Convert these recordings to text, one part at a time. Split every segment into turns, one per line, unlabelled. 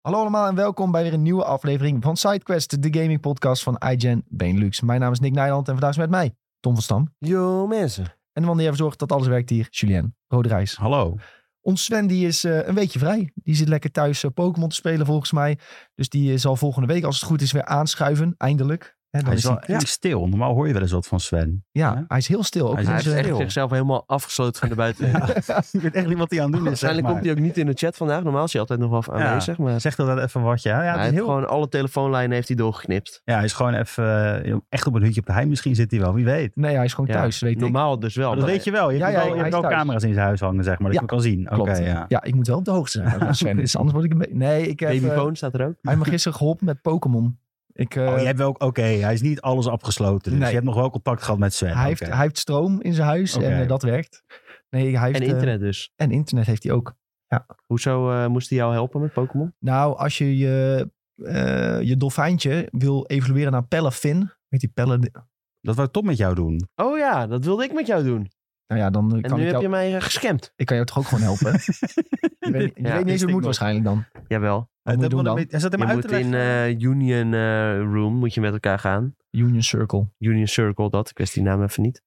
Hallo allemaal en welkom bij weer een nieuwe aflevering van SideQuest, de gaming podcast van iGen Benelux. Mijn naam is Nick Nijland en vandaag is met mij Tom van Stam.
Yo mensen.
En de man die ervoor zorgt dat alles werkt hier, Julien Roderijs.
Hallo.
Ons Sven die is eh, een weekje vrij. Die zit lekker thuis eh, Pokémon te spelen volgens mij. Dus die eh, zal volgende week als het goed is weer aanschuiven, eindelijk. Hè, dan
Hij is
is
wel
hij-
erg stil. Normaal hoor je wel eens wat van Sven.
ja,
hè?
hij is heel stil. Ook eh,
Hij is
in
Hij
echt
heeft
zijn-
echt
heel.
zichzelf helemaal afgesloten van de buitenwereld.
Ik weet echt niet wat hij aan het doen is. Zeg,
Waarschijnlijk
maar.
komt hij ook niet in de chat vandaag. Normaal is hij altijd nog wel even
Ja.
aanwezig. Maar
zeg dat even wat, ja. Ja,
hij
het is
heeft
heel...
gewoon alle telefoonlijnen heeft hij doorgeknipt.
ja, hij is gewoon even eh, echt op een hutje op de hei. Misschien zit hij wel, wie weet.
Nee, hij is gewoon
Ja,
thuis, weet ik.
Normaal dus wel.
Maar dat weet je wel. Je hebt
Ja, ja,
wel, je
hij
hebt
is
wel
thuis.
camera's in zijn huis hangen, zeg maar. Dat
Ja,
je hem kan zien. Oké,
Klopt.
ja.
Ja, ik moet wel op de hoogte zijn. van Sven, dus anders word ik... een be- Nee, ik heb, eh,
Babyfoon staat er ook.
hij heeft me gisteren geholpen met Pokémon. Ik, eh,
Oh, je hebt wel, oké, hij is niet alles afgesloten. Dus
Nee.
je hebt nog wel contact gehad met Sven.
Hij, heeft,
oké.
hij heeft stroom in zijn huis en
Oké.
eh, dat werkt. Nee, hij heeft,
En
eh,
internet dus.
en internet heeft hij ook.
Hoezo eh, moest hij jou helpen met Pokémon?
Nou, als je je, eh, je dolfijntje wil evolueren naar Pellefin, weet die Pelle... Nou
Dat wou Tom met jou doen.
Oh ja, dat wilde ik met jou doen.
Nou ja, dan eh,
En
kan
nu
ik jou,
heb je mij eh, gescamd.
ik kan jou toch ook gewoon helpen. je weet, je
Ja,
weet niet eens
die
hoe het
stinkt
moet
nog.
waarschijnlijk dan.
Jawel.
Wat moet je
Eh,
doen
dat wel een
dan?
beetje- Hij zat hem
je
uit te
moet in
leggen.
eh, Union eh, Room moet je met elkaar gaan.
Union Circle.
Union Circle dat. Ik wist die naam even niet.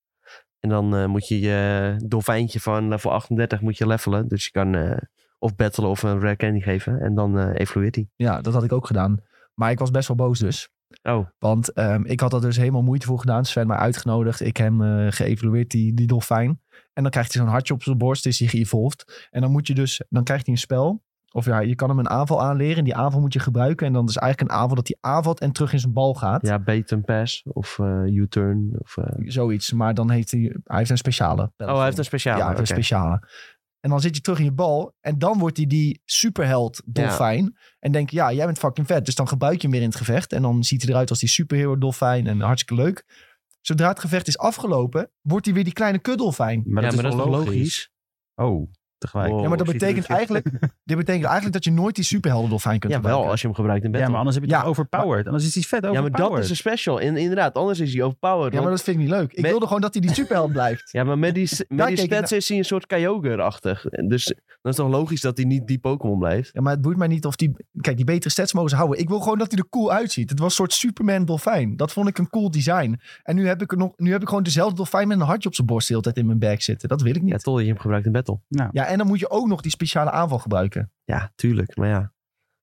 En dan eh, moet je je dolfijntje van level 38 moet je levelen. Dus je kan eh, of battelen of een rare candy geven. En dan eh evolueert hij.
Ja, dat had ik ook gedaan. Maar ik was best wel boos dus.
Oh,
Want ehm, ik had dat dus helemaal moeite voor gedaan. Sven mij uitgenodigd. Ik hem eh, geëvalueerd, die, die dolfijn. En dan krijgt hij zo'n hartje op zijn borst. Is hij geëvolved. En dan moet je dus... Dan krijgt hij een spel. Of ja, je kan hem een aanval aanleren. En die aanval moet je gebruiken. En dan is eigenlijk een aanval dat hij aanvalt en terug in zijn bal gaat.
ja, bait and pass of eh, U-turn. Of, eh,
Zoiets. Maar dan heeft hij... Hij heeft een speciale.
Oh, hij heeft een
Ja,
speciale.
hij heeft een
oké.
speciale. En dan zit je terug in je bal. En dan wordt hij die superheld dolfijn. En denk je, ja, jij bent fucking vet. Dus dan gebruik je hem weer in het gevecht. En dan ziet hij eruit als die superhero dolfijn. En hartstikke leuk. Zodra het gevecht is afgelopen, wordt hij weer die kleine kuddelfijn.
Maar
ja,
dat
maar
is
dat
toch
is toch
logisch? Oh, tegelijk.
Wow,
ja, maar dat
ik zie
betekent,
het nu.
eigenlijk, dit betekent eigenlijk dat je nooit die superhelden dolfijn kunt
Ja, wel
gebruiken.
als je hem gebruikt in
Ja,
battle.
maar anders heb je
Ja,
het overpowered. Anders is hij vet
Ja,
overpowered.
maar dat is dus een special. In, inderdaad, anders is hij overpowered.
Ja, maar dat vind ik niet leuk. Ik
Met-
wilde gewoon dat hij die superheld blijft.
Ja, maar met die, s- met die
kijk ik
stats is hij een soort Kyogre-achtig. En Dus dan is het toch logisch dat hij niet die Pokémon blijft?
Ja, maar het boeit mij niet of die... Kijk, die betere stats mogen ze houden. Ik wil gewoon dat hij er cool uitziet. Het was een soort Superman dolfijn. Dat vond ik een cool design. En nu heb ik, er nog, nu heb ik gewoon dezelfde dolfijn met een hartje op zijn borst de hele tijd in mijn bag zitten. Dat wil ik
Ja,
niet.
totdat je hem gebruikt in battle.
Ja, en dan moet je ook nog die speciale aanval gebruiken.
Ja, tuurlijk. Maar ja,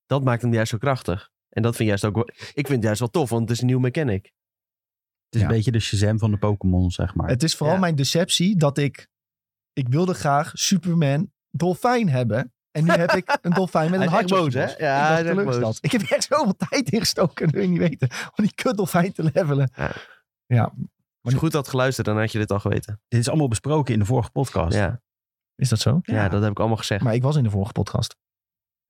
dat maakt hem juist zo krachtig. En dat vind ik juist ook wel... Ik vind het juist wel tof, want het is een nieuwe mechanic.
Het is
Ja.
een beetje de Shazam van de Pokémon, zeg maar.
Het is vooral
Ja.
mijn deceptie dat ik... Ik wilde graag Superman dolfijn hebben. En nu heb ik een dolfijn met
Hij
een
is echt
hartje op
boos,
zijn
hè?
borst.
Ja,
Ik dacht,
hij is echt
leuk is
boos.
dat. Ik heb echt zoveel tijd ingestoken, dat wil je niet weten. Om die kut dolfijn te levelen.
Als je goed had geluisterd, dan had je dit al geweten.
Dit is allemaal besproken in de vorige podcast.
Ja,
Is dat zo?
ja. dat heb ik allemaal gezegd.
Maar ik was in de vorige podcast.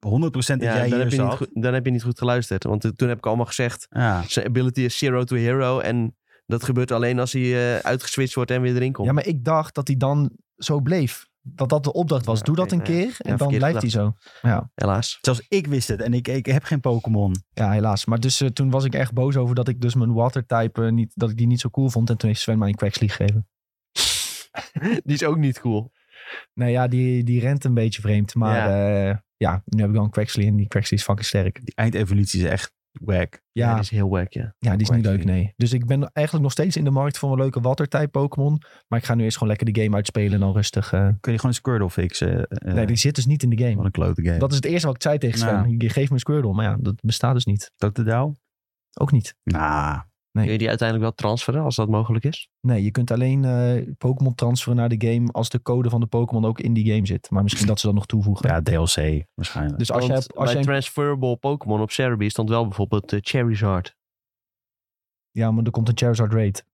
100% dat
Ja,
jij
dan,
hier
heb je niet
zat.
goed, dan heb je niet goed geluisterd. Want toen heb ik allemaal gezegd...
Ja.
Zijn ability is zero to hero. En dat gebeurt alleen als hij eh, uitgeswitcht wordt en weer erin komt.
Ja, maar ik dacht dat hij dan zo bleef. Dat dat de opdracht was.
Ja,
Doe
oké,
dat een
nee.
keer en
Ja,
dan
verkeerd
blijft hij zo. Ja,
Helaas.
Zelfs ik wist het en ik, ik heb geen Pokémon.
ja, helaas. Maar dus eh, toen was ik echt boos over dat ik dus mijn water type eh, niet, dat ik die niet zo cool vond. En toen heeft Sven mij een Quacksleeve gegeven.
Die is ook niet cool.
Nou ja, die, die rent een beetje vreemd. Maar ja, ja nu heb ik wel een Quacksleeve en die Quacksleeve is fucking sterk.
Die eindevolutie is echt wack.
Ja, ja,
dat is heel wack, ja.
die is niet leuk,
Quacksleeve.
nee. Dus ik ben eigenlijk nog steeds in de markt voor een leuke water type Pokémon. Maar ik ga nu eerst gewoon lekker de game uitspelen en dan rustig. eh.
Kun je gewoon een Squirtle fixen? Eh,
Nee, die zit dus niet in de
Wat
game.
een klote game.
Dat is het eerste wat ik zei tegen Sven.
Nou.
Je geeft me een Squirtle, maar ja, dat bestaat dus niet.
Totodile?
Ook niet.
Nou,
Kun je die uiteindelijk wel transferen als dat mogelijk is?
Nee, je kunt alleen eh, Pokémon transferen naar de game als de code van de Pokémon ook in die game zit. Maar misschien dat ze dat nog toevoegen.
ja, DLC waarschijnlijk.
Dus als
Want
je, als
bij
je een-
transferable Pokémon op Cerebi stond wel bijvoorbeeld eh, Charizard.
ja, maar er komt een Charizard raid.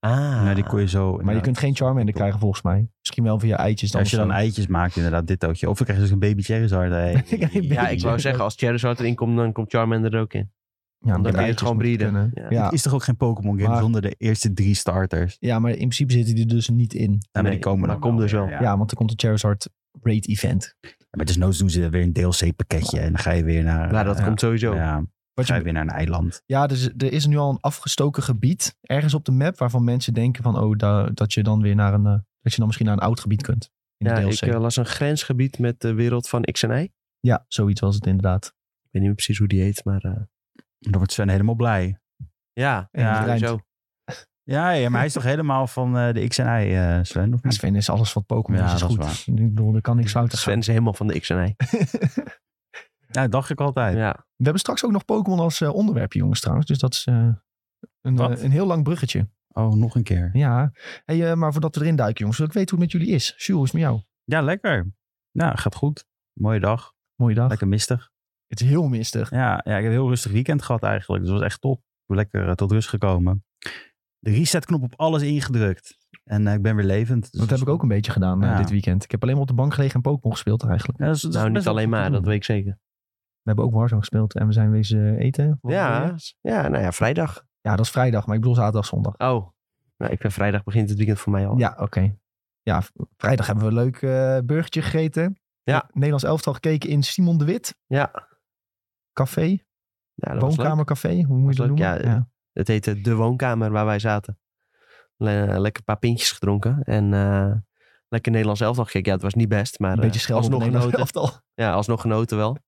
Ah.
Nou, die kon je zo...
Maar je
inderdaad.
kunt geen Charmander
Top.
krijgen volgens mij. Misschien wel via eitjes dan.
Als je
of
dan
zo.
eitjes maakt, inderdaad, dit tootje. Of dan krijg je dus een baby Charizard. Hey.
Ja, ik
ja, ik wou zeggen, als Charizard erin komt, dan komt Charmander er ook in.
ja,
Dan
met
kun je het
eitjes
gewoon
moet
breeden.
kunnen.
Ja.
Ja.
Het is toch ook geen Pokémon game
Maar-
zonder de eerste drie starters?
ja, maar in principe zitten die er dus niet in.
Nou, maar
Nee,
die komen
maar
dan
komt dus
weer,
wel.
Ja,
Ja.
want er komt een Charizard raid event.
Maar desnoods doen ze weer een DLC pakketje en dan ga je weer naar...
Nou, dat
eh,
komt sowieso.
Ja, dan
Wat
ga
je
je weer naar een eiland.
Ja, dus er is nu al een afgestoken gebied ergens op de map waarvan mensen denken van oh, da- dat je dan weer naar een eh, dat je dan misschien naar een oud gebied kunt in
Ja,
de
ik
DLC.
eh, las een grensgebied met de wereld van X en Y.
ja, zoiets was het inderdaad.
weet niet meer precies hoe die heet, maar eh,
Dan wordt Sven helemaal blij.
ja,
En die rijmt.
zo.
Ja, ja, maar hij is toch helemaal van eh, de X en Y, eh, Sven? Of
Ja,
niet?
Sven is alles wat Pokémon
Ja,
is, is
dat is
goed. Ik bedoel, er kan niks fout
Hm. Sven
gaan.
is helemaal van de X en Y.
Ja, dat dacht ik altijd.
Ja.
We hebben straks ook nog Pokémon als eh, onderwerp, jongens, trouwens. Dus dat is eh, een,
Wat?
eh, een heel lang bruggetje.
Oh, nog een keer.
Ja. Hey, eh, maar voordat we erin duiken, jongens, wil ik weten hoe het met jullie is. Sjoerd, hoe is het met jou?
Ja, lekker. Ja, gaat goed. Mooie dag.
Mooie dag.
Lekker mistig.
Het is heel mistig.
Ja, ja, ik heb een heel rustig weekend gehad eigenlijk. Dus dat was echt top. Ik ben lekker eh, tot rust gekomen. De resetknop op alles ingedrukt. En eh, ik ben weer levend. Dus
Dat heb ik ook een beetje gedaan eh,
Ja.
dit weekend. Ik heb alleen maar op de bank gelegen en Pokémon gespeeld eigenlijk.
Ja, dat is- dat is
Nou,
best
niet
wel
alleen
goed te
maar,
doen.
dat weet ik zeker.
We hebben ook Warzone gespeeld en we zijn wezen eten.
Ja, ja, nou ja, vrijdag.
Ja, dat is vrijdag, maar ik bedoel zaterdag, zondag.
Oh, nou, ik ben vrijdag begint het weekend voor mij al.
Ja, oké. Ja, v- vrijdag hebben we een leuk eh burgertje gegeten. Eh,
Ja.
Nederlands elftal gekeken in Simon de Wit.
Ja.
Café,
Ja, dat was leuk.
woonkamercafé, hoe moet je
Dat
dat
was
noemen?
leuk, ja. Het heette De Woonkamer, waar wij zaten. Le- lekker een paar pintjes gedronken. En eh, lekker Nederlands elftal gekeken. Ja, het was niet best, maar
Een
eh,
beetje schelden op
alsnog
het Nederlands
genoten.
elftal.
Ja, alsnog genoten wel.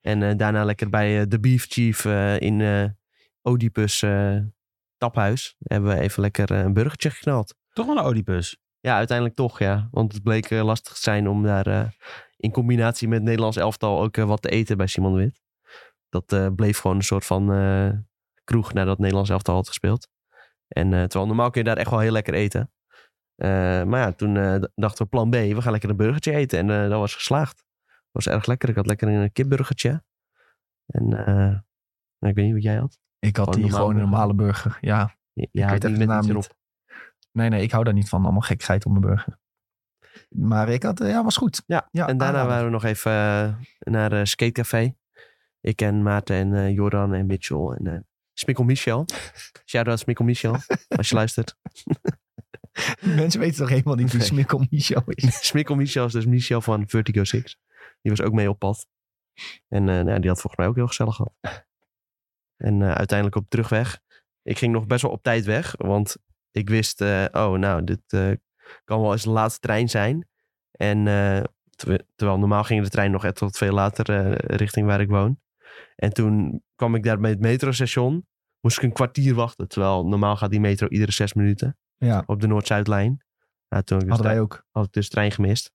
en eh, daarna lekker bij eh, de Beef Chief eh, in eh Oedipus eh, taphuis. Hebben we even lekker eh, een burgertje geknald.
Toch wel een Oedipus.
Ja, uiteindelijk toch, ja. Want het bleek eh, lastig te zijn om daar eh, in combinatie met het Nederlands elftal ook eh, wat te eten bij Simon de Wit. Dat eh, bleef gewoon een soort van eh, kroeg nadat het Nederlands elftal had gespeeld. En eh, terwijl normaal kun je daar echt wel heel lekker eten. Eh, maar ja, toen eh, d- dachten we plan B, we gaan lekker een burgertje eten. En eh, dat was geslaagd. Dat was erg lekker. Ik had lekker een eh, kipburgertje. En eh, nou, ik weet niet wat jij had.
Ik had
Gewoon
die
normaal
gewoon een
burger.
normale burger. Ja,
Ja,
weet even
die met
de naam
iets
niet.
erop.
nee, nee, ik hou daar niet van. Allemaal gekheid om een burger. Maar ik had, eh, ja, was goed.
Ja,
Ja,
en daarna
aanrader.
waren we nog even eh, naar eh Skatecafé. Ik en Maarten en eh, Jordan en Mitchell en eh Smikkel Michel. Shout-out Smikkel Michel, als je luistert.
Mensen weten toch helemaal niet wie
Nee.
Smikkel Michel is.
Smikkel Michel is dus Michel van Vertigo 6. Die was ook mee op pad. En eh, nou ja, die had volgens mij ook heel gezellig gehad. En eh, uiteindelijk op terugweg. Ik ging nog best wel op tijd weg. Want ik wist, eh, oh nou, dit eh, kan wel eens de laatste trein zijn. En eh, ter- terwijl normaal ging de trein nog echt tot veel later eh, richting waar ik woon. En toen kwam ik daar bij het metrostation. Moest ik een kwartier wachten. Terwijl normaal gaat die metro iedere zes minuten.
Ja.
Op de Noord-Zuidlijn. Nou, toen ik dus
Hadden
daar-
wij ook.
had ik dus trein gemist.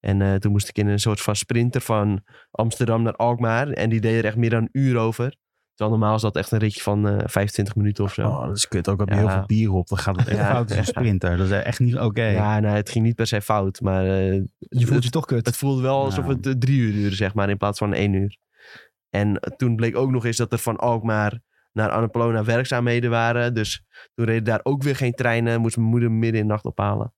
En eh, toen moest ik in een soort van sprinter van Amsterdam naar Alkmaar. En die deed er echt meer dan een uur over. Terwijl normaal is dat echt een ritje van eh 25 minuten of zo.
Oh, dat is kut. Ook heb je
Ja.
heel veel bier op. Dan gaat het echt
Ja.
fout als een sprinter. Dat is echt niet oké.
Ja, nou, het ging niet per se fout. Maar eh,
Je voelt
het,
je toch kut.
het voelde wel alsof
Ja.
het eh, drie uur duurde, zeg maar, in plaats van één uur. En eh, toen bleek ook nog eens dat er van Alkmaar naar Annapolona werkzaamheden waren. Dus toen reden daar ook weer geen treinen. Moest mijn moeder midden in de nacht ophalen.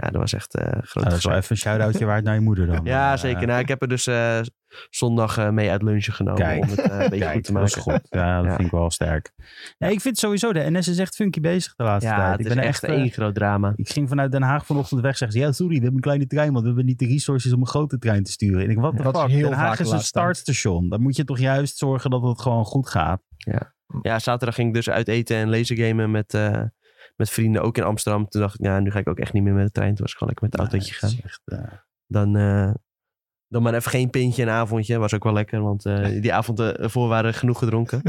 Ja, dat was echt eh groot.
Nou, dat is wel even een shout-outje waard naar je moeder dan.
Ja,
Eh,
zeker. Nou, ik heb er dus eh, zondag eh, mee uit lunchen genomen
Kijk.
om het eh, een beetje
Kijk,
goed te
dat is
maken.
goed. Ja, dat
Ja.
vind ik wel sterk. Nee, ik vind sowieso, de NS is echt funky bezig de laatste
Ja,
tijd.
het
ik
is
ben er
echt
eh,
één groot drama.
Ik ging vanuit Den Haag vanochtend weg. Zeggen ze, ja, sorry, we hebben een kleine trein, want we hebben niet de resources om een grote trein te sturen. En ik, wat de
Dat is
fuck?
heel
Den Haag
vaak de
is een
laatste tijd.
startstation. Dan moet je toch juist zorgen dat het gewoon goed gaat.
Ja, zaterdag ging ik dus uit eten en lasergamen met, eh, met vrienden, ook in Amsterdam. Toen dacht ik, ja, nu ga ik ook echt niet meer met de trein. Toen was ik gewoon lekker met het autootje
Ja,
gaan.
het is echt, eh,
Dan, eh, dan maar even geen pintje en avondje. Was ook wel lekker, want eh, die avond eh, ervoor waren genoeg gedronken.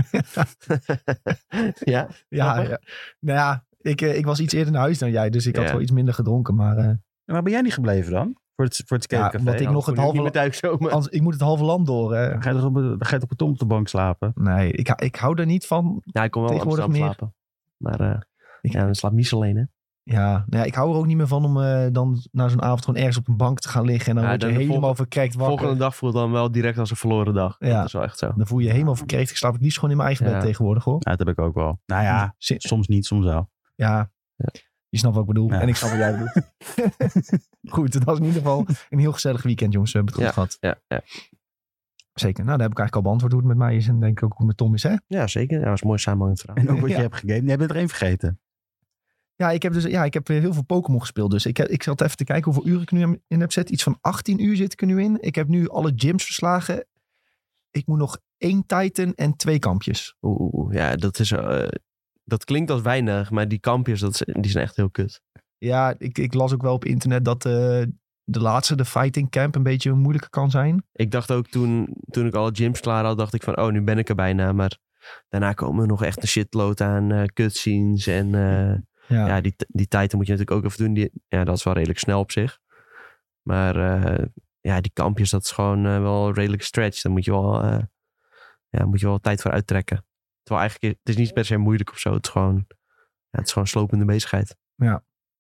ja,
ja,
grappig.
ja. Nou ja, ik, eh, ik was iets eerder naar huis dan jij, dus ik
Ja.
had wel iets minder gedronken. Maar eh,
En waar ben jij niet gebleven dan? Voor het, voor het
Ja,
skatecafé?
omdat ik nog het
Moet ik
halve...
niet meer thuiskomen.
anders- ik moet het halve land door. eh.
Dan ga je toch op, een- dan ga je toch op een tomtebank slapen?
Nee, ik, hou- ik hou er niet van.
Ja, Nou, ik kon wel in
Tegenwoordig
Amsterdam
meer.
slapen. Maar eh,
Ik-
ja, dan slaapt Mies alleen, hè.
Ja, nou ja, ik hou er ook niet meer van om eh, dan na zo'n avond gewoon ergens op een bank te gaan liggen. En dan
Ja,
word je
dan de
helemaal
volgende-
verkrekt wakker.
Volgende dag voelt dan wel direct als een verloren dag.
Ja.
Dat is wel echt zo.
Dan voel je je helemaal verkrekt. Ik slaap het liefst gewoon in mijn eigen
Ja.
bed tegenwoordig hoor.
Ja, dat heb ik ook wel. Nou ja,
Zin-
soms niet, soms wel.
Ja, je snapt wat ik bedoel.
Ja.
En ik snap wat jij bedoelt. goed, het was in ieder geval een heel gezellig weekend jongens. We hebben het goed gehad.
Ja, ja.
Zeker. Nou, daar heb ik eigenlijk al beantwoord hoe het met mij is. En denk ik ook hoe het met Tom is hè.
ja zeker. Ja, dat is een mooi samenhangend verhaal.
En ook wat
Ja.
je hebt gegamed. Jij bent er één vergeten.
Ja, ik heb dus ja, ik heb weer heel veel Pokémon gespeeld. Dus ik, heb, ik zat even te kijken hoeveel uren ik nu in heb zitten. Iets van 18 uur zit ik er nu in. Ik heb nu alle gyms verslagen. Ik moet nog één Titan en twee kampjes.
Oeh, oeh, oeh. Ja, dat, is, eh, dat klinkt als weinig, maar die kampjes, dat, is- die zijn echt heel kut.
Ja, ik, ik las ook wel op internet dat eh, de laatste, de fighting camp, een beetje moeilijker kan zijn.
Ik dacht ook toen, toen ik alle gyms klaar had, dacht ik van, oh, nu ben ik er bijna. Maar daarna komen er nog echt een shitload aan eh cutscenes. En eh, ja, die, t- die tijd moet je natuurlijk ook even doen. Die, ja, dat is wel redelijk snel op zich. Maar eh, ja, die kampjes, dat is gewoon eh, wel redelijk stretch. Daar moet je wel, eh, ja, moet je wel tijd voor uittrekken. Terwijl eigenlijk, het is niet per se moeilijk of zo. Het is gewoon, ja, het is gewoon slopende bezigheid.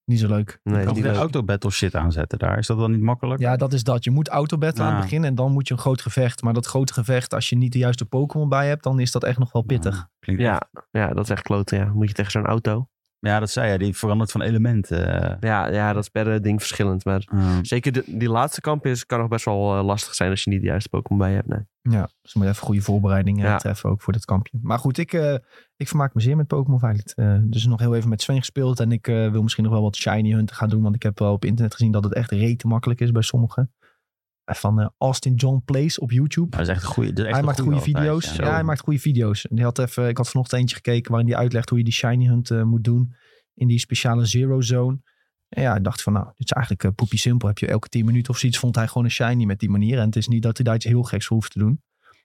niet zo leuk.
Nee, het is
Ook
niet
de
leuk.
auto battle shit aanzetten daar. Is dat dan niet makkelijk?
Ja, dat is dat. Je moet autobattle aan het
Ja.
begin en dan moet je een groot gevecht. Maar dat grote gevecht, als je niet de juiste Pokémon bij hebt, dan is dat echt nog wel pittig.
Nou, klinkt
Ja, ja, dat is echt kloten. Ja. Moet je tegen zo'n auto.
Ja, dat zei hij. Die verandert van element. eh.
Ja, ja, dat is per eh, ding verschillend. Maar
Eh,
zeker de- die laatste kamp is, kan nog best wel eh, lastig zijn als je niet de juiste Pokémon bij hebt. Nee.
Ja, dus je moet even goede voorbereidingen
Ja.
treffen ook voor dit kampje. Maar goed, ik, eh, ik vermaak me zeer met Pokémon Violet. Eh, dus nog heel even met Sven gespeeld. En ik eh, wil misschien nog wel wat shiny hunten gaan doen. Want ik heb wel op internet gezien dat het echt rete makkelijk is bij sommigen. Eh, Van eh, Austin John Plays op YouTube.
dat is echt een goeie, dat is echt
hij
een
maakt goede
goeie altijd,
video's.
ja.
ja. hij maakt goede video's. En Die had even, ik had vanochtend eentje gekeken waarin hij uitlegt hoe je die shiny hunt eh, moet doen. In die speciale zero zone. En ja, ik dacht van nou, dit is eigenlijk eh, poepie simpel. Heb je elke 10 minuten of zoiets, vond hij gewoon een shiny met die manier. En het is niet dat hij daar iets heel geks voor hoeft te doen.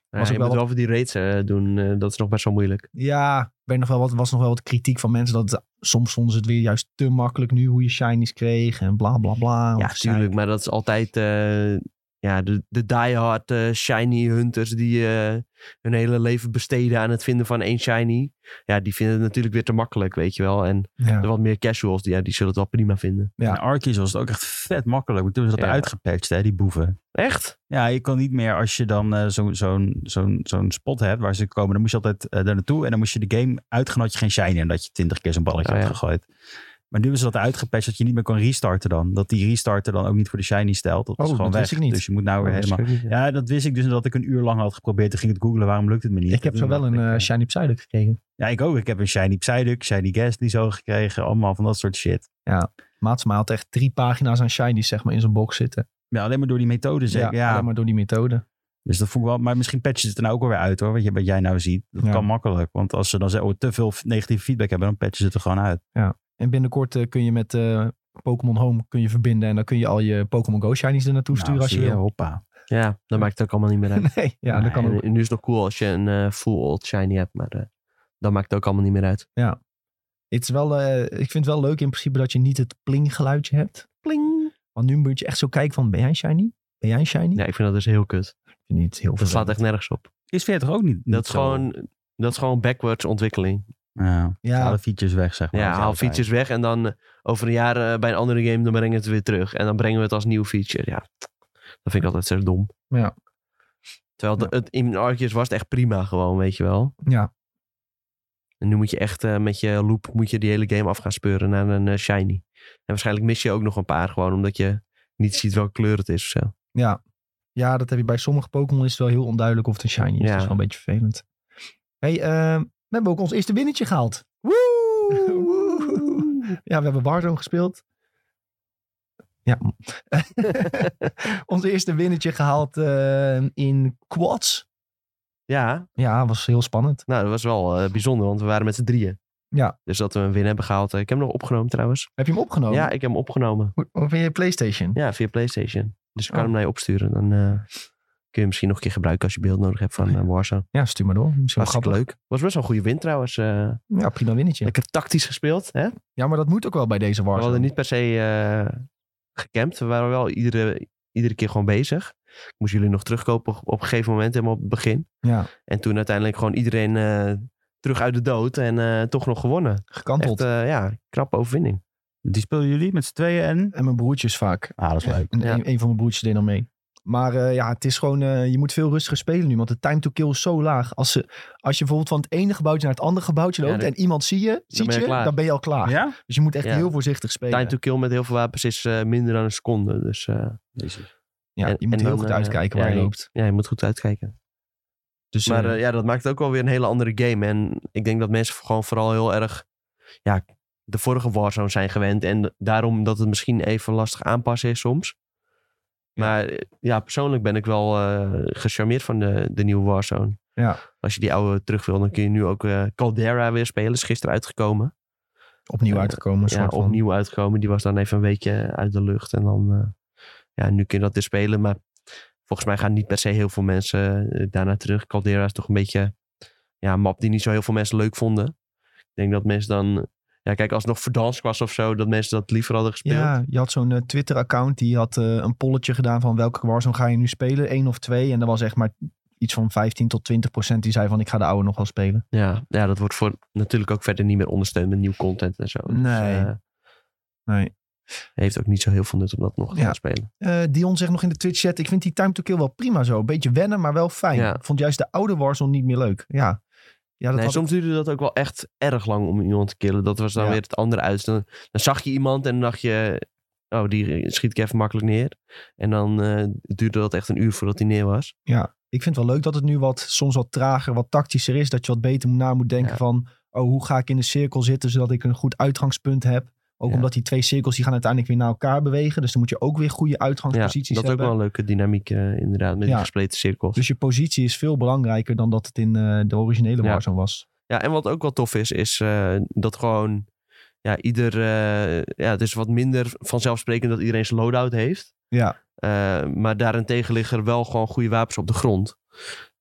Ja,
Was ook
je
wel
moet wel voor die raids eh, doen. eh, dat is nog best wel moeilijk.
Ja, ik weet nog wel wat, was nog wel wat kritiek van mensen. Dat het- soms vonden ze het weer juist te makkelijk nu hoe je shinies kreeg en bla bla bla.
ja,
Of gezeik.
tuurlijk. Maar dat is altijd eh, ja, de, de diehard eh, shiny hunters die eh, hun hele leven besteden aan het vinden van één shiny. Ja, die vinden het natuurlijk weer te makkelijk, weet je wel. En de
Ja.
wat meer casuals, die, ja, die zullen het wel prima vinden.
Ja.
In Arceus was het ook echt vet makkelijk. Want toen is dat
Ja.
uitgepatcht, hè, die boeven.
Echt?
Ja, je kan niet meer als je dan eh, zo- zo'n zo'n- zo'n spot hebt waar ze komen. Dan moest je altijd eh, daar naartoe. En dan moest je de game uitgaan dat je geen shiny. En dat je twintig keer zo'n balletje
Oh,
had
ja.
gegooid. Maar nu hebben ze dat uitgepatcht dat je niet meer kan restarten dan. Dat die restarter dan ook niet voor de shiny stelt. Dat
Oh,
is gewoon
dat
weg.
wist ik niet.
Dus je moet nou weer
Oh, Dat is
helemaal...
ook niet, ja.
Ja, dat wist ik dus nadat ik een uur lang had geprobeerd. Toen ging het googlen, waarom lukt het me niet?
Ik heb
Toen
zo wel
dacht
een
ik,
eh,
eh,
shiny Psyduck gekregen.
Ja, ik ook. Ik heb een shiny Psyduck, shiny Ghastly zo gekregen. Allemaal van dat soort shit.
Maats maar had echt drie pagina's aan shinies zeg maar in zijn box zitten.
Ja, alleen maar door die methode zeker. Dus Ja,
alleen maar door die methode.
Dus dat vond ik wel... Maar misschien patchen ze het er nou ook alweer uit hoor. Wat, je, wat jij nou ziet. Dat
Ja.
kan makkelijk. Want als ze dan zeggen, oh, te veel f- negatieve feedback hebben, dan patchen ze het er gewoon uit.
En binnenkort eh, kun je met eh, Pokémon Home kun je verbinden. En dan kun je al je Pokémon Go shinies er naartoe sturen
Nou,
als je
zie
wil.
Hoppa.
ja, dat maakt het ook allemaal niet meer uit.
Nee, ja, dat kan
en
ook.
Nu is het nog cool als je een eh, full old shiny hebt, maar eh, dat maakt het ook allemaal niet meer uit.
Het is wel, eh, ik vind het wel leuk in principe dat je niet het pling geluidje hebt.
Pling!
Want nu moet je echt zo kijken van, ben jij een shiny? Ben jij een shiny?
Ja, ik vind dat dus heel kut.
Ik vind het heel
Dat slaat
vervelend.
echt nergens op.
Is 40 ook niet?
Dat is gewoon, dat is gewoon backwards ontwikkeling.
Ja,
Ja.
haal de features weg zeg maar.
Ja,
Als
haal
jij
features weg en dan eh, over een jaar eh, bij een andere game, dan brengen we het weer terug. En dan brengen we het als nieuw feature. Ja, dat vind ik altijd zo dom.
Ja.
Terwijl de- het, in Arceus was het echt prima gewoon, weet je wel.
Ja,
En nu moet je echt eh, met je loop moet je die hele game af gaan speuren naar een eh, shiny. En waarschijnlijk mis je ook nog een paar gewoon, omdat je niet ziet welke kleur het is of zo.
Ja. ja, dat heb je bij sommige Pokémon is het wel heel onduidelijk of het een shiny is.
Ja.
Dat is wel een beetje vervelend. hey, eh, we hebben ook ons eerste winnetje gehaald. Woe! ja, we hebben Warzone gespeeld. Ja. ons eerste winnetje gehaald eh, in quads.
Ja,
Ja, was heel spannend.
Nou, dat was wel eh, bijzonder, want we waren met z'n drieën.
Ja. Oh.
Dus dat we een win hebben gehaald. eh, Ik heb hem nog opgenomen trouwens.
Heb je hem opgenomen?
Ja, ik heb hem opgenomen.
Hoe- Of in je PlayStation?
Ja, via PlayStation. Dus ik kan
Oh.
hem naar je opsturen. Dan eh, kun je hem misschien nog een keer gebruiken als je beeld nodig hebt van eh, Warzone.
Oh Ja, stuur maar door. Misschien wel
Hartstikke
grappig.
leuk. Was best wel een goede win trouwens. eh,
Ja, prima winnetje.
Lekker tactisch gespeeld. Hè?
Ja, maar dat moet ook wel bij deze
We
Warzone.
hadden niet per se eh, gecampt. We waren wel iedere, iedere keer gewoon bezig. Ik moest jullie nog terugkopen op, op een gegeven moment, helemaal op het begin.
Ja,
En toen uiteindelijk gewoon iedereen eh, terug uit de dood en eh, toch nog gewonnen.
gekanteld.
Echt, eh, ja, knappe overwinning.
Die speelden jullie met z'n tweeën en...
En mijn broertjes vaak.
Ah, dat is leuk.
En
Ja.
een, een van mijn broertjes deed dan mee. Maar eh, ja, het is gewoon, eh, je moet veel rustiger spelen nu, want de time to kill is zo laag. Als, ze, als je bijvoorbeeld van het ene gebouwtje naar het andere gebouwtje
Ja,
loopt
dan-
en iemand zie je, ziet
ben je
je,
klaar.
dan ben je al klaar.
Ah. Ja?
Dus je moet echt
Ja.
heel voorzichtig spelen.
Time to kill met heel veel wapens is eh, minder dan een seconde. Dus eh,
ja,
en-
je moet
en
heel
dan,
goed
eh,
uitkijken waar
ja,
je loopt.
ja, je moet goed uitkijken.
Dus,
Maar
eh,
eh, ja, dat maakt het ook wel weer een hele andere game. En ik denk dat mensen gewoon vooral heel erg ja, de vorige Warzone zijn gewend. En daarom dat het misschien even lastig aanpassen is soms. Maar eh, ja, persoonlijk ben ik wel eh, gecharmeerd van de, de nieuwe Warzone.
Ja.
Als je die oude terug wil, dan kun je nu ook eh, Caldera weer spelen. Is gisteren uitgekomen.
opnieuw
eh,
uitgekomen. een
ja,
soort van.
opnieuw uitgekomen. Die was dan even een weekje uit de lucht. En dan eh, ja, nu kun je dat dus spelen. Maar volgens mij gaan niet per se heel veel mensen eh, daarna terug. Caldera is toch een beetje ja, een map die niet zo heel veel mensen leuk vonden. Ik denk dat mensen dan... Ja, kijk, als het nog Verdansk was of zo, dat mensen dat liever hadden gespeeld.
Ja, je had zo'n eh, Twitter-account die had eh, een polletje gedaan van welke Warzone ga je nu spelen, één of twee. En er was echt maar iets van 15 tot 20 procent die zei van ik ga de oude nog wel spelen.
Ja, ja, dat wordt voor natuurlijk ook verder niet meer ondersteund met nieuw content en zo. Dus,
Nee.
eh,
Nee.
heeft ook niet zo heel veel nut om dat nog te
Ja.
gaan spelen.
Eh, Dion zegt nog in de Twitch-chat, ik vind die Time to Kill wel prima zo. Beetje wennen, maar wel fijn.
Ja.
Vond juist de oude Warzone niet meer leuk. Ja, ja dat
nee,
had
soms duurde dat ook wel echt erg lang om iemand te killen. Dat was dan
Ja.
weer het andere uit. Dan, dan zag je iemand en dan dacht je... Oh, die schiet ik even makkelijk neer. En dan eh, duurde dat echt een uur voordat hij neer was.
ik vind het wel leuk dat het nu wat, soms wat trager, wat tactischer is. Dat je wat beter na moet denken
Ja.
van, oh, hoe ga ik in de cirkel zitten zodat ik een goed uitgangspunt heb. Ook
Ja.
omdat die twee cirkels, die gaan uiteindelijk weer naar elkaar bewegen. Dus dan moet je ook weer goede
Ja,
uitgangsposities
dat is ook
hebben.
wel een leuke dynamiek eh, inderdaad. Met
Ja.
die gespleten cirkels.
Dus je positie is veel belangrijker dan dat het in eh, de originele
Ja.
Warzone was.
Ja, en wat ook wel tof is, is eh, dat gewoon ja, ieder. eh, ja, het is wat minder vanzelfsprekend dat iedereen zijn loadout heeft.
Ja.
Eh, maar daarentegen liggen er wel gewoon goede wapens op de grond.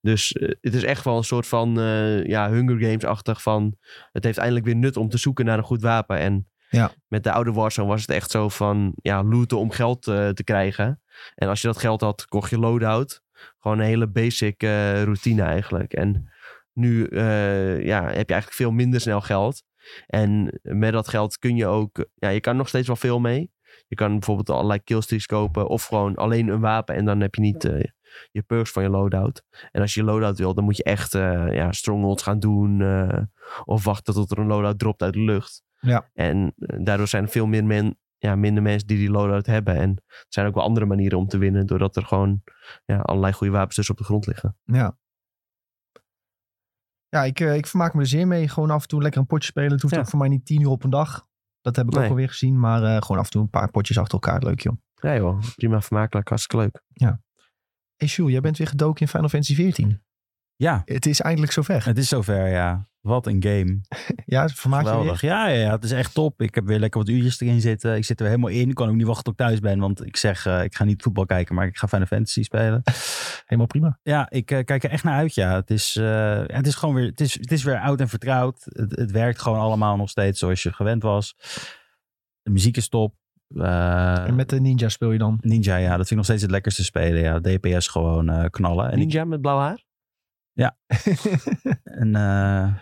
Dus eh, het is echt wel een soort van eh, ja, Hunger Games-achtig van... Het heeft eindelijk weer nut om te zoeken naar een goed wapen. En
Ja.
met de oude Warzone was het echt zo van ja, looten om geld eh, te krijgen. En als je dat geld had, kocht je loadout. Gewoon een hele basic eh, routine eigenlijk. En nu eh, ja, heb je eigenlijk veel minder snel geld. En met dat geld kun je ook... Ja, je kan nog steeds wel veel mee. Je kan bijvoorbeeld allerlei killstreaks kopen. Of gewoon alleen een wapen. En dan heb je niet eh, je perks van je loadout. En als je loadout wil, dan moet je echt eh ja, strongholds gaan doen. eh, of wachten tot er een loadout dropt uit de lucht.
Ja.
En eh, daardoor zijn er veel meer men, ja, minder mensen die die loadout hebben. En er zijn ook wel andere manieren om te winnen. Doordat er gewoon ja, allerlei goede wapens dus op de grond liggen.
Ja. Ja, ik, eh, ik vermaak me er zeer mee. Gewoon af en toe lekker een potje spelen. Het hoeft
Ja.
ook voor mij niet tien uur op een dag. Dat heb ik ook
Nee.
alweer gezien. Maar eh, gewoon af en toe een paar potjes achter elkaar. Leuk joh.
Ja joh, prima vermakelijk, hartstikke leuk.
Hey Sjoel, jij bent weer gedoken in Final Fantasy XIV.
Ja,
Het is eindelijk zover.
het is zover, ja. Wat een game.
Ja, vermaak je
Geweldig.
weer?
Ja, ja, ja, het is echt top. Ik heb weer lekker wat uurtjes erin zitten. Ik zit er helemaal in. Ik kan ook niet wachten tot ik thuis ben. Want ik zeg, eh, ik ga niet voetbal kijken, maar ik ga Final Fantasy spelen.
Helemaal prima.
Ja, ik eh, kijk er echt naar uit, ja. Het is, eh, ja, het is gewoon weer, het is, het is weer oud en vertrouwd. Het, het werkt gewoon allemaal nog steeds zoals je gewend was. De muziek is top. Eh,
En met de ninja speel je dan?
Ninja, ja, dat vind ik nog steeds het lekkerste spelen. Ja, DPS gewoon eh, knallen. En, ik-
Ninja met blauw haar?
en, eh,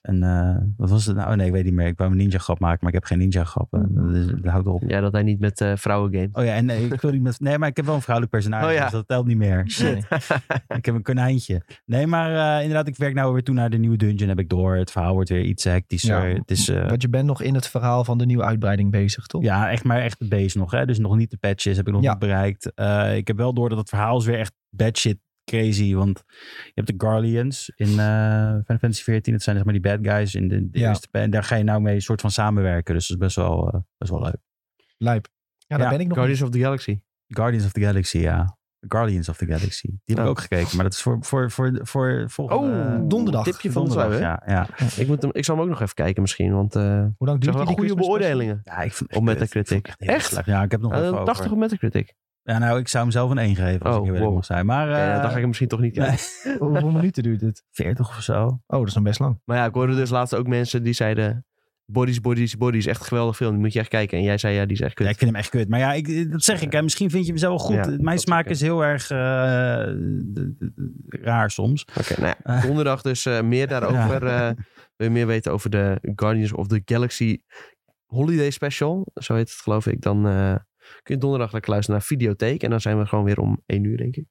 en eh, wat was het nou? Oh nee, ik weet niet meer. Ik wou een ninja grap maken, maar ik heb geen ninja grap. Eh,
Mm.
Dat, is- dat houdt op.
Ja, dat hij niet met eh, vrouwen games.
Oh ja, en nee, ik wil niet met. Nee, maar ik heb wel een vrouwelijk personage,
Oh ja.
dus dat telt niet meer.
Nee.
Ik heb een konijntje. Nee, maar eh, inderdaad, ik werk nou weer toe naar de nieuwe dungeon. Heb ik door. Het verhaal wordt weer iets hectischer.
Ja.
Het is eh,
Want je bent nog in het verhaal van de nieuwe uitbreiding bezig, toch?
ja, echt maar echt de base nog. Hè? Dus nog niet de patches heb ik nog
Ja.
niet bereikt. Eh, ik heb wel door dat het verhaal is weer echt bad shit crazy. Want je hebt de Guardians in eh Final Fantasy XIV. Dat zijn zeg maar die bad guys in de, de
Ja.
eerste. pa- En daar ga je nou mee een soort van samenwerken. Dus dat is best wel, eh, best wel leuk.
Lijp. Ja, daar
Ja,
ben ik nog
Guardians of the Galaxy.
Guardians of the Galaxy, ja. Guardians of the Galaxy. Die heb ik
Oh.
ook gekeken, maar dat is voor, voor, voor, voor volgende... eh,
Oh,
donderdag.
Tipje van
donderdag,
de
ja, ja.
ik, moet hem, ik zal hem ook nog even kijken misschien, want eh,
niet. Hoe lang
ik
duurt
zag wel
die? die
goede
Christmas special?
beoordelingen.
ja ik vond
Op
ik vond
Metacritic.
het heel
Echt?
slecht. Ja, ik heb nog
Eh,
even
80
over.
op Metacritic.
Ja, nou, ik zou hem zelf een 1 geven,
Oh,
als ik heel eerlijk
wow.
mag zijn. Maar eh
Ja, dan ga ik hem misschien toch niet kijken.
nee,
Hoe- Hoeveel minuten duurt dit?
40 of zo.
Oh, dat is dan best lang.
Maar ja, ik hoorde dus laatst ook mensen die zeiden... Bodies, Bodies, Bodies. Echt een geweldig film. Die moet je echt kijken. En jij zei, ja, die is echt kut.
Ja, ik vind hem echt kut. Maar ja, ik, dat zeg ik. Hè. Misschien vind je hem zelf wel goed.
Ja, dat
Mijn
is
smaak
oké.
is heel erg eh, d- d- d- raar soms.
Oké, nou ja,
Eh.
Donderdag dus eh, meer daarover. eh wil je meer weten over de Guardians of the Galaxy Holiday Special? Zo heet het, geloof ik. Dan eh, kun je donderdag lekker luisteren naar Videotheek. En dan zijn we gewoon weer om 1 uur, denk ik.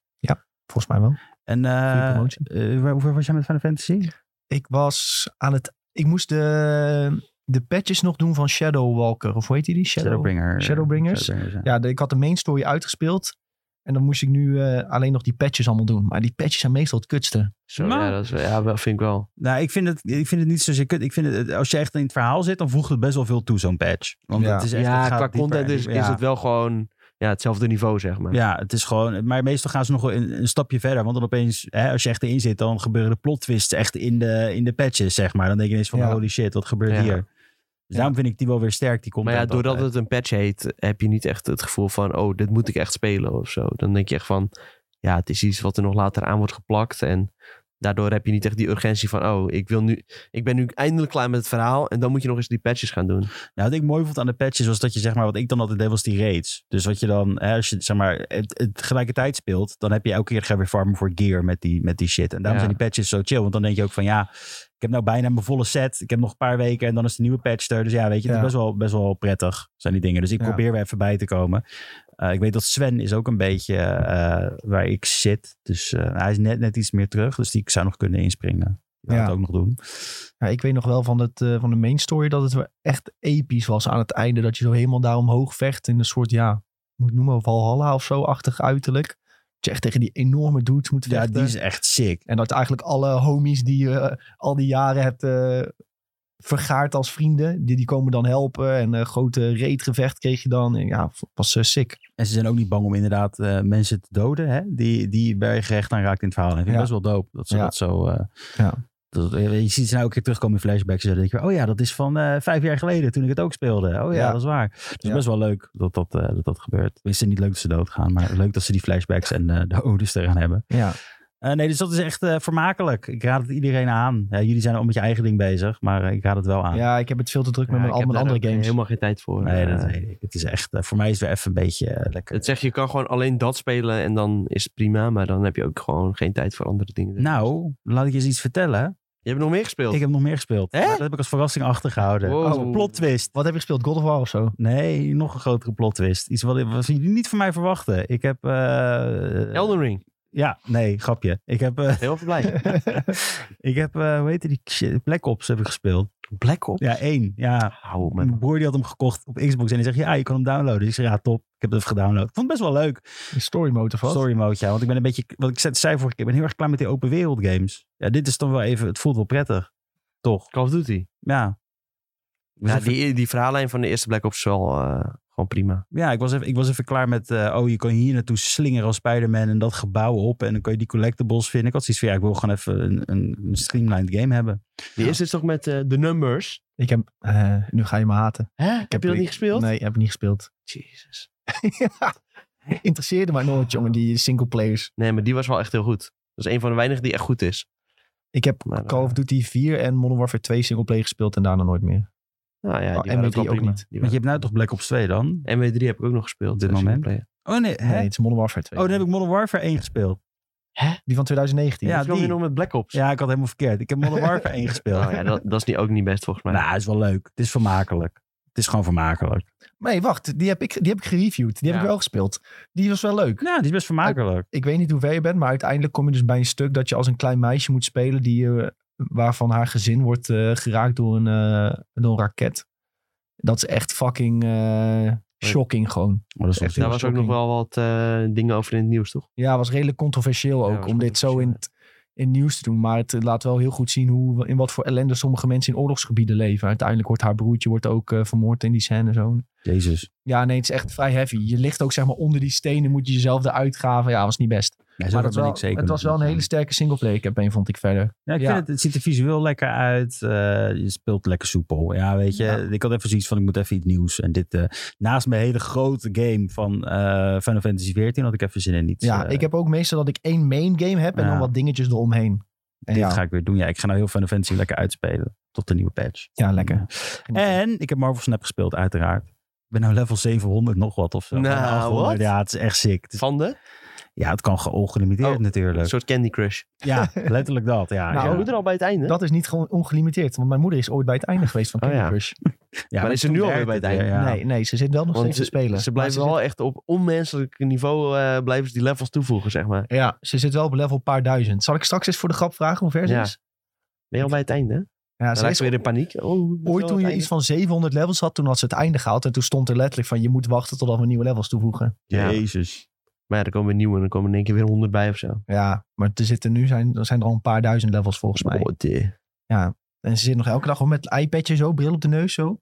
Volgens mij wel.
En
Goeie
eh
promotie.
eh, waar- hoe ver was jij met Final Fantasy?
Ik was aan het... Ik moest de, de patches nog doen van Shadow Walker. Of hoe heet die? die? Shadow...
Shadowbringer.
Shadowbringers?
Shadowbringers, ja.
Ja, de- ik had de main story uitgespeeld. En dan moest ik nu eh, alleen nog die patches allemaal doen. Maar die patches zijn meestal het kutste.
Zo,
Nou.
ja, dat is, ja, wel, vind ik wel.
Nou, ik vind, het, ik vind het niet zozeer kut. Ik vind het, als je echt in het verhaal zit, dan voegt het best wel veel toe, zo'n patch. Want
Ja.
het is Dus echt,
ja,
het gaat
qua
dieper
content
en
is,
dieper.
is
Ja.
het wel gewoon ja, hetzelfde niveau, zeg maar.
Ja, het is gewoon. Maar meestal gaan ze nog wel een, een stapje verder. Want dan opeens, hè, als je echt erin zit, dan gebeuren de plot twists echt in de, in de patches, zeg maar. Dan denk je ineens van
Ja.
holy shit, wat gebeurt
Ja.
hier? Dus daarom vind ik die wel weer sterk, die komt
Maar ja, doordat het een patch heet, heb je niet echt het gevoel van, oh, dit moet ik echt spelen of zo. Dan denk je echt van, ja, het is iets wat er nog later aan wordt geplakt. En daardoor heb je niet echt die urgentie van, oh, ik, wil nu, ik ben nu eindelijk klaar met het verhaal. En dan moet je nog eens die patches gaan doen.
Nou, wat ik mooi vond aan de patches was dat je zeg maar, wat ik dan altijd deed was die raids. Dus wat je dan, hè, als je zeg maar het, het tegelijkertijd speelt, dan heb je elke keer ga je weer farmen voor gear met die, met die shit. En daarom
Ja.
zijn die patches zo chill, want dan denk je ook van ja, ik heb nou bijna mijn volle set. Ik heb nog een paar weken en dan is de nieuwe patch er. Dus ja, weet je, het
Ja.
is best wel, best wel prettig zijn die dingen. Dus ik
Ja.
probeer weer even bij te komen. Eh, ik weet dat Sven is ook een beetje eh, waar ik zit. Dus eh, hij is net, net iets meer terug, dus die ik zou nog kunnen inspringen. Dat
Ja.
het ook nog doen.
Ja, ik weet nog wel van, het, eh, van de main story dat het wel echt episch was aan het einde. Dat je zo helemaal daar omhoog vecht in een soort, ja, moet ik het noemen, Valhalla of zo-achtig uiterlijk. Dat je echt tegen die enorme dudes moet
Ja,
vechten.
die is echt sick.
En dat eigenlijk alle homies die je eh, al die jaren hebt eh, vergaard als vrienden, die, die komen dan helpen. En eh grote reetgevecht kreeg je dan. En ja, was eh, sick.
En ze zijn ook niet bang om inderdaad eh, mensen te doden, hè? Die, die bij gerecht aan raakt in het verhaal. En ik vind
Ja.
het best wel dope dat ze
Ja.
dat zo... eh,
Ja.
dat- je ziet ze nou ook keer terugkomen in flashbacks. En dan denk je, oh ja, dat is van eh, vijf jaar geleden toen ik het ook speelde. Oh ja,
Ja.
dat is waar. Dus
Ja.
best wel leuk dat dat, eh, dat, dat gebeurt. Het is niet leuk dat ze doodgaan, maar leuk dat ze die flashbacks en eh, de odes eraan hebben.
Ja,
Eh, nee, dus dat is echt eh, vermakelijk. Ik raad het iedereen aan. Ja, jullie zijn al met je eigen ding bezig, maar eh, ik raad het wel aan.
ja ik heb het veel te druk met
Ja,
mijn,
ik
al
heb
mijn
daar
andere
ook
games.
helemaal geen tijd voor.
Nee, dat
Eh,
weet ik. Het is echt, eh, voor mij is het weer even een beetje eh, lekker.
het zegt, je kan gewoon alleen dat spelen en dan is het prima. Maar dan heb je ook gewoon geen tijd voor andere dingen.
Nou, laat ik je eens iets vertellen.
Je hebt nog meer gespeeld.
Ik heb nog meer gespeeld.
Hè?
Dat heb ik als verrassing achtergehouden.
Wow.
Als een plot twist.
Wat heb je gespeeld? God of War of zo?
Nee, nog een grotere plot twist. Iets wat, wat jullie niet van mij verwachten. Ik heb... eh,
Elden Ring.
Ja, nee, grapje. Ik heb, eh,
Heel veel blij.
ik heb eh, hoe heet die shit? Black Ops heb ik gespeeld.
Black Ops.
Ja, één. Ja,
Hou op, man.
mijn broer die had hem gekocht op Xbox en die zegt, ja, je kan hem downloaden. Dus ik zeg, ja, top. Ik heb het even gedownload. Ik vond het best wel leuk.
Story mode of wat?
Story mode, ja. Want ik ben een beetje, wat ik zei- zei vorige keer, ik ben heel erg klaar met die open wereld games. Ja, dit is dan wel even, het voelt wel prettig. Toch?
Call of Duty.
Ja. Dus
Ja,
even-
die, die verhaallijn van de eerste Black Ops is wel eh, gewoon prima.
Ja, ik was even, ik was even klaar met, eh, oh, je kan hier naartoe slingeren als Spider-Man en dat gebouw op. En dan kan je die collectibles vinden. Ik had zoiets van, ja, ik wil gewoon even een, een, een streamlined game hebben.
Die eerste is toch met eh The Numbers?
Ik heb, eh, nu ga je me haten.
Hè? Heb, je dat niet gespeeld?
Nee, heb ik niet gespeeld.
Jezus.
ja. Interesseerde mij nooit, jongen, die singleplayers.
Nee, maar die was wel echt heel goed. Dat is een van de weinigen die echt goed is.
Ik heb
Maar, eh,
Call of Duty 4 en Modern Warfare 2 singleplayer gespeeld en daarna nooit meer.
Nou ja,
Oh,
die
MW3
waren ook wel
ook
prima.
niet.
Die
Want je
waren-
hebt nou toch Black Ops 2 dan?
MW3 heb ik ook nog gespeeld.
Op dit
eh,
moment?
singleplayer.
Oh nee, hè?
Nee, het is Modern Warfare 2.
Oh, dan heb ik Modern Warfare 1 gespeeld.
Die van 2019.
Ja,
Ja, die.
die.
nog met Black Ops.
Ja, ik had helemaal verkeerd. Ik heb Modern Warfare 1 gespeeld.
Nou
Oh,
ja, dat, dat is niet, ook niet best volgens mij.
Nou, is wel leuk. Het is vermakelijk. Het is gewoon vermakelijk.
Nee, wacht. Die heb ik, die heb ik gereviewd. Die heb
Ja.
ik wel gespeeld. Die was wel leuk.
Ja, die Nou, is best vermakelijk.
Ik weet niet hoe ver je bent, maar uiteindelijk kom je dus bij een stuk dat je als een klein meisje moet spelen die, eh, waarvan haar gezin wordt eh, geraakt door een, eh, door een raket. Dat is echt fucking eh, shocking gewoon.
Maar Oh, dat is wel
Echt, nou-
Daar
heel
was ook nog
shocking.
wel wat eh, dingen over in het nieuws, toch?
Ja, was redelijk controversieel
Ja,
ook
was
om dit zo in,
controversieel,
het- in het nieuws te doen. Maar het eh, laat wel heel goed zien hoe, in wat voor ellende sommige mensen in oorlogsgebieden leven. Uiteindelijk wordt haar broertje wordt ook eh, vermoord in die scène zo.
Jezus.
Ja, nee, het is echt vrij heavy. Je ligt ook zeg maar onder die stenen, moet je jezelf eruit graven. Ja, was niet best.
Ja, zo
Maar
ver
dat
ben
wel,
ik zeker
het was
nog
wel een
niet.
hele sterke singleplayer campaign, vond ik verder.
Ja, ik
Ja.
Vind het, het ziet er visueel lekker uit. Eh, je speelt lekker soepel. Ja, weet je.
Ja.
Ik had even zoiets van, ik moet even iets nieuws. En dit, eh, naast mijn hele grote game van eh Final Fantasy XIV, had ik even zin in iets.
Ja,
eh,
ik heb ook meestal dat ik één main game heb en
Ja.
dan wat dingetjes eromheen. En
dit
ja,
ga ik weer doen. Ja, ik ga nou heel Final Fantasy lekker uitspelen. Tot de nieuwe patch.
ja, lekker.
En ik heb Marvel Snap gespeeld, uiteraard. Ik ben nou level 700 nog wat of zo.
Nou,
800.
wat?
Ja, het is echt sick. Het is-
Van de?
ja, het kan ge- ongelimiteerd
Oh, Een
natuurlijk.
soort Candy Crush.
Ja, letterlijk dat. Ja,
Nou,
Nou,
ja.
we er al bij het einde.
Dat is niet gewoon ongelimiteerd, want mijn moeder is ooit bij het einde geweest van
Oh,
Candy
ja.
Crush.
Ja,
maar is
toen
er nu alweer
werkt
bij het
weer,
einde?
ja.
Nee, nee, ze zit wel nog
Want
steeds te spelen.
Ze
Maar
blijven wel echt op onmenselijk niveau eh, blijven ze die levels toevoegen, zeg maar.
zit, Ja, ze zit wel op level paar duizend. Zal ik straks eens voor de grap vragen hoe ver ze
Ja.
is?
Ben je al bij het einde? Dan
Ja, ze
raak
is
je weer in paniek. Oh, we moeten
ooit
wel
toen
het
je
einde.
iets van 700 levels had, toen had ze het einde gehaald. En toen stond er letterlijk van, je moet wachten totdat we nieuwe levels toevoegen.
Ja.
Jezus.
Maar ja, er komen weer nieuwe en dan komen in één keer weer honderd bij of zo.
Ja, maar er zitten nu zijn, er zijn er al een paar duizend levels volgens mij.
Oh, dear.
En ze zit nog elke dag gewoon met het iPadje zo, bril op de neus zo.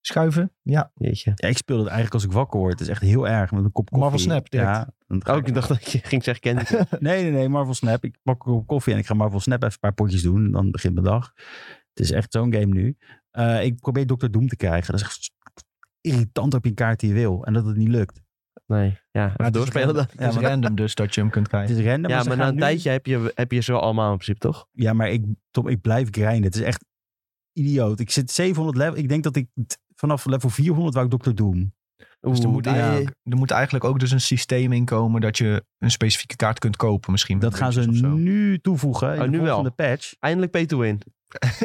Schuiven, ja.
Jeetje.
Ja, ik speel het eigenlijk als ik wakker word. Het is echt heel erg met een kop koffie.
Marvel Snap direct.
Ja, dan ga
Oh,
ik-
ik dacht dat je ging zeggen Candy Crush.
Nee, nee, nee, Marvel Snap. Ik pak een kop koffie en ik ga Marvel Snap even een paar potjes doen. Dan begint mijn dag. Het is echt zo'n game nu. Eh, Eh, ik probeer Dr. Doom te krijgen. Dat is echt irritant op je kaart die je wil. En dat het niet lukt.
Nee, ja.
Maar
Even
het is
doorspelen dan.
Het is
maar dat-
random dus dat je hem kunt
Het
krijgen.
is random.
Ja,
maar ze
maar na
gaan
een
nu-
tijdje heb je, heb je ze wel allemaal in principe, toch?
Ja, maar ik, Tom, ik blijf grinden. Het is echt idioot. Ik zit 700 level. Ik denk dat ik t- vanaf level 400 wou ik Dr. Doom.
Dus er
Oeh,
moet,
die-
eigenlijk, er moet eigenlijk ook dus een systeem in komen dat je een specifieke kaart kunt kopen misschien. met
Dat gaan ze
muntjes of zo.
nu toevoegen in
Oh,
de
nu wel.
volgende patch.
Eindelijk pay to win.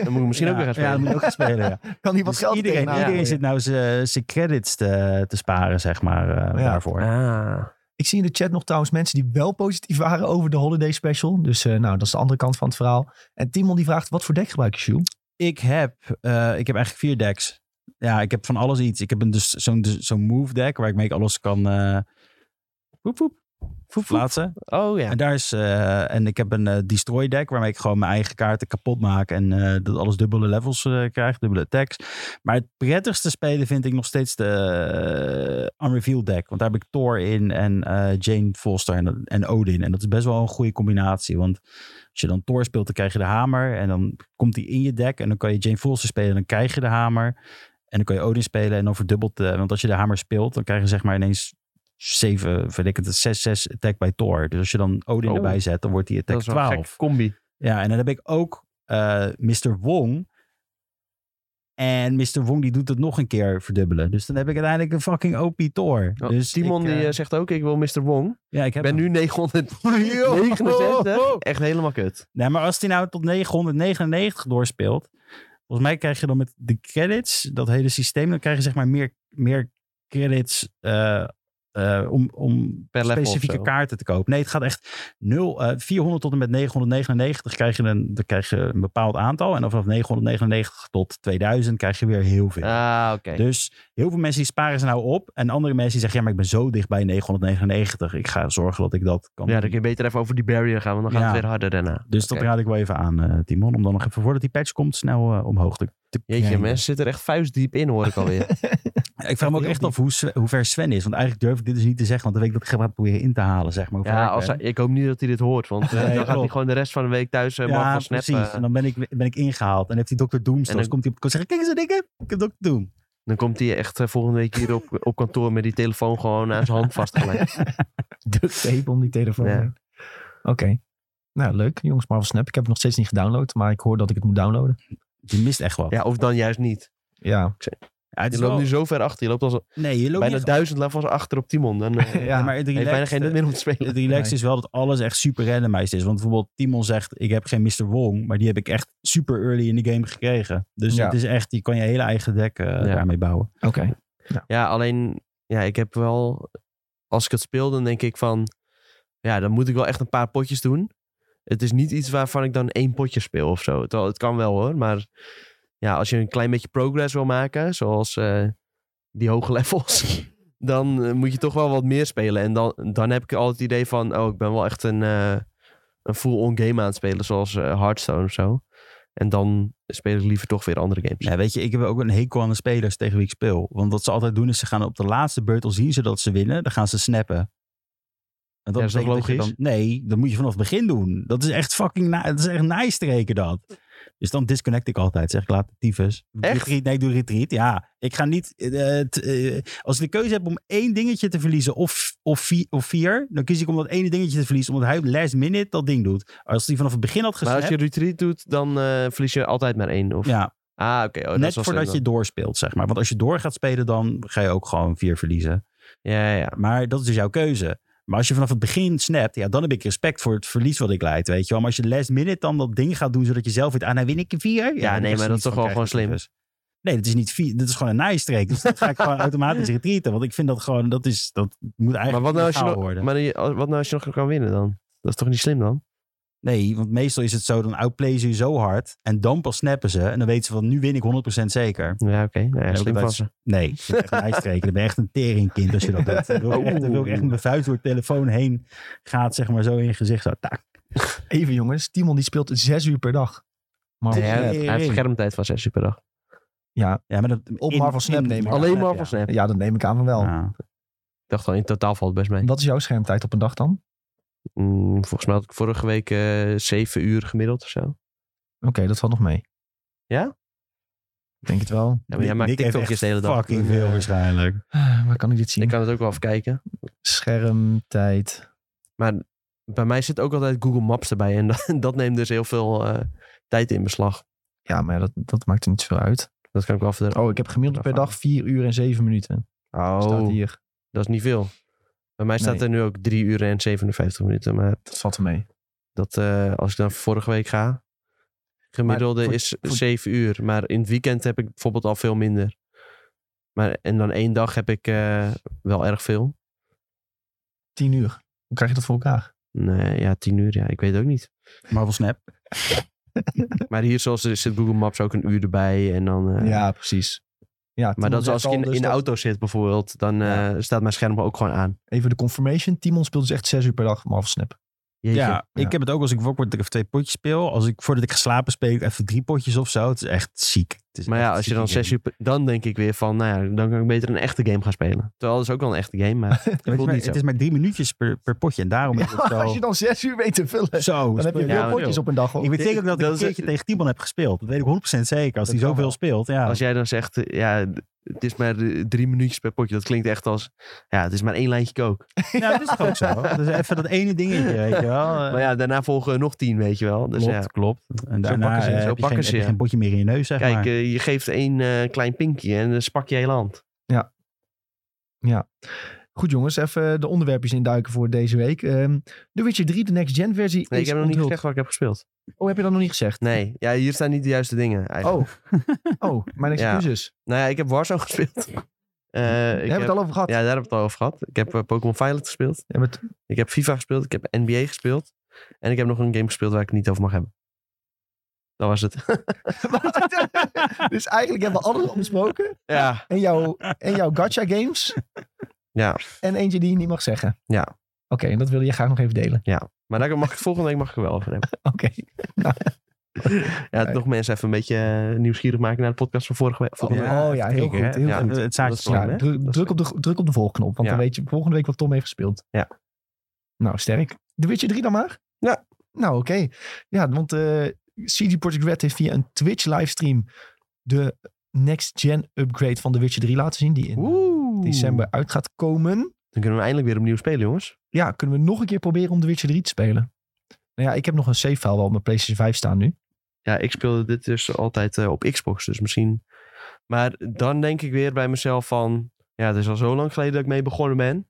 Dan moet ik misschien
Ja,
ook weer gaan spelen.
Ja, dan moet je ook gaan spelen, ja.
Kan iemand
Dus
geld
iedereen
tegenaan
iedereen
gooien?
zit nou zijn zijn credits te, te sparen, zeg maar, eh,
Ja.
daarvoor.
Ah.
Ik zie in de chat nog trouwens mensen die wel positief waren over de holiday special. Dus eh, nou, dat is de andere kant van het verhaal. En Timon die vraagt, wat voor deck gebruik je, Sjoel?
Ik heb, eh, ik heb eigenlijk vier decks. Ja, ik heb van alles iets. Ik heb een, dus zo'n zo'n move deck waar ik mee alles kan eh woep, woep, plaatsen.
Oh ja.
En daar is, eh, en ik heb een eh, destroy deck waarmee ik gewoon mijn eigen kaarten kapot maak en eh, dat alles dubbele levels eh krijgt, dubbele attacks. Maar het prettigste spelen vind ik nog steeds de eh, unrevealed deck, want daar heb ik Thor in en eh, Jane Foster en, en Odin. En dat is best wel een goede combinatie, want als je dan Thor speelt, dan krijg je de hamer en dan komt die in je deck en dan kan je Jane Foster spelen en dan krijg je de hamer. En dan kan je Odin spelen en dan verdubbelt de, want als je de hamer speelt, dan krijg je zeg maar ineens 7, weet ik het, 6, 6 attack bij Thor. Dus als je dan Odin
Oh.
erbij zet, dan wordt die
dat
attack
is wel een
12.
gek combi.
Ja, en dan heb ik ook eh, Mr. Wong. En Mr. Wong die doet het nog een keer verdubbelen. Dus dan heb ik uiteindelijk een fucking OP Thor.
Oh,
dus
Timon
ik, eh,
die eh, zegt ook, ik wil Mr. Wong.
ja, ik
Ik
heb
ben
hem.
nu 969. Echt helemaal kut.
Nee, maar als hij nou tot 999 doorspeelt. Volgens mij krijg je dan met de credits, dat hele systeem, dan krijg je zeg maar meer, meer credits eh, eh, om, om
Per level of
specifieke
zo.
kaarten te kopen. Nee, het gaat echt 0, eh, 400 tot en met 999 krijg je, een, dan krijg je een bepaald aantal. En dan vanaf 999 tot 2000 krijg je weer heel veel.
Ah, oké.
Dus heel veel mensen die sparen ze nou op. En andere mensen die zeggen, ja, maar ik ben zo dicht bij 999. Ik ga zorgen dat ik dat kan
Ja,
doen.
dan kun je beter even over die barrier gaan, want dan gaat
Ja.
het weer harder daarna.
Dus dat
Oké.
raad ik wel even aan, eh, Timon. Om dan nog even, voordat die patch komt, snel eh, omhoog te, te
Jeetje,
krijgen.
mensen zitten er echt vuistdiep in, hoor ik alweer.
Ik vraag me ook
Heel
echt
diep.
af hoe, Sven- hoe ver Sven is. Want eigenlijk durf ik dit dus niet te zeggen. Want dan weet ik dat ik ga proberen in te halen, zeg maar. hoe ver
ja,
ik
als
ben.
hij- ik hoop niet dat hij dit hoort, want eh,
Nee,
dan gaat hij
klopt.
gewoon de rest van de week thuis eh
ja,
ja, van snappen.
precies. En dan ben ik, ben ik ingehaald. En heeft die Dr. Doom
En
straks.
dan-
komt hij op en zeggen, kijk eens wat ik heb. Ik heb Dr. Doom.
Dan komt hij echt eh, volgende week hier op, op kantoor met die telefoon gewoon aan zijn hand vastgelegd.
Duct tape om die telefoon.
Ja.
heen. Oké. Nou, leuk. Jongens, Marvel Snap. Ik heb het nog steeds niet gedownload, maar ik hoor dat ik het moet downloaden.
Je mist echt wat.
Ja, of dan juist niet.
Ja.
Ja, het
Je
is
loopt
wel-
nu zo ver achter. Je loopt als
Nee, je loopt
bijna
niet-
duizend levels achter op Timon. Dan eh,
ja.
maar
heeft
het
bijna
relaxed- eh,
geen nut meer om te spelen.
Het relaxed
Nee.
is wel dat alles echt super randomized is. Want bijvoorbeeld Timon zegt, ik heb geen Mr. Wong. Maar die heb ik echt super early in de game gekregen. Dus
Ja.
het is echt, je kan je hele eigen deck eh, daarmee bouwen.
Oké.
Ja, alleen, ja, ik heb wel, als ik het speel, dan denk ik van, ja, dan moet ik wel echt een paar potjes doen. Het is niet iets waarvan ik dan één potje speel of zo. Terwijl het kan wel hoor, maar ja, als je een klein beetje progress wil maken, zoals eh, die hoge levels, dan eh, moet je toch wel wat meer spelen. En dan, dan heb ik altijd het idee van, oh, ik ben wel echt een, eh, een full-on game aan het spelen, zoals eh, Hearthstone of zo. En dan speel ik liever toch weer andere games.
Ja, weet je, ik heb ook een hekel aan de spelers tegen wie ik speel. Want wat ze altijd doen is ze gaan op de laatste beurt, al zien ze dat ze winnen, dan gaan ze snappen. En
Ja, is toch
betekent je
logisch?
dan, nee, dat moet je vanaf het begin doen. Dat is echt fucking, na, dat is echt nice streken dat. Dus dan disconnect ik altijd. Zeg ik, laat het tyfus. Doe
Echt?
Retreat, nee, ik doe retreat. Ja, ik ga niet... eh, t- eh, als ik de keuze heb om één dingetje te verliezen of, of, vi- of vier... dan kies ik om dat ene dingetje te verliezen... omdat hij op last minute dat ding doet. Als hij vanaf het begin had
Maar
gesnapt...
als je retreat doet, dan eh, verlies je altijd maar één. Of...
ja,
Ah, oké. Oh, dat is
Net
wel
voordat
slim
je doorspeelt, zeg maar. Want als je door gaat spelen, dan ga je ook gewoon vier verliezen.
dan. Ja, ja, ja.
Maar dat is dus jouw keuze. Maar als je vanaf het begin snapt, ja, dan heb ik respect voor het verlies wat ik leid, weet je wel. Maar als je last minute dan dat ding gaat doen, zodat je zelf weet, ah, nou win ik een vier. Ja, dan
nee,
krijg je
maar dat is
niet
toch
van,
wel
krijg je
gewoon
tyfus. Nee, dat is niet vier. Dat is gewoon een nijstreek. Dus dat ga ik gewoon automatisch retreaten. Want ik vind dat gewoon, dat is, dat moet eigenlijk
Maar wat nou, als je
illegaal
nog,
worden.
maar je- wat nou als je nog kan winnen dan? Dat is toch niet slim dan?
Nee, want meestal is het zo, dan outplayen ze je zo hard. En dan pas snappen ze. En dan weten ze van, nu win ik 100% zeker.
Ja, oké. Nou ja,
En ook
slim
dat-
van ze.
Nee, ik vind het echt een ijsstreker. Dan ben je echt een teringkind als je dat doet. Dan wil ik echt, dan wil ik echt mijn vuist door de telefoon heen gaat, zeg maar zo in je gezicht. Zo, tak.
Even jongens. Timon die speelt zes uur per dag. Marvel
Nee, hij,
Snap.
heeft- hij heeft
Tering.
schermtijd van 6 uur per dag.
Ja.
Ja, maar dat,
Op Marvel Snap neem ik Ja,
Alleen maar
ja.
van Snap. Ik
ja, dat neem ik aan van wel.
Ja.
dacht al, in totaal valt het best mee.
Wat is jouw schermtijd op een dag dan?
Mm, volgens mij had ik vorige week eh 7 uur gemiddeld of zo.
Oké, dat valt nog mee.
Ja?
Ik denk het wel.
Ja, maar jij maakt
Nick heeft
TikTokjes
echt
de hele dag.
fucking veel waarschijnlijk.
Ah, Waar kan ik dit zien?
Ik kan het ook wel even kijken.
Schermtijd.
Maar bij mij zit ook altijd Google Maps erbij. En dat, dat neemt dus heel veel eh, tijd in beslag.
Ja, maar dat, dat maakt er niet zoveel uit.
Dat kan ik wel vertellen.
Oh, ik heb gemiddeld per dag 4 uur en 7 minuten.
Oh.
Oh.
Staat hier.
dat is niet veel. Bij mij staat
Nee.
er nu ook 3 uur en 57 minuten. Maar
Dat valt er mee.
dat, eh, als ik dan vorige week ga, gemiddelde
Maar voor-
is
voor-
7 uur. Maar in het weekend heb ik bijvoorbeeld al veel minder. Maar, en dan één dag heb ik eh, wel erg veel.
10 uur. Hoe krijg je dat voor elkaar?
Nee, ja, 10 uur, ja, ik weet het ook niet.
Marvel Snap.
Maar hier zoals, er zit Google Maps ook een uur erbij. En dan, eh,
ja, precies. Ja,
Maar
Timon
dat is
zegt
als ik
al
in,
dus
in de
dat-
auto zit bijvoorbeeld, dan
Ja.
eh, staat mijn scherm ook gewoon aan.
Even de confirmation. Timon speelt dus echt 6 uur per dag Marvel Snap.
Jeetje.
ja,
ja.
ik heb het ook als ik wakker word dat ik even twee potjes speel. Als ik voordat ik ga slapen speel ik even drie potjes of zo. Het is echt ziek. Het is
Maar ja,
echt
als je
zieke
dan
game.
zes uur... per- Dan denk ik weer van, nou ja, dan kan ik beter een echte game gaan spelen. Terwijl dat is ook wel een echte game, maar...
Weet je,
voelt
maar
niet
het
zo.
is maar drie minuutjes per, per potje. En daarom is het zo...
als je dan 6 uur weet te vullen, dan heb
zo
je
speel-
veel
Ja, maar-
potjes op een dag. Hoor.
Ik weet zeker ook dat ik
Dat
een
is-
keertje tegen Timon heb gespeeld. Dat weet ik 100% zeker.
Dat
Als hij
kan
zoveel
wel.
speelt, ja.
Als jij dan zegt, eh, ja, het is maar eh, drie minuutjes per potje. Dat klinkt echt als, ja, het is maar één lijntje kook.
Nou, dat is toch ook zo. Dus even dat ene dingetje, weet je wel. Eh,
Maar ja, daarna volgen nog tien, weet je wel. Dus
klopt,
ja,
klopt. En daarna
pakken ze-
eh,
zo
heb, je
pakken
geen,
ze
heb je
je.
geen potje meer in je neus, zeg
kijk,
maar.
eh, je geeft één eh, klein pinkje en dan spak je hele hand.
Goed jongens, even de onderwerpjes induiken voor deze week. Ehm The Witcher 3, de next gen versie
Nee, ik
is
heb nog niet
onthuld.
gezegd wat ik heb gespeeld.
Oh, heb je dat nog niet gezegd?
Nee, ja, hier staan niet de juiste dingen eigenlijk.
Oh, oh mijn
Ja.
excuses.
Nou ja, ik heb Warzone gespeeld. Eh,
We
ik
hebben
heb-
het al over gehad.
Ja, daar hebben we het al over gehad. Ik heb eh, Pokémon Violet gespeeld.
We hebben het-
Ik heb FIFA gespeeld. Ik heb NBA gespeeld. En ik heb nog een game gespeeld waar ik het niet over mag hebben. Dat was het.
dus eigenlijk hebben we alles al besproken.
ja.
En jouw, en jouw gacha games.
Ja.
En eentje die je niet mag zeggen.
Ja.
Oké, en dat wilde je graag nog even delen.
Maar daar mag ik, volgende week mag ik er wel over hebben.
Oké.
Ja, toch mensen even een beetje eh, nieuwsgierig maken naar de podcast van vorige week.
Oh,
Volgende week.
ja, heel
Kijk, hè.
goed. Heel
Ja,
goed.
Het
Dat
zaadje
is
Ja,
slim, hè?
druk,
Dat is
druk op de, druk op de volgknop, want
Ja.
dan weet je volgende week wat Tom heeft gespeeld.
Ja.
Nou, sterk. De Witcher 3 dan maar?
Ja.
Nou, oké. Ja, want eh CD Projekt Red heeft via een Twitch livestream de next-gen upgrade van The Witcher 3 laten zien, die in
Oeh.
december uit gaat komen.
Dan kunnen we eindelijk weer opnieuw spelen, jongens.
Ja, kunnen we nog een keer proberen om The Witcher 3 te spelen? Nou ja, ik heb nog een save file wel op mijn PlayStation 5 staan nu.
Ja, ik speelde dit dus altijd eh, op Xbox. Dus misschien... Maar dan denk ik weer bij mezelf van... Ja, het is al zo lang geleden dat ik mee begonnen ben.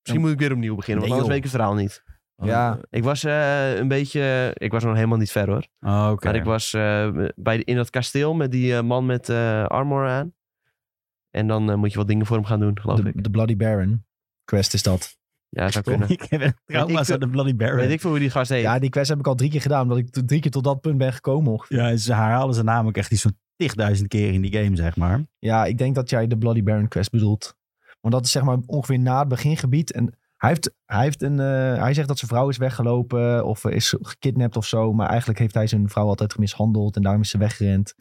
Misschien moet ik weer opnieuw beginnen,
Nee,
want anders
joh.
weet ik het verhaal niet.
Ja.
Ik was eh, een beetje... Ik was nog helemaal niet ver hoor.
Oh, oké.
Maar ik was eh, bij, in dat kasteel met die eh, man met eh, armor aan. En dan eh, moet je wat dingen voor hem gaan doen, geloof ik.
De, de Bloody Baron quest is dat.
Ja, zou
Sorry,
kunnen.
Ik heb echt trauma's
veel-
aan de Bloody Baron.
Weet ik veel hoe die gast heet.
Ja, die quest heb ik al drie keer gedaan, omdat ik t- drie keer tot dat punt ben gekomen. ongeveer.
Ja, ze herhalen ze namelijk echt iets van tigduizend keer in die game, zeg maar.
Ja, ik denk dat jij de Bloody Baron quest bedoelt. Want dat is zeg maar ongeveer na het begingebied. En hij, heeft, hij, heeft een, eh, hij zegt dat zijn vrouw is weggelopen of eh, is gekidnapt of zo. Maar eigenlijk heeft hij zijn vrouw altijd gemishandeld en daarom is ze weggerend.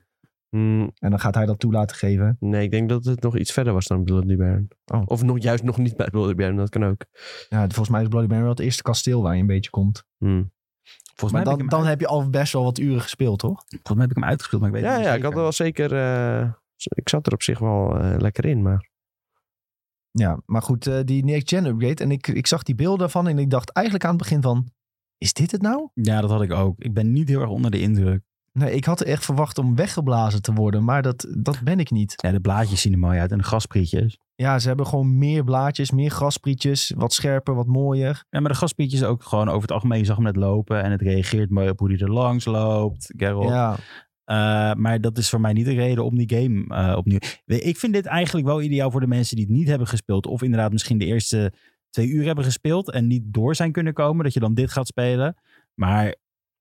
Hmm,
En dan gaat hij dat toe laten geven.
nee, ik denk dat het nog iets verder was dan Bloody Baron.
Oh.
Of nog, juist nog niet bij Bloody Baron, dat kan ook.
Ja, volgens mij is Bloody Baron wel het eerste kasteel waar je een beetje komt.
Hmm.
Volgens mij,
Maar
heb ik
dan,
hem,
dan heb je al best wel wat uren gespeeld, toch?
volgens mij heb ik hem uitgespeeld, maar ik weet
Ja,
het niet
ja, ik
zeker.
had er wel zeker... eh, ik zat er op zich wel eh, lekker in, maar...
Ja, maar goed, eh, die next-gen upgrade. En ik, ik zag die beelden van en ik dacht eigenlijk aan het begin van... Is dit het nou?
Ja, dat had ik ook. Ik ben niet heel erg onder de indruk.
Nee, ik had echt verwacht om weggeblazen te worden, maar dat, dat ben ik niet.
Ja, de blaadjes zien er mooi uit en de gasprietjes.
Ja, ze hebben gewoon meer blaadjes, meer grasprietjes, wat scherper, wat mooier.
Ja, maar de gasprietjes ook gewoon over het algemeen. Je zag hem net lopen en het reageert mooi op hoe hij er langs loopt. Geralt.
Ja,
Eh, maar dat is voor mij niet de reden om die game eh, opnieuw... We- Ik vind dit eigenlijk wel ideaal voor de mensen die het niet hebben gespeeld. Of inderdaad misschien de eerste twee uur hebben gespeeld en niet door zijn kunnen komen. Dat je dan dit gaat spelen. Maar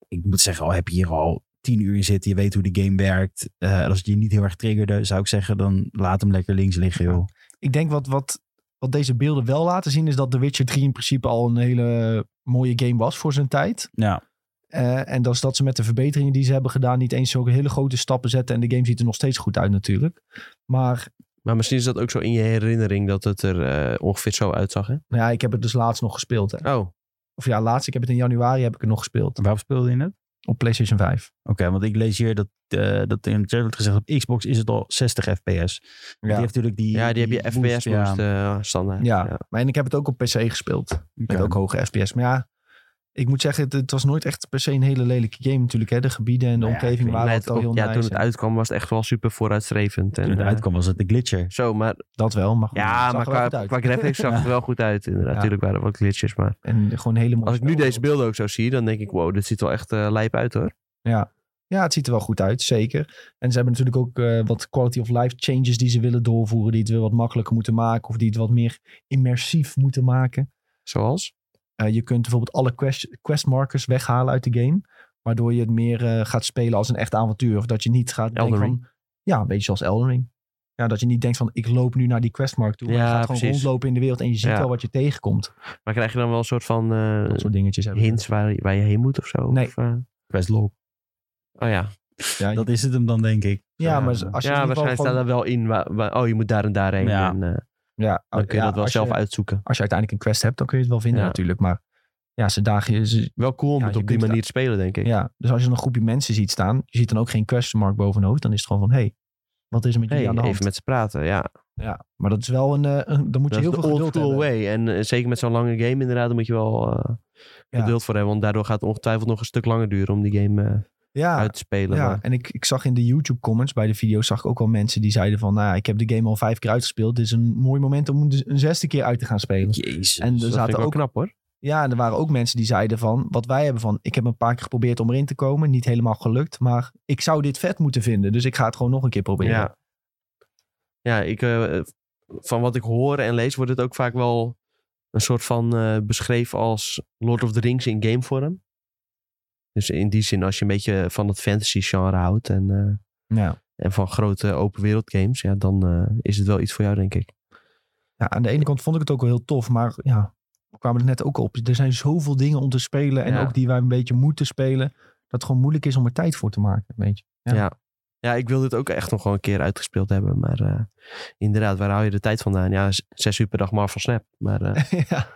ik moet zeggen, al heb je hier al tien uur in zitten. Je weet hoe de game werkt. eh, en als het je niet heel erg triggerde, zou ik zeggen, dan laat hem lekker links liggen, joh.
ik denk wat, wat, wat deze beelden wel laten zien is dat The Witcher 3 in principe al een hele mooie game was voor zijn tijd.
Ja,
Eh, en dat is dat ze met de verbeteringen die ze hebben gedaan niet eens zulke hele grote stappen zetten. En de game ziet er nog steeds goed uit natuurlijk. Maar
Maar misschien is dat ook zo in je herinnering dat het er eh, ongeveer zo uitzag, hè?
nou ja, ik heb het dus laatst nog gespeeld. Hè.
Oh,
Of ja, laatst, ik heb het in januari heb ik het nog gespeeld.
waarop speelde je het?
Op PlayStation 5.
want ik lees hier dat, eh dat in de chat wordt gezegd... op Xbox is het al 60 fps. Die heeft natuurlijk die...
Ja, die heb je
boost,
FPS
ja.
boost eh, standaard.
Ja, maar en ik heb het ook op PC gespeeld. Met
Oké.
ook hoge FPS. Maar ja, ik moet zeggen, het, het was nooit echt per se een hele lelijke game natuurlijk. Hè. De gebieden en de
Nou ja, ik
omgeving
weet
waren
Nee,
altijd al
het-
heel
ja,
nice.
toen het
en
uitkwam was het echt wel super vooruitstrevend. En,
Toen het
eh,
uitkwam was het de glitcher.
Zo, maar
Dat wel, maar goed, het
ja,
zag er
maar
wel
qua,
goed uit.
qua graphics zag het wel goed uit. Inderdaad,
Ja.
natuurlijk waren er wat glitches, maar
En gewoon hele mooie
als ik nu
spel.
deze beelden ook zo zie, dan denk ik, wow, dit ziet wel echt eh, lijp uit hoor.
Ja, het ziet er wel goed uit, zeker. En ze hebben natuurlijk ook eh, wat quality of life changes die ze willen doorvoeren. Die het weer wat makkelijker moeten maken. Of die het wat meer immersief moeten maken.
Zoals?
Eh, je kunt bijvoorbeeld alle quest, questmarkers weghalen uit de game. Waardoor je het meer eh, gaat spelen als een echt avontuur. Of dat je niet gaat
Elden
denken van... Ja, een beetje zoals Elden Ring. Ja, dat je niet denkt van ik loop nu naar die questmark toe. Maar
Ja,
je gaat gewoon
precies.
rondlopen in de wereld en je ziet
Ja.
wel wat je tegenkomt.
Maar krijg je dan wel een soort van eh,
Dat soort dingetjes hebben.
hints waar, je- waar je heen moet of zo?
Nee.
Of, eh,
Quest log.
oh ja,
Ja,
Dat is het hem dan, denk ik.
ja, maar als je
Ja,
in ieder geval
ja waarschijnlijk staat
gewoon-
er wel in, waar, waar- oh je moet daar en daarheen.
Ja.
En, eh,
Ja,
dan kun je
Oh, ja,
dat wel
als
zelf
je-
uitzoeken.
Als je uiteindelijk een quest hebt, dan kun je het wel vinden
Ja.
natuurlijk. Maar ja, ze dagen je... ze-
Wel cool om
Ja,
het
je
op die
kunt-
manier te spelen, denk ik.
Ja, dus als je dan een groepje mensen ziet staan, je ziet dan ook geen questionmark boven hun hoofd, dan is het gewoon van, hé, hey, wat is er met jullie
Hey,
aan de hand?
even met ze praten, ja.
Ja, maar dat is wel een, eh, een- dan moet
Dat
je
is
heel
de
veel
old
geduld
school
hebben.
way. En eh, zeker met zo'n lange game inderdaad, daar moet je wel eh,
Ja.
geduld voor hebben. Want daardoor gaat het ongetwijfeld nog een stuk langer duren om die game eh,
Ja,
uit te spelen.
Ah, ja.
Maar,
en ik, ik zag in de YouTube comments bij de video's, zag ik ook wel mensen die zeiden van, nou, ik heb de game al vijf keer uitgespeeld, dit is een mooi moment om dus een zesde keer uit te gaan spelen. En
dus
Jezus.
er
dat vind ik
zaten
wel
ook
knap hoor.
Ja, en er waren ook mensen die zeiden van, wat wij hebben van, ik heb een paar keer geprobeerd om erin te komen, niet helemaal gelukt, maar ik zou dit vet moeten vinden, dus ik ga het gewoon nog een keer proberen.
Ja, ja ik, eh, van wat ik hoor en lees wordt het ook vaak wel een soort van eh, beschreven als Lord of the Rings in gamevorm. Dus in die zin, als je een beetje van het fantasy genre houdt en, eh,
Ja.
en van grote open wereld games, ja, dan eh, is het wel iets voor jou, denk ik.
Ja, aan de ene kant vond ik het ook wel heel tof, maar ja, we kwamen er net ook op. Er zijn zoveel dingen om te spelen en
Ja.
ook die wij een beetje moeten spelen, dat het gewoon moeilijk is om er tijd voor te maken, weet je. Ja.
Ja. Ja, ik wil dit ook echt nog gewoon een keer uitgespeeld hebben. Maar eh, inderdaad, waar hou je de tijd vandaan? Ja, z- zes uur per dag Marvel Snap. Maar eh
ja,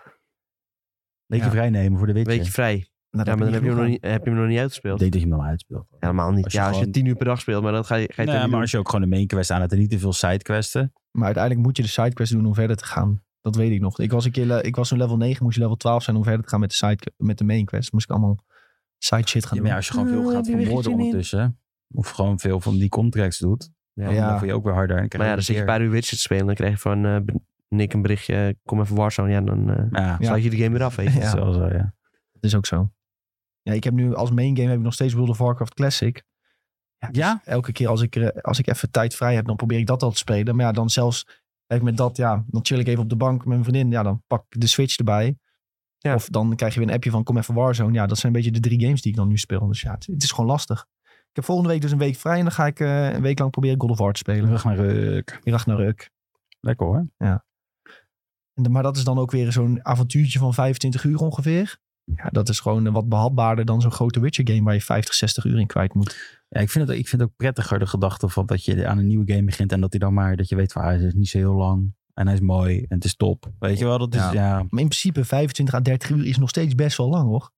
Beetje
Ja.
vrijnemen voor de
weet
witje.
je vrij.
nou,
Ja, maar dan heb je, hem nog
niet...
niet, heb je hem nog niet
Ik
uitgespeeld.
denk dat je hem dan uitspeelt.
Helemaal niet.
Als je
ja, als je
gewoon-
tien uur per dag speelt, maar dat ga je, ga je toch
Nee,
niet
maar
doen?
als je ook gewoon de main quest aan hebt en niet te veel side questen.
genoeg aan. Maar uiteindelijk moet je de sidequest doen om verder te gaan. Dat weet ik nog. Ik was een keer, le- ik was zo'n level 9, moest je level 12 zijn om verder te gaan met de, side, met de main quest. Moest ik allemaal side shit gaan doen.
Ja, maar ja, als je gewoon veel
Eh,
gaat
die wiggelt
vermoorden
je niet.
ondertussen. Of gewoon veel van die contracts doet.
Ja,
Dan
Ja.
voel je ook weer harder. En krijg
Maar ja, dan zit je een paar uur Witcher te spelen. Dan krijg je van eh, Nick een berichtje. Kom even Warzone. Ja, dan eh
Ja,
Ja.
sluit je de game weer af. Weet je.
dat is
Ja.
wel zo, ja.
Dat is ook zo. Ja, ik heb nu als main game heb ik nog steeds World of Warcraft Classic. Ja? dus
Ja?
elke keer als ik, er- als ik even tijd vrij heb, dan probeer ik dat al te spelen. Maar ja, dan zelfs heb ik met dat, ja, dan chill ik even op de bank met mijn vriendin. Ja, dan pak ik de Switch erbij.
Ja.
Of dan krijg je weer een appje van kom even Warzone. Ja, dat zijn een beetje de drie games die ik dan nu speel. Dus ja, het, het is gewoon lastig. Ik heb volgende week dus een week vrij en dan ga ik eh, een week lang proberen God of War te spelen.
Rug naar ruk.
Hier naar Ruk.
Lekker hoor.
En de- Maar dat is dan ook weer zo'n avontuurtje van 25 uur ongeveer. Ja, dat is gewoon eh, wat behapbaarder dan zo'n grote Witcher game waar je 50, 60 uur in kwijt moet.
Ja, ik, vind het, ik vind het ook prettiger de gedachte van dat je aan een nieuwe game begint. En dat hij dan maar, dat je weet van ah, hij is niet zo heel lang. En hij is mooi. En het is top. Weet je wel, dat is,
Ja.
ja. ja.
Maar in principe 25 à 30 uur is nog steeds best wel lang hoor.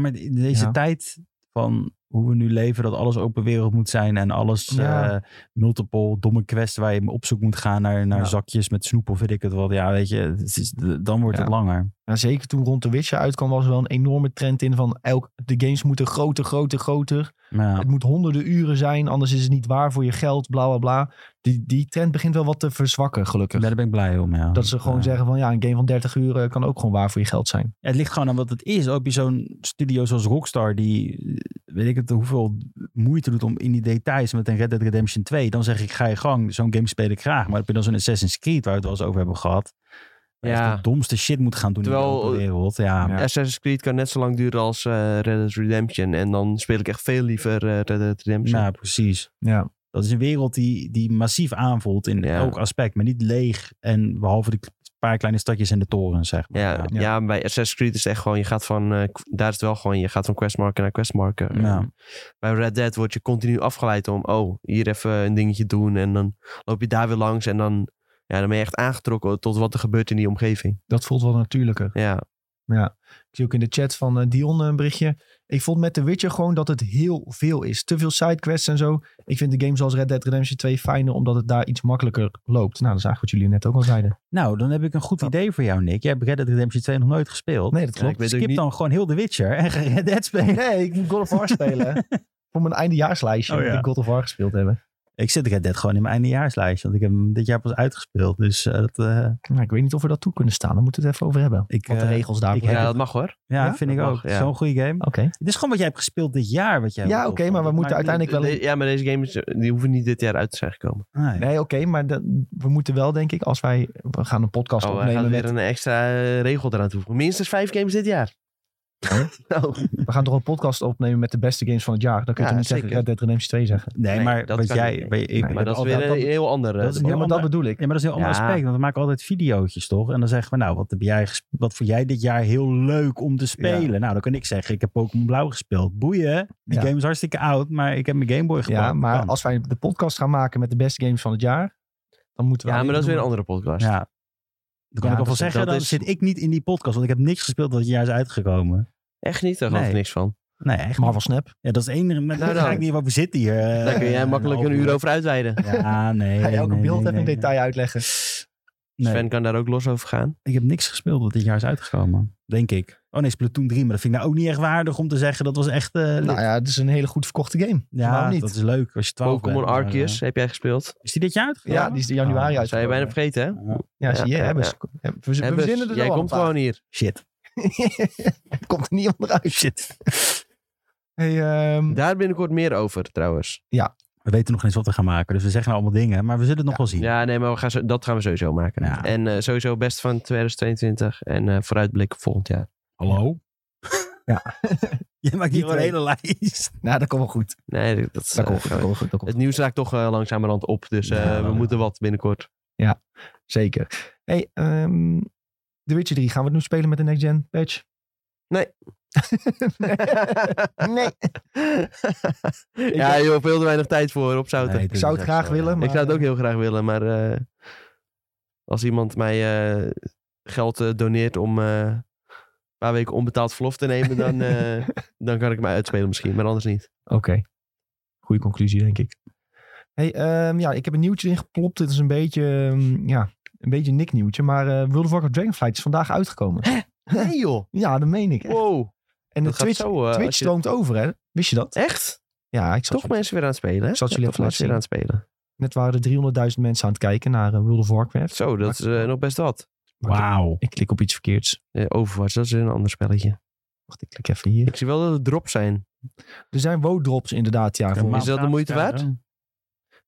maar in deze
Ja.
tijd van hoe we nu leven, dat alles open wereld moet zijn. En alles
Ja.
eh, multiple domme quests waar je op zoek moet gaan naar, naar
Ja.
zakjes met snoep of weet ik het wat. Ja, weet je, het is, dan wordt
Ja.
het langer.
Nou, zeker toen rond de Witcher uitkwam was er wel een enorme trend in van elk, de games moeten groter, groter, groter.
Ja.
Het moet honderden uren zijn, anders is het niet waar voor je geld, bla bla bla. Die, die trend begint wel wat te verzwakken gelukkig.
Ja, Daar ben ik blij om, ja.
Dat ze gewoon
Ja.
zeggen van ja, een game van 30 uur eh, kan ook gewoon waar voor je geld zijn.
Het ligt gewoon aan wat het is. Ook bij zo'n studio zoals Rockstar, die eh, weet ik het hoeveel moeite doet om in die details met een Red Dead Redemption 2. Dan zeg ik, ga je gang, zo'n game speel ik graag. Maar heb je dan zo'n Assassin's Creed, waar we het wel eens over hebben gehad. waar je
Ja.
echt de domste shit moet gaan doen in
Terwijl- eh,
de open wereld. Ja,
Ja.
Assassin's Creed kan net zo lang duren als eh, Red Dead Redemption. En dan speel ik echt veel liever eh, Red Dead Redemption.
nou, precies.
Ja,
Dat is een wereld die, die massief aanvoelt in
Ja.
elk aspect. Maar niet leeg en behalve de k- paar kleine stadjes en de torens, zeg maar.
Ja, ja. bij Assassin's Creed is het echt gewoon, je gaat van, eh, k- daar is het wel gewoon, je gaat van questmarker naar questmarker.
Ja.
En Bij Red Dead word je continu afgeleid om, oh, hier even een dingetje doen en dan loop je daar weer langs en dan, ja, dan ben je echt aangetrokken tot wat er gebeurt in die omgeving.
dat voelt wel natuurlijker.
Ja,
Ja, ik zie ook in de chat van eh, Dion een berichtje. Ik vond met The Witcher gewoon dat het heel veel is. Te veel sidequests en zo. Ik vind de games als Red Dead Redemption 2 fijner, omdat het daar iets makkelijker loopt. Nou, dat is eigenlijk wat jullie net ook al zeiden.
Nou, dan heb ik een goed idee voor jou, Nick. Jij hebt Red Dead Redemption 2 nog nooit gespeeld.
Nee, dat
Ja, ik
klopt.
weet ook
Skip
niet-
dan gewoon heel The Witcher en ga Red Dead spelen.
Nee, ik moet God of War spelen. Voor mijn eindejaarslijstje
Oh,
moet
ja.
ik God of War gespeeld hebben.
Ik zit Red Dead gewoon in mijn eindejaarslijstje, want ik heb hem dit jaar pas uitgespeeld. Dus eh, dat, eh,
Nou, ik weet niet of we dat toe kunnen staan. Daar moeten we het even over hebben.
ik,
Wat de
eh,
regels daarvoor
ik heb
Ja,
zijn.
dat mag hoor.
ja, Ah.
Ja?
vind ik
Dat
ook.
mag, ja.
Zo'n goede game.
Oké.
Het is gewoon wat jij hebt gespeeld dit jaar. Wat jij
Ja,
wel
oké,
tof
maar
vond.
we
Dat
moeten
maakt niet-
uiteindelijk wel...
De- ja, maar deze games eh, die hoeven niet dit jaar uit te zijn gekomen.
Nee.
Nee, oké, maar dat- we moeten wel, denk ik, als wij... We gaan een podcast
Oh, we gaan
opnemen met...
weer een extra eh, regel eraan toevoegen. Minstens vijf games dit jaar. Oh.
We gaan toch een podcast opnemen met de beste games van het jaar. Dan kun je
Ja,
toch niet zeggen
zeker.
Red Dead Redemption 2 zeggen.
Nee,
Nee,
maar
dat
wat
kan
jij...
niet.
wat je- ik- ik
Maar
heb
dat is
altijd-
weer een heel ander. eh,
dat is
Ja,
debat.
heel-
maar dat
ander-
bedoel ik.
Ja, maar dat is een heel ander
Ja.
aspect, want we maken altijd videootjes, toch? En dan zeggen we, nou, wat heb jij ges- wat vond jij dit jaar heel leuk om te spelen? Nou, dan kan ik zeggen, ik heb Pokémon Blauw gespeeld. Boeien, die
Ja.
game is hartstikke oud, maar ik heb mijn Game Boy gepakt.
Ja, maar
Kan.
als wij de podcast gaan maken met de beste games van het jaar, dan moeten we...
ja, maar dat is weer een
al.
andere podcast.
Ja. Dan
Ja,
kan ik al
dat
wel
is-
zeggen,
dat
dan
is-
zit ik niet in die podcast, want ik heb niks gespeeld dat het jaar is uitgekomen.
Echt niet, daar geloof ik
Nee.
niks van.
Nee, echt
Marvel Snap.
niet. Ja, dat is het enige,
Nou
maar daar
dan.
ga ik niet over zitten hier. eh,
Daar kun jij makkelijk een uur over uitweiden.
Ja, nee.
Ga je elke
nee,
beeld
nee,
even in
nee,
detail uitleggen.
nee. Nee.
Sven kan daar ook los over gaan.
Ik heb niks gespeeld wat dit jaar is uitgekomen. Denk ik. Oh nee, Splatoon 3. Maar dat vind ik nou ook niet echt waardig om te zeggen. Dat was echt... eh, lit.
Nou ja, het is een hele goed verkochte game.
ja,
Waarom niet?
dat is leuk als je 12
Pokémon
bent, maar,
Arceus heb jij gespeeld.
eh, is die dit jaar uitgekomen? Oh,
Ja, die is in
Ah,
januari uit.
Zou je bijna vergeten, hè?
Ja.
Ja, zie je,
Ja,
hebben
ja,
ze- hebben- we, we
Hebbes,
verzinnen er
jij
wel
komt
een paar.
gewoon hier.
Shit.
Het komt er niet onderuit.
Shit.
Hey, ehm,
Daar binnenkort meer over, trouwens.
We weten nog niet eens wat we gaan maken. Dus we zeggen nou allemaal dingen. Maar we zullen het nog wel zien.
Ja, nee, maar we gaan, zo- dat gaan we sowieso maken.
Ja.
En eh, sowieso best van 2022 en eh vooruitblikken volgend jaar.
Hallo?
Ja.
Jij
Die
maakt hier gewoon een hele lijst.
nou, dat komt wel goed.
Nee, dat- dat,
Dat
eh,
komt goed, dat
gaan we-
komt goed, dat komt
Het nieuws raakt toch eh, langzamerhand op, dus eh,
Ja,
we
wel, ja.
moeten wat binnenkort.
goed. Zeker. Hey, ehm The Witcher 3, gaan we het nu spelen met de next gen patch?
Nee.
Nee.
ja, joh, veel te weinig tijd voor op zouten.
Nee,
ik
dat
zou
is
het
echt
graag
zo,
willen,
ja.
maar-
zou het ook heel graag willen, maar eh, als iemand mij eh, geld eh, doneert om eh, een paar weken onbetaald verlof te nemen, dan, eh, dan kan ik mij uitspelen misschien, maar anders niet.
Oké. Goede conclusie, denk ik. Hey, ehm, ja, ik heb een nieuwtje ingeplopt. Dit is een beetje, ehm, ja, een beetje een Nick-nieuwtje. Maar eh, World of Warcraft Dragonflight is vandaag uitgekomen.
Nee joh,
Ja, dat meen ik. echt.
wow.
en de
dat gaat
Twitch,
zo, eh,
Twitch
als je-
stroomt over, hè? Wist je dat?
Echt?
Ja, ik zat
Toch mensen weer aan het spelen, hè?
zal het jullie
Ja, toch
even
mensen weer aan het spelen.
net waren er 300.000 mensen aan het kijken naar eh, World of Warcraft.
Zo, dat is eh, nog best wat.
Wauw.
Ik klik op iets verkeerds.
Eh, Overwatch, dat is weer een ander spelletje.
Wacht, ik klik even hier.
Ik zie wel dat het drop zijn.
Er zijn WoD-drops inderdaad, ja. Voor...
maar- dat de moeite waard?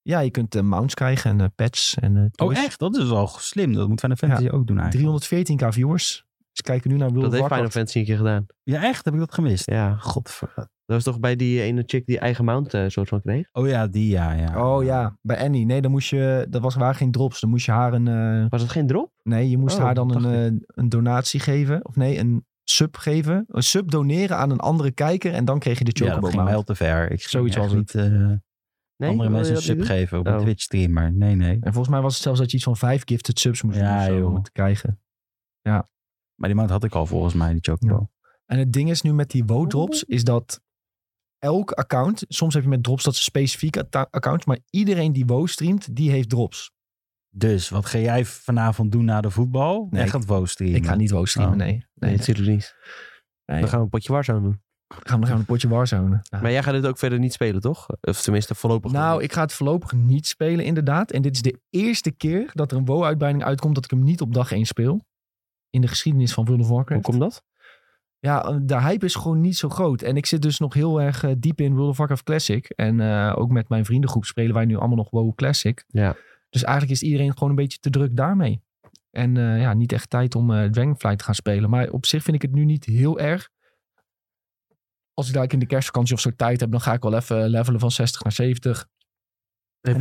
Ja, je kunt eh, mounts krijgen en eh, pets en eh,
Oh
toys.
echt? Dat is wel slim. Dat moet Final Fantasy ook doen eigenlijk.
314k viewers. Dus kijken nu naar World
Dat
of
heeft Final
Warcraft.
Fantasy een keer gedaan.
Ja echt? Heb ik dat gemist?
Ja,
Godver.
dat was toch bij die eh, ene chick die eigen mount eh, soort van kreeg?
Oh ja, die ja. ja.
Oh ja, bij Annie. Nee, dan moest je, dat was, waren geen drops. Dan moest je haar een, eh,
Was het geen drop?
nee, je moest
Oh,
haar dan een,
dacht
eh, een donatie geven. Of nee, een sub geven. Een sub doneren aan een andere kijker en dan kreeg je de
Ja, dat
chocobo
ging mij
mount.
al te ver. Ik
Zoiets
ging echt
was
niet eh,
Nee,
andere
wil je
mensen een
dat
sub
niet doen?
geven op een
Oh.
Twitch streamer. Nee, nee.
En volgens mij was het zelfs dat je iets van vijf gifted subs moest doen
Ja,
of zo, om
joh.
het te krijgen.
Maar die mount had ik al volgens mij, die Chocobo.
En het ding is nu met die WO-drops, is dat elk account, soms heb je met drops dat ze specifieke atta- accounts, maar iedereen die WO streamt, die heeft drops.
Dus, wat ga jij vanavond doen na de voetbal?
Nee,
Nee, ik gaat WoW streamen.
Ik ga niet WO streamen,
Oh.
nee.
Nee,
nee.
natuurlijk niet.
Nee.
Dan gaan we een potje Warzone doen.
Dan gaan we een potje Warzone. Nou, Ja.
Maar jij gaat dit ook verder niet spelen, toch? Of tenminste voorlopig nog
Nou,
niet.
ik ga het voorlopig niet spelen, inderdaad. En dit is de eerste keer dat er een WoW-uitbreiding uitkomt dat ik hem niet op dag 1 speel. In de geschiedenis van World of
Hoe
Warcraft.
komt dat?
Ja, eh, de hype is gewoon niet zo groot. En ik zit dus nog heel erg eh, diep in World of Warcraft Classic. En eh, ook met mijn vriendengroep spelen wij nu allemaal nog WoW Classic.
Ja.
Dus eigenlijk is iedereen gewoon een beetje te druk daarmee. En eh, ja, niet echt tijd om eh, Dragonflight te gaan spelen. Maar op zich vind ik het nu niet heel erg. Als ik daar in de kerstvakantie of zo tijd heb, dan ga ik wel even levelen van 60 naar 70.
Even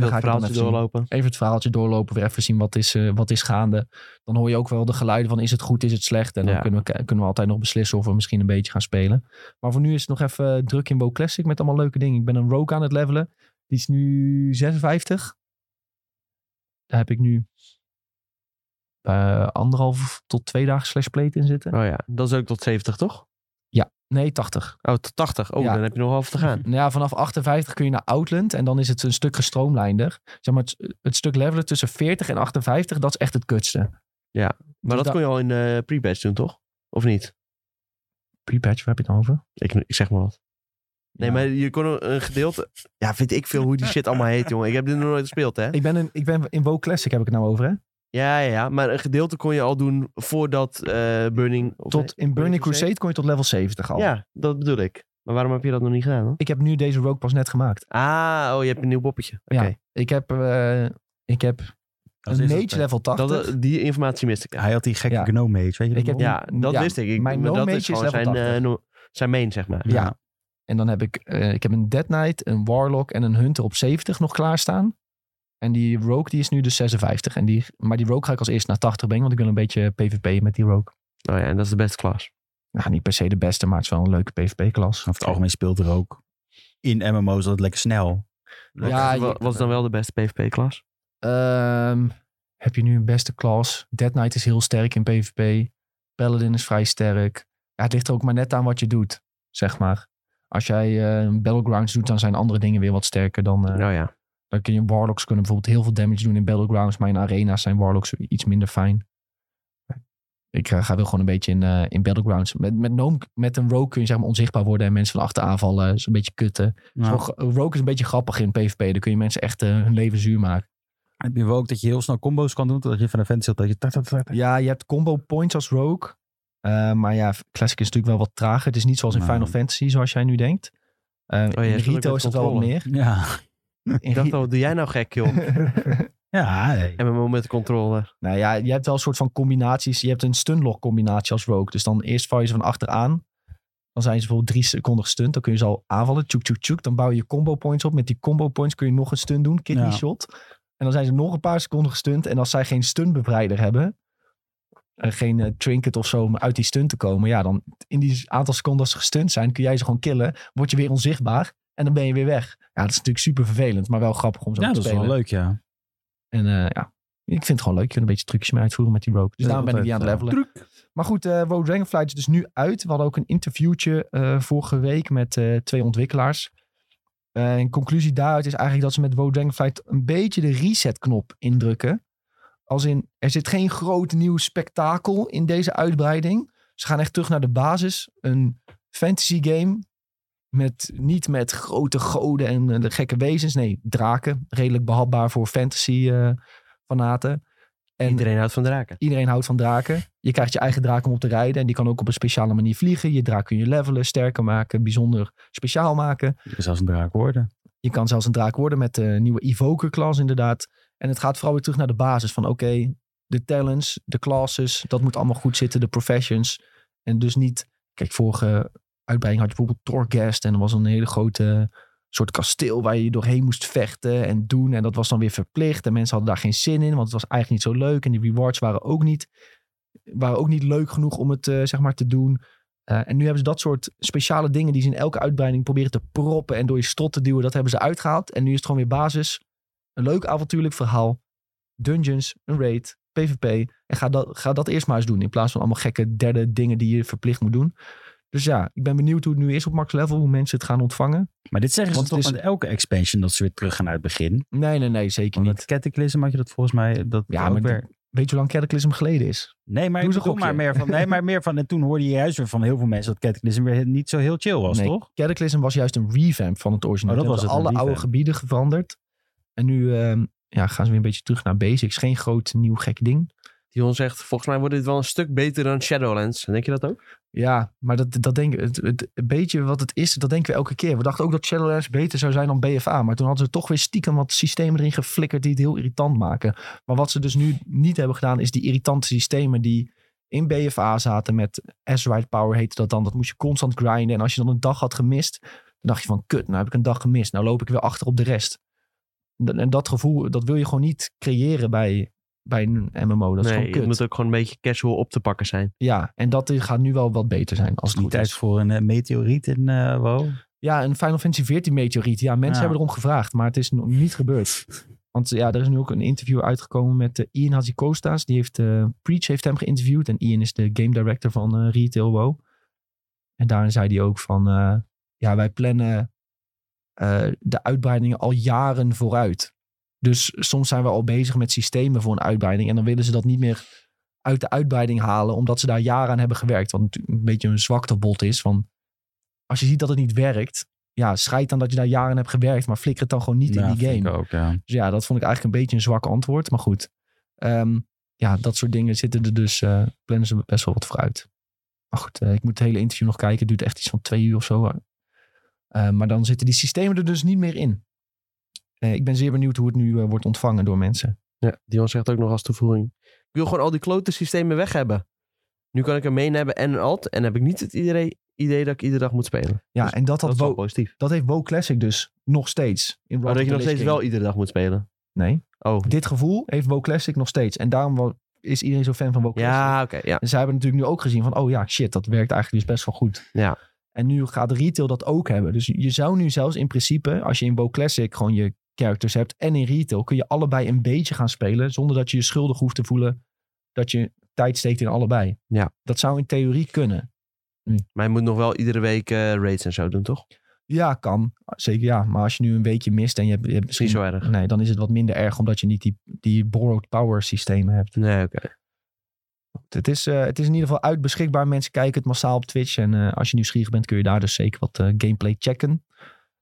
dan
dat
ga ik het
verhaaltje
dan even
doorlopen.
even het verhaaltje doorlopen, weer even zien wat is, eh, wat is gaande. Dan hoor je ook wel de geluiden van is het goed, is het slecht. En dan
Ja.
kunnen, we, kunnen we altijd nog beslissen of we misschien een beetje gaan spelen. Maar voor nu is het nog even eh, druk in WoW Classic met allemaal leuke dingen. Ik ben een rogue aan het levelen. Die is nu 56. Daar heb ik nu eh, anderhalf tot twee dagen slash plate in zitten.
Oh ja, dat is ook tot 70, toch?
Nee, 80.
Oh, tot 80. Oh,
Ja.
dan heb je nog half te gaan.
Nou ja, vanaf 58 kun je naar Outland en dan is het een stuk gestroomlijnder. Zeg maar, het, het stuk levelen tussen 40 en 58, dat is echt het kutste. Dus
Ja, Maar dat kon je al in eh pre-batch doen, toch? Of niet?
Pre-patch, waar heb je het dan over?
Ik, ik zeg maar wat. Nee,
Ja.
maar je kon een- een gedeelte... Ja, vind ik veel hoe die shit allemaal heet, jongen. Ik heb dit nog nooit gespeeld, hè?
Ik ben, een, ik ben in WoW Classic, heb ik het nou over, hè?
Ja, ja, ja. Maar een gedeelte kon je al doen voordat eh, Burning... of-
Tot, in Burning
Burning
Crusade kon je tot level 70 al.
Ja, dat bedoel ik. Maar waarom heb je dat nog niet gedaan, dan?
Ik heb nu deze rogue pas net gemaakt.
Ah, oh, je hebt een nieuw poppetje. Oké.
Ja. Ik heb, eh, ik heb
Dat
een
is het,
mage
hè.
level 80.
Dat, die informatie miste ik.
Hij had die gekke
Ja.
gnome mage, weet je dat
Ik
nog?
heb-
Ja, dat
Ja,
wist ik. ik
mijn
maar dat
no-mage
is gewoon
is level
zijn,
80.
eh, no- zijn main, zeg maar.
ja. En dan heb ik, eh, ik heb een Dead Knight, een Warlock en een Hunter op 70 nog klaarstaan. En die Rogue die is nu dus 56. En die, maar die Rogue ga ik als eerst naar 80 brengen, want ik wil een beetje PvP met die Rogue.
Oh ja, en dat is de beste klas.
Nou, niet per se de beste, maar het is wel een leuke PvP-klas.
Over het algemeen speelt er ook in MMO's dat lekker snel.
Ja,
Ja,
je-
was dan wel de beste PvP-klas?
Ehm, heb je nu een beste klas? Dead Knight is heel sterk in PvP. Paladin is vrij sterk. Ja, het ligt er ook maar net aan wat je doet, zeg maar. Als jij eh, Battlegrounds doet, dan zijn andere dingen weer wat sterker dan... eh,
Nou ja.
Dan kun je Warlocks kunnen bijvoorbeeld heel veel damage doen in Battlegrounds. Maar in Arena's zijn Warlocks iets minder fijn. Ik eh, ga wel gewoon een beetje in, eh, in Battlegrounds. Met, met, Gnome, met een Rogue kun je zeg maar onzichtbaar worden en mensen van achter aanvallen. is een beetje kutten.
Nou,
Gewoon- Rogue is een beetje grappig in PvP. Dan kun je mensen echt eh, hun leven zuur maken.
heb je wel ook dat je heel snel combo's kan doen, totdat je van een vent zit dat je... ta- ta- ta- ta-
Ja, je hebt combo points als Rogue. Eh, maar ja, Classic is natuurlijk wel wat trager. Het is niet zoals in
Nou.
Final Fantasy, zoals jij nu denkt. Eh,
Oh je
in
hebt
Rito
ook
is
met
dat wel wat
controle.
meer.
Ja.
In
Ik dacht
Ri-
al, wat doe jij nou gek, joh?
Ja, hey.
MMO met de controller.
Nou ja, je hebt wel een soort van combinaties. Je hebt een stunlock combinatie als rogue. Dus dan eerst val je ze van achteraan. Dan zijn ze bijvoorbeeld drie seconden gestunt. Dan kun je ze al aanvallen. Tjoek, tjoek, tjoek. Dan bouw je je combo points op. Met die combo points kun je nog een stun doen. Kidney
Ja.
shot. En dan zijn ze nog een paar seconden gestunt. En als zij geen stunbevrijder hebben. eh, geen eh, trinket of zo om uit die stun te komen. Ja, dan in die aantal seconden dat ze gestunt zijn. Kun jij ze gewoon killen. Word je weer onzichtbaar. En dan ben je weer weg. Ja, dat is natuurlijk super vervelend. Maar wel grappig om zo
ja,
te
dat is
spelen.
wel leuk, ja.
Dus En eh, ja, ik vind het gewoon leuk. Je kunt een beetje trucjes mee uitvoeren met die rogue. Dus
Ja,
daarom ben ik die aan
altijd, eh,
het levelen. Maar goed, eh Rogue Dragonflight is dus nu uit. We hadden ook een interviewtje eh, vorige week met eh, twee ontwikkelaars. Eh, en conclusie daaruit is eigenlijk dat ze met Rogue Dragonflight een beetje de resetknop indrukken. Als in, er zit geen groot nieuw spektakel in deze uitbreiding. Ze gaan echt terug naar de basis. Een fantasy game. Met, niet met grote goden en eh, de gekke wezens. Nee, draken. Redelijk behapbaar voor fantasy eh, fanaten. En
Iedereen houdt van draken.
Iedereen houdt van draken. Je krijgt je eigen draak om op te rijden. En die kan ook op een speciale manier vliegen. Je draak kun je levelen, sterker maken, bijzonder speciaal maken.
Je kan zelfs een draak worden.
Je kan zelfs een draak worden met de nieuwe Evoker-klas inderdaad. En het gaat vooral weer terug naar de basis van oké, de talents, de classes, dat moet allemaal goed zitten, de professions. En dus niet, kijk, vorige uitbreiding had je bijvoorbeeld Torghast en er was een hele grote soort kasteel waar je doorheen moest vechten en doen. En dat was dan weer verplicht en mensen hadden daar geen zin in, want het was eigenlijk niet zo leuk. En die rewards waren ook niet, waren ook niet leuk genoeg om het eh, zeg maar te doen. Eh, en nu hebben ze dat soort speciale dingen die ze in elke uitbreiding proberen te proppen en door je strot te duwen, dat hebben ze uitgehaald. En nu is het gewoon weer basis. Een leuk avontuurlijk verhaal. Dungeons, een raid, PvP. En ga dat, ga dat eerst maar eens doen. In plaats van allemaal gekke derde dingen die je verplicht moet doen. Dus ja, ik ben benieuwd hoe het nu is op max level. Hoe mensen het gaan ontvangen.
Maar dit zeggen ze
Want
toch
het is-
met elke expansion dat ze weer terug gaan naar het begin.
Nee, nee, nee, zeker
Want
niet.
met Cataclysm had je dat volgens mij... Dat
Ja,
ook
maar
weer...
Weet je hoe lang Cataclysm geleden is?
Nee, maar
Doe
ik
eens een
bedoel maar
gokje.
meer van... Nee, maar meer van... En toen hoorde je juist weer van heel veel mensen dat Cataclysm weer niet zo heel chill was,
Nee,
toch?
Cataclysm was juist een revamp van het origineel.
Oh, dat
Ze
was
hebben
het, een
alle oude
revamp.
gebieden veranderd. En nu ehm, ja, gaan ze weer een beetje terug naar basics. Geen groot nieuw gek ding.
Dion zegt, volgens mij wordt dit wel een stuk beter dan Shadowlands. Denk je dat ook?
Ja, maar dat, dat denk, het, het, een beetje wat het is, dat denken we elke keer. We dachten ook dat Shadowlands beter zou zijn dan BFA. Maar toen hadden ze toch weer stiekem wat systemen erin geflikkerd die het heel irritant maken. Maar wat ze dus nu niet hebben gedaan, is die irritante systemen die in BFA zaten met Azerite Power heette dat dan. Dat moest je constant grinden. En als je dan een dag had gemist, dan dacht je van kut, nou heb ik een dag gemist. Nou loop ik weer achter op de rest. En en dat gevoel, dat wil je gewoon niet creëren bij, bij een MMO. Dat is
nee,
gewoon kut.
het moet ook gewoon een beetje casual op te pakken zijn.
Ja, en dat eh, gaat nu wel wat beter zijn. Als
Als
het
niet
goed
tijd
is.
voor een eh, meteoriet in eh WoW.
Ja, een Final Fantasy 14 meteoriet. Ja, mensen
Ja.
hebben erom gevraagd, maar het is nog niet gebeurd. Want ja, er is nu ook een interview uitgekomen met eh, Ian Hazikostas. Die heeft, eh, Preach heeft hem geïnterviewd. En Ian is de game director van eh, Retail WoW. En daarin zei hij ook van... eh, ja, wij plannen eh, de uitbreidingen al jaren vooruit. Dus soms zijn we al bezig met systemen voor een uitbreiding. En dan willen ze dat niet meer uit de uitbreiding halen. Omdat ze daar jaren aan hebben gewerkt. Wat natuurlijk een beetje een zwaktebod is. Van, als je ziet dat het niet werkt... Ja, scheid dan dat je daar jaren aan hebt gewerkt. Maar flikker het dan gewoon niet
Ja,
in die
vind
game.
ik ook, ja.
Dus ja, dat vond ik eigenlijk een beetje een zwak antwoord. Maar goed, Ehm, ja, dat soort dingen zitten er dus, eh, plannen ze best wel wat vooruit. Maar goed, eh, ik moet het hele interview nog kijken. Het duurt echt iets van twee uur of zo. Eh, maar dan zitten die systemen er dus niet meer in. Eh, ik ben zeer benieuwd hoe het nu eh, wordt ontvangen door mensen.
Ja, Dion zegt ook nog als toevoeging. Ik wil gewoon al die klote systemen weg hebben. Nu kan ik een main hebben en een alt. En heb ik niet het idee, idee dat ik iedere dag moet spelen.
Ja,
Dus
en dat,
Dat
had
is wel
WoW-
positief.
dat heeft WoW Classic dus nog steeds. In Wrath
Maar Oh, dat
of
je
the
nog
Lich
steeds
King.
wel iedere dag moet spelen.
Nee,
Oh,
dit gevoel heeft WoW Classic nog steeds. En daarom wa- is iedereen zo fan van WoW Classic.
ja, oké. ja.
En zij hebben natuurlijk nu ook gezien van, oh ja, shit, dat werkt eigenlijk dus best wel goed.
Ja.
En nu gaat retail dat ook hebben. Dus je zou nu zelfs in principe, als je in WoW Classic gewoon je characters hebt en in retail, kun je allebei een beetje gaan spelen zonder dat je je schuldig hoeft te voelen dat je tijd steekt in allebei.
Ja.
Dat zou in theorie kunnen.
Maar je moet nog wel iedere week eh, raids en zo doen, toch?
Ja, kan. Zeker ja. Maar als je nu een weekje mist en je hebt, je hebt
Misschien
misschien...
zo erg.
Nee, dan is het wat minder erg omdat je niet die, die borrowed power systemen hebt.
Nee, oké.
Het is, eh, het is in ieder geval uit beschikbaar. Mensen kijken het massaal op Twitch. En eh, als je nieuwsgierig bent, kun je daar dus zeker wat eh, gameplay checken.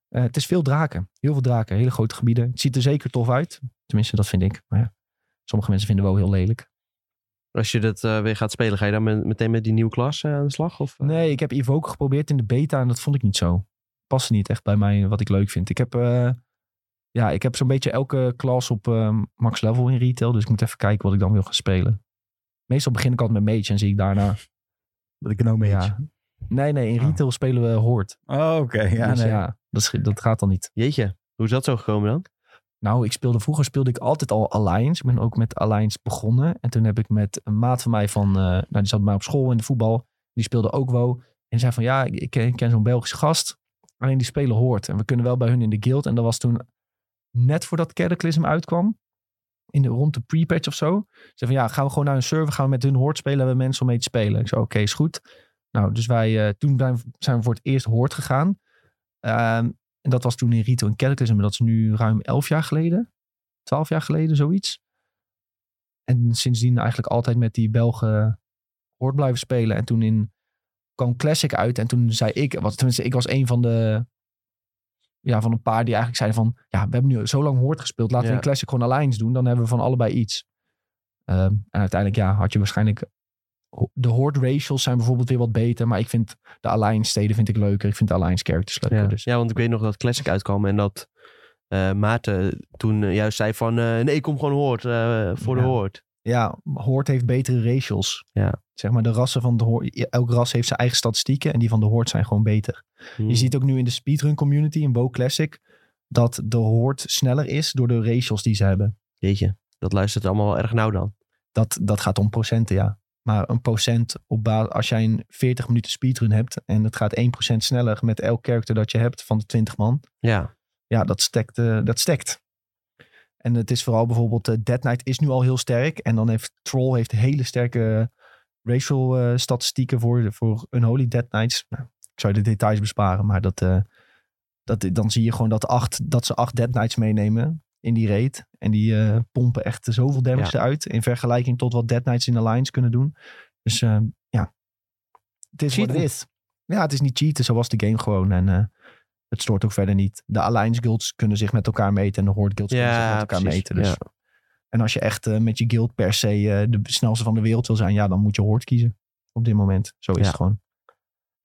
Eh, het is veel draken. Heel veel draken. Hele grote gebieden. Het ziet er zeker tof uit. Tenminste, dat vind ik. Maar ja, sommige mensen vinden wel heel lelijk.
Als je dat eh, weer gaat spelen, ga je dan met- meteen met die nieuwe klas eh, aan de slag? Of,
Nee, ik heb Evoke geprobeerd in de beta en dat vond ik niet zo. Past niet echt bij mij wat ik leuk vind. Ik heb, eh, ja, ik heb zo'n beetje elke klas op eh, max level in retail. Dus ik moet even kijken wat ik dan wil gaan spelen. Meestal begin ik altijd met Mage en zie ik daarna.
Dat ik nou mee
Ja. Nee, nee, in retail spelen we Horde.
Oh, oké. Ja,
Dus
nee.
ja, dat, is- dat gaat dan niet.
Jeetje, hoe is dat zo gekomen dan?
Nou, ik speelde vroeger speelde ik altijd al Alliance. Ik ben ook met Alliance begonnen. En toen heb ik met een maat van mij van, eh, nou die zat bij mij op school in de voetbal. Die speelde ook WoW. En zei van ja, ik, ik ken, ik ken zo'n Belgische gast. Alleen die spelen hoort. En we kunnen wel bij hun in de guild. En dat was toen net voordat Cataclysm uitkwam. In de, rond de pre-patch of zo. Ze zei van ja, gaan we gewoon naar een server. Gaan we met hun hoort spelen. Hebben we mensen om mee te spelen. Ik zei oké, is goed. Nou, dus wij, eh, toen zijn, zijn we voor het eerst hoort gegaan. Ehm, en dat was toen in Rito en Cataclysm. Maar dat is nu ruim 11 jaar geleden. 12 jaar geleden, zoiets. En sindsdien eigenlijk altijd met die Belgen hoort blijven spelen. En toen in, kwam Classic uit. En toen zei ik, wat, tenminste ik was een van de... Ja, van een paar die eigenlijk zeiden van... Ja, we hebben nu zo lang hoort gespeeld. Laten
Ja.
we in Classic gewoon Alliance doen. Dan hebben we van allebei iets. Ehm, en uiteindelijk ja, had je waarschijnlijk... De Horde racials zijn bijvoorbeeld weer wat beter. Maar ik vind de Alliance steden vind ik leuker. Ik vind de Alliance characters leuker.
Ja.
Dus
ja, want ik weet nog dat Classic uitkwam en dat eh, Maarten toen eh, juist zei van... eh, nee, ik kom gewoon hoort, eh, voor de
Ja.
hoort.
ja, Hoort heeft betere racials.
Ja.
Zeg maar de rassen van de Hoort. Elk ras heeft zijn eigen statistieken. En die van de Hoort zijn gewoon beter.
Hmm.
Je ziet ook nu in de speedrun community, in WoW Classic. Dat de Hoort sneller is door de racials die ze hebben.
Jeetje, dat luistert allemaal wel erg nauw dan.
Dat, dat gaat om procenten, ja. Maar een procent op basis. Als jij een 40 minuten speedrun hebt. En het gaat 1% sneller met elk character dat je hebt van de 20 man.
Ja,
ja, dat stekt. eh, dat stekt. En het is vooral bijvoorbeeld, eh, Dead Knight is nu al heel sterk. En dan heeft Troll heeft hele sterke racial eh, statistieken voor, voor Unholy Dead Knights. Nou, ik zou je de details besparen, maar dat, eh, dat, dan zie je gewoon dat, acht, dat ze acht Dead Knights meenemen in die raid. En die eh, pompen echt zoveel damage eruit in vergelijking tot wat Dead Knights in Alliance kunnen doen. Dus eh, ja, het is wat het
Cheaten.
is. Ja, het is niet cheaten, zo was de game gewoon. En eh, het stoort ook verder niet. De Alliance guilds kunnen zich met elkaar meten en de Horde guilds kunnen
Ja,
zich met elkaar
precies,
meten. Dus.
ja.
En als je echt eh, met je guild per se eh, de snelste van de wereld wil zijn, ja, dan moet je Horde kiezen. Op dit moment. Zo is
Ja.
het gewoon. En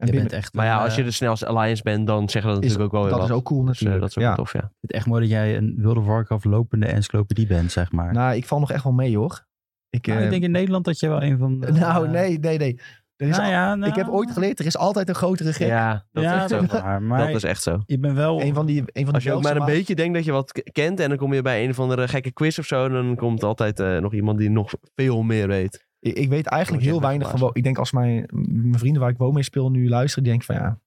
Je
binnen-
bent echt
maar
een,
ja, als
eh,
je de snelste Alliance bent, dan zeggen dat
Is-
natuurlijk ook wel weer
dat
wat.
is ook cool
Dus, eh,
natuurlijk.
dat is ook
ja.
wel tof, ja.
Het echt mooi dat jij een World of Warcraft lopende encyclopedie bent, zeg maar.
Nou, ik val nog echt wel mee hoor. Ik,
Nou, ik
eh,
denk in Nederland dat je wel een van de... eh,
nou
eh,
nee, nee, nee. Er is
Nou
al-
ja, nou,
ik heb ooit geleerd, er is altijd een grotere gek.
Ja, dat
ja,
is
dat
echt
is
zo.
waar. Maar
Dat is echt zo.
je bent wel...
Een van die, een van
Als
die
je
Belgische
ook maar een
ma-
beetje denkt dat je wat k- kent en dan kom je bij een of andere gekke quiz of zo, dan komt altijd eh, nog iemand die nog veel meer weet.
Ik, ik weet eigenlijk
Moet
heel
je echt
weinig van...
weggeblazen.
wo- Ik denk als mijn, mijn vrienden waar ik woon mee speel nu luisteren, die denken van ja,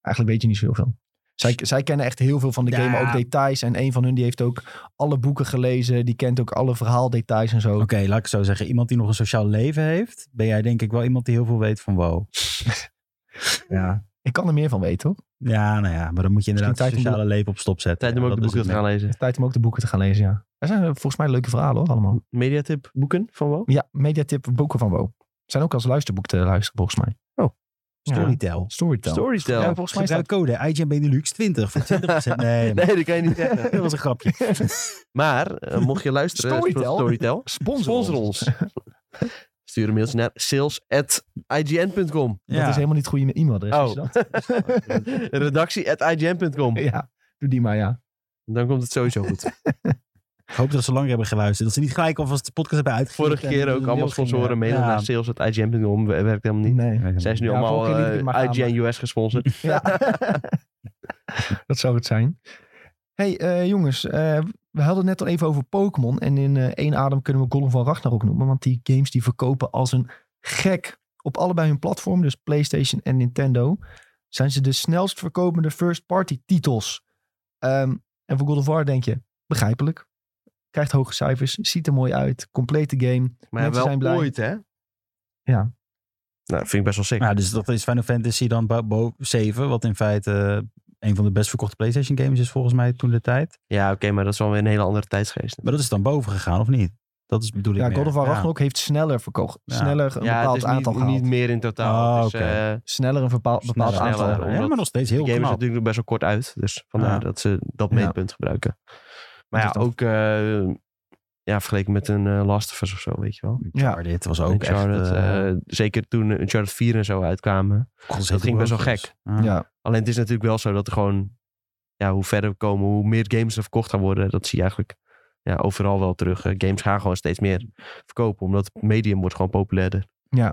eigenlijk weet je niet zoveel. Zij, zij kennen echt heel veel van de
Ja.
game, maar ook details. En een van hun die heeft ook alle boeken gelezen. Die kent ook alle verhaaldetails en zo.
Oké, laat ik het zo zeggen. Iemand die nog een sociaal leven heeft, ben jij denk ik wel iemand die heel veel weet van wow. ja.
Ik kan er meer van weten, hoor.
Ja, nou ja, maar dan moet je inderdaad het
tijd om
sociale leven op stop zetten.
Tijd om
Ja,
ook de
dat is
boeken
het
te gaan lezen.
Tijd om ook de boeken te gaan lezen, ja. Er zijn eh, volgens mij leuke verhalen, hoor, allemaal.
Mediatip boeken van Wo?
Ja, mediatip boeken van Wo. Zijn ook als luisterboek te luisteren, volgens mij.
met Storytel.
Storytel.
Oh, Storytel.
Ja, volgens mij
Gebruik
staat...
code IGN Benelux 20 voor 20%. Nee,
Nee, dat kan je niet
dat
zeggen.
was een grapje.
Maar eh, mocht je luisteren,
Storytel.
sponsor Storytel.
Sponsor,
Sponsor ons. Stuur een mailtje naar sales.ign.com.
Dat is helemaal niet het goede e-mailadres.
Oh.
is dat?
Redactie.ign.com.
Ja, doe die maar, ja.
Dan komt het sowieso goed.
Ik hoop dat ze langer hebben geluisterd. Dat ze niet gelijk alvast de podcast hebben uitgevoerd.
Vorige keer ook allemaal sponsoren mailen
Ja.
naar sales.ign.com. We- Werkt helemaal niet.
Nee.
Zijn ze nu
Ja,
allemaal
vorige keer liet ik het
eh,
maar gaan,
IGN US gesponsord?
Ja. dat zou het zijn. hey, eh, jongens. eh, we hadden het net al even over Pokémon. En in eh, één adem kunnen we Golden van Ragnarok noemen. Want die games die verkopen als een gek op allebei hun platformen. Dus PlayStation en Nintendo. Zijn ze de snelst verkopende first party titels. Ehm, en voor God of War denk je, begrijpelijk. Krijgt hoge cijfers, ziet er mooi uit. Complete game.
Maar
Mensen
wel
zijn blij.
ooit, hè?
Ja.
Nou, vind ik best wel sick.
Ja, dus dat is Final Fantasy dan bo- bo- 7, wat in feite eh, een van de best verkochte PlayStation games is volgens mij toen de tijd.
Ja, oké, maar dat is wel weer een hele andere tijdsgeest.
Maar dat is dan boven gegaan, of niet? Dat is bedoel ik
Ja,
meer.
God of War
Ja.
Ragnarok heeft sneller verkocht.
Ja.
Sneller een
Ja, het
bepaald
is
aantal
niet,
gehaald. Ah,
niet meer in totaal.
Oh,
Het is,
oké.
eh,
sneller een bepaald, bepaald
Sneller,
aantal.
sneller,
Ja, maar nog steeds
de
heel
game is
knap.
natuurlijk nog best wel kort uit. Dus vandaar
Ja.
dat ze dat
Ja.
meetpunt gebruiken. Maar ja,
Dus dat-
ook eh, ja, vergeleken met een eh, Last of Us of zo, weet je wel.
Ja.
Maar dit was ook
Uncharted,
echt... eh,
eh, zeker toen Uncharted 4 en zo uitkwamen.
god,
dat ging best wel
heerlijk.
gek.
Ja.
Ja,
Alleen het is natuurlijk wel zo dat er gewoon... Ja, hoe verder we komen, hoe meer games er verkocht gaan worden. Dat zie je eigenlijk ja, overal wel terug. Eh, games gaan gewoon steeds meer verkopen. Omdat het medium wordt gewoon populairder.
ja.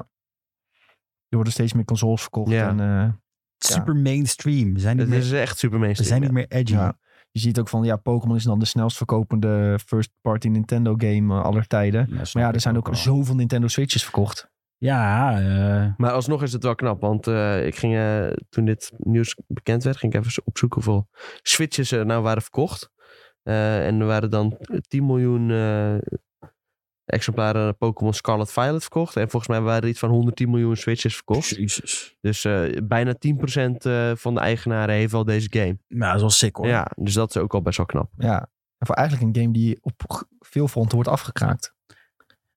Er worden steeds meer consoles verkocht.
Ja.
En, eh,
Super mainstream. We zijn niet,
Het
meer,
is echt super
we
mainstream.
zijn niet
ja.
meer edgy.
ja. Je ziet ook van, ja, Pokémon is dan de snelst verkopende first-party Nintendo game eh, aller tijden. Maar ja, er zijn ook
zo.
zoveel Nintendo Switches verkocht.
Ja, eh,
Maar alsnog is het wel knap, want eh, ik ging eh, toen dit nieuws bekend werd, ging ik even opzoeken hoeveel switches er nou waren verkocht. Eh, en er waren dan 10 miljoen eh, exemplaren Pokémon Scarlet Violet verkocht. En volgens mij waren er iets van 110 miljoen switches verkocht.
jezus.
Dus eh, bijna 10% eh, van de eigenaren heeft wel deze game.
Ja, dat is wel sick hoor.
Ja, dus dat is ook al best wel knap.
Ja. En voor eigenlijk een game die op g- veel fronten wordt afgekraakt.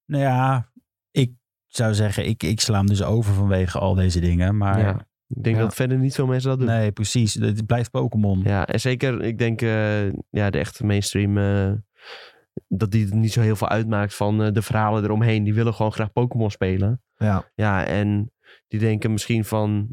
Nou ja, ik zou zeggen, ik, ik sla hem dus over vanwege al deze dingen. Maar
Ja. Ik denk
Ja.
dat verder niet veel mensen dat doen.
nee, precies. Het blijft Pokémon.
Ja, en zeker, ik denk, eh, ja, de echte mainstream, eh, dat die het niet zo heel veel uitmaakt van eh, de verhalen eromheen. Die willen gewoon graag Pokémon spelen.
Ja.
Ja, en die denken misschien van,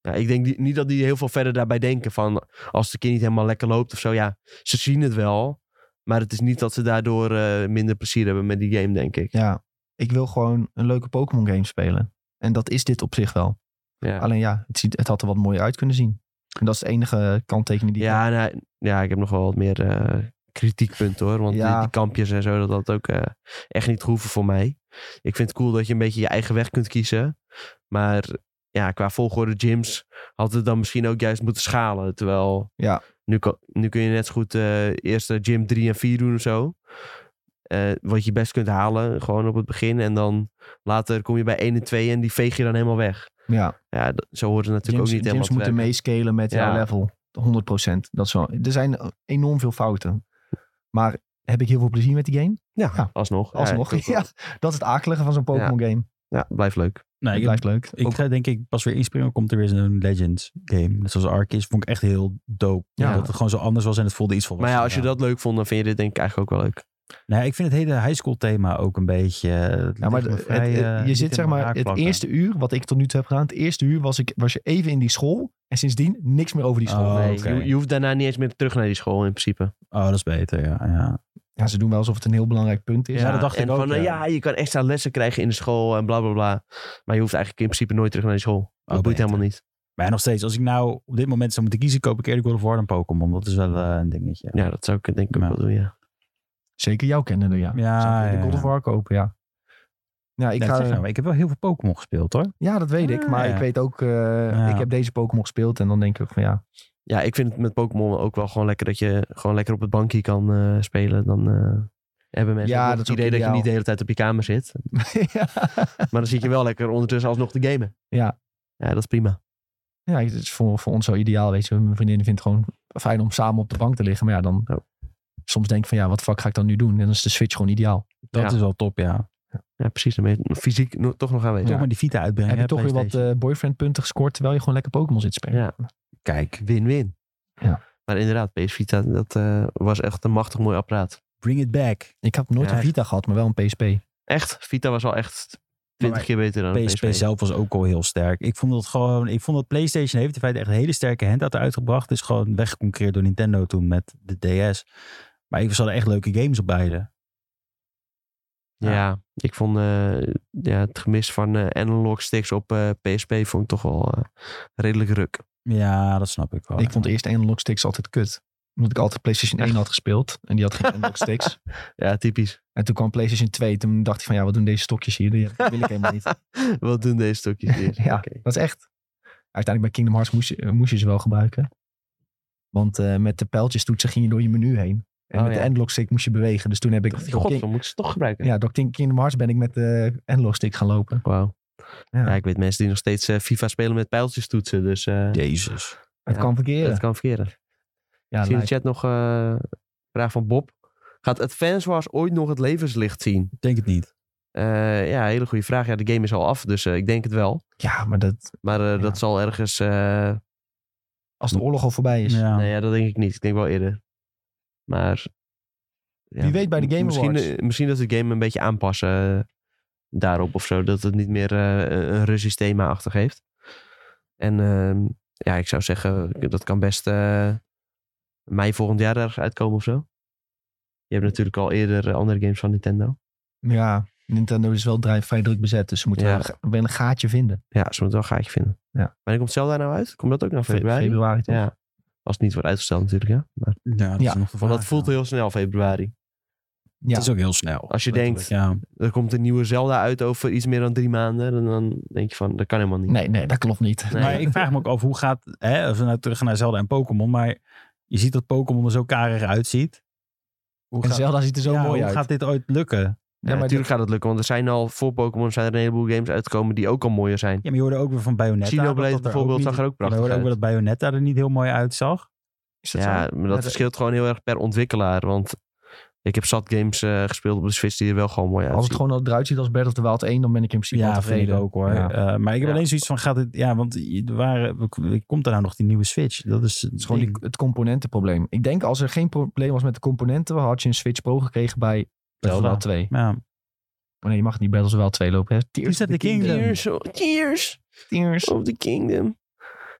ja, ik denk die, niet dat die heel veel verder daarbij denken van, als de keer niet helemaal lekker loopt of zo. Ja, ze zien het wel, maar het is niet dat ze daardoor eh, minder plezier hebben met die game, denk ik.
Ja. Ik wil gewoon een leuke Pokémon game spelen. En dat is dit op zich wel.
Ja.
Alleen ja, het, ziet, het had er wat mooier uit kunnen zien. En dat is de enige kanttekening die ik
Ja, nou, ja, ik heb nog wel wat meer eh, kritiekpunten hoor. Want
Ja.
die, die kampjes en zo, dat had ook eh, echt niet hoeven voor mij. Ik vind het cool dat je een beetje je eigen weg kunt kiezen. Maar ja, qua volgorde gyms had het dan misschien ook juist moeten schalen. Terwijl
Ja.
nu, kan- nu kun je net zo goed eh eerst eh, gym 3 en 4 doen of zo. Eh, wat je best kunt halen, gewoon op het begin. En dan later kom je bij 1 en 2 en die veeg je dan helemaal weg.
Ja.
Ja, dat- zo hoort het
Gyms,
natuurlijk ook niet
gyms
helemaal te
moeten
werken.
meescalen met
Ja.
jouw level. 100%. Dat is wel, er zijn enorm veel fouten. Maar heb ik heel veel plezier met die game?
Ja,
Ja.
alsnog. Ja,
Alsnog.
ik
Ja,
vind het wel-
dat is het akelige van zo'n Pokémon game.
ja, blijft leuk.
Nee,
het
ik,
blijft leuk.
ik
Ook-
ga denk ik pas weer inspringen. Komt er weer zo'n Legends game. Net zoals Ark is. Vond ik echt heel dope.
Ja.
Dat het gewoon zo anders was en het voelde iets
Maar
volwassen.
ja, als je dat leuk vond, dan vind je dit denk ik eigenlijk ook wel leuk.
Nee, ik vind het hele high school thema ook een beetje... eh,
ja, maar het- het- je zit zeg maar het eerste uur, wat ik tot nu toe heb gedaan, het eerste uur was, ik, was je even in die school en sindsdien niks meer over die school.
Oh,
nee,
oké.
je, je hoeft daarna niet eens meer terug naar die school in principe.
Oh, dat is beter, ja. ja.
Ja, ze doen wel alsof het een heel belangrijk punt is.
Ja, dat dacht
en
ik ook,
Van, eh,
ja.
ja. je kan extra lessen krijgen in de school en bla bla bla. Maar je hoeft eigenlijk in principe nooit terug naar die school. Dat boeit
Oh, beter.
helemaal niet.
Maar ja, nog steeds, als ik nou op dit moment zou moeten kiezen, koop ik eerder God of War dan Pokémon. Dat is wel eh, een dingetje.
Ja, dat zou ik denk ik ook
Ja.
wel doen, ja.
Zeker jou kennen, ja.
Ja,
Zou ik
ja,
de God
ja.
of War kopen, ja. Ja, ik
Ik,
ga,
nou, maar ik heb wel heel veel Pokémon gespeeld hoor.
ja, dat weet ik.
Ja,
Maar
ja.
ik weet ook, eh,
Ja.
ik heb deze Pokémon gespeeld en dan denk ik ook van ja,
Ja, ik vind het met Pokémon ook wel gewoon lekker dat je gewoon lekker op het bankje kan eh, spelen. Dan eh, hebben mensen
Ja,
ook nog
dat
het
is ook
idee dat je
ideaal.
niet de hele tijd op je kamer zit.
ja.
Maar dan zit je wel lekker ondertussen alsnog te gamen.
Ja.
Ja, dat is prima.
ja, het is voor, voor ons zo ideaal. Weet je, mijn vriendin vindt het gewoon fijn om samen op de bank te liggen. Maar ja, dan
Oh.
soms denk ik van ja, wat fuck ga ik dan nu doen? En dan is de Switch gewoon ideaal.
Dat
Ja.
is wel top, ja.
Ja, precies. Dan ben je fysiek no- toch nog aanwezig.
Toch maar die Vita
Heb
uitbrengen.
je
hè,
toch weer wat
PlayStation.
eh, boyfriend-punten gescoord terwijl je gewoon lekker Pokémon zit te spelen?
Ja.
eh, Kijk,
Win-win.
Ja.
Maar inderdaad, PS Vita, dat eh, was echt een machtig mooi apparaat.
bring it back.
Ik heb nooit
Ja, Oh,
een Vita gehad, maar wel een PSP.
Echt, Vita was al echt 20
Maar
keer beter dan een
PSP zelf was ook al heel sterk. Ik vond dat gewoon, ik vond dat PlayStation heeft in feite echt een hele sterke handout uitgebracht. Is gewoon weggeconcurreerd door Nintendo toen met de DS. Maar ik hadden echt leuke games op beide.
Ja, ik vond eh, ja, het gemis van eh, analog sticks op eh, PSP vond ik toch wel eh, redelijk ruk.
Ja, dat snap ik wel.
Ik vond eerst analog sticks altijd kut. Omdat ik altijd PlayStation 1 had gespeeld. En die had geen analog sticks.
Ja, typisch.
En toen kwam PlayStation 2. Toen dacht ik van ja, wat doen deze stokjes hier? Die- Dat wil ik helemaal niet.
Wat doen deze stukjes hier?
Ja, Oh,
Oké.
dat is echt. Uiteindelijk bij Kingdom Hearts moest je, eh, moest je ze wel gebruiken. Want eh, met de pijltjes toetsen ging je door je menu heen. En
Oh,
met
ja.
de analog stick moest je bewegen. Dus toen heb ik...
Dacht ik,
door
god,
King-
dan moeten ze het toch gebruiken.
ja, door King- Kingdom Hearts ben ik met de analog stick gaan lopen.
Wauw.
Ja.
Ja. ik weet mensen die nog steeds eh, FIFA spelen met pijltjes toetsen. Dus eh
Jezus.
Het
Ja,
kan
dat
verkeren.
kan verkeren.
Ja,
Ik zie in de
lijkt-
chat nog eh, een vraag van Bob. Gaat Advance Wars ooit nog het levenslicht zien?
Ik denk het niet.
Eh, ja, hele goede vraag. Ja, de game is al af, dus eh, ik denk het wel.
ja maar dat,
Maar eh,
Ja.
dat zal ergens... eh,
als de oorlog al voorbij is.
Ja.
Nee, ja, dat denk ik niet. Ik denk wel eerder. Maar... ja,
Wie weet bij de
m-
Game
misschien,
Awards.
eh, misschien dat ze het game een beetje aanpassen eh, daarop of zo. Dat het niet meer eh, een Russisch thema achtig heeft. En ehm, ja, ik zou zeggen, dat kan best eh, mei volgend jaar ergens uitkomen of zo. Je hebt natuurlijk al eerder eh, andere games van Nintendo.
Ja, Nintendo is wel dri- vrij druk bezet. Dus ze moeten
Ja.
wel een- wel een gaatje vinden.
Ja, ze moeten wel een gaatje vinden.
Ja.
Wanneer komt Zelda nou uit? Komt dat ook nog
Fe-
februari?
februari toch?
Ja. Als het niet wordt uitgesteld natuurlijk, ja. Maar,
Ja, dat
Ja,
is nog de
want
vraag,
dat voelt
ja.
heel snel, februari.
Ja.
Het is ook heel snel.
Als je
Letterlijk, Ja.
er komt een nieuwe Zelda uit over iets meer dan drie maanden. En dan denk je van, dat kan helemaal niet.
Nee, nee, dat klopt niet.
Nee.
Maar ik vraag me ook af, hoe gaat... Hè, als we nou terug gaan naar Zelda en Pokémon. Maar je ziet dat Pokémon er zo karig uitziet. Hoe
En
gaat-
Zelda ziet er zo
ja,
mooi
hoe
uit.
gaat dit ooit lukken?
Ja,
maar
natuurlijk gaat het lukken, want er zijn al voor Pokémon zijn er een heleboel games uitgekomen die ook al mooier zijn.
Ja, maar je hoorde ook weer van Bayonetta.
Xenoblade
dat dat er
bijvoorbeeld
niet-
zag er ook prachtig
We hoorden ook
uit.
weer dat Bayonetta er niet heel mooi uitzag.
Is dat
Ja,
zo?
maar
Ja,
dat verschilt gewoon heel erg per ontwikkelaar. Want ik heb zat games eh, gespeeld op de Switch die er wel gewoon mooi
Als
uitzien.
het gewoon eruit ziet als Breath of the Wild 1, dan ben ik in principe al
Ja,
tevreden.
vind ik ook hoor.
Ja.
Eh, maar ik heb
Ja.
alleen zoiets van, gaat dit... Ja, want je- er waren, we- komt er nou nog die nieuwe Switch? Dat is,
Het is gewoon die- het componentenprobleem. Ik denk als er geen probleem was met de componenten, had je een Switch Pro gekregen bij Breath of the
Zelda.
Wild 2.
Ja.
Maar nee, je mag niet Breath of the Wild 2 lopen. Hè?
Tears of the Kingdom.
Tears, oh, Tears
Tears.
of the Kingdom.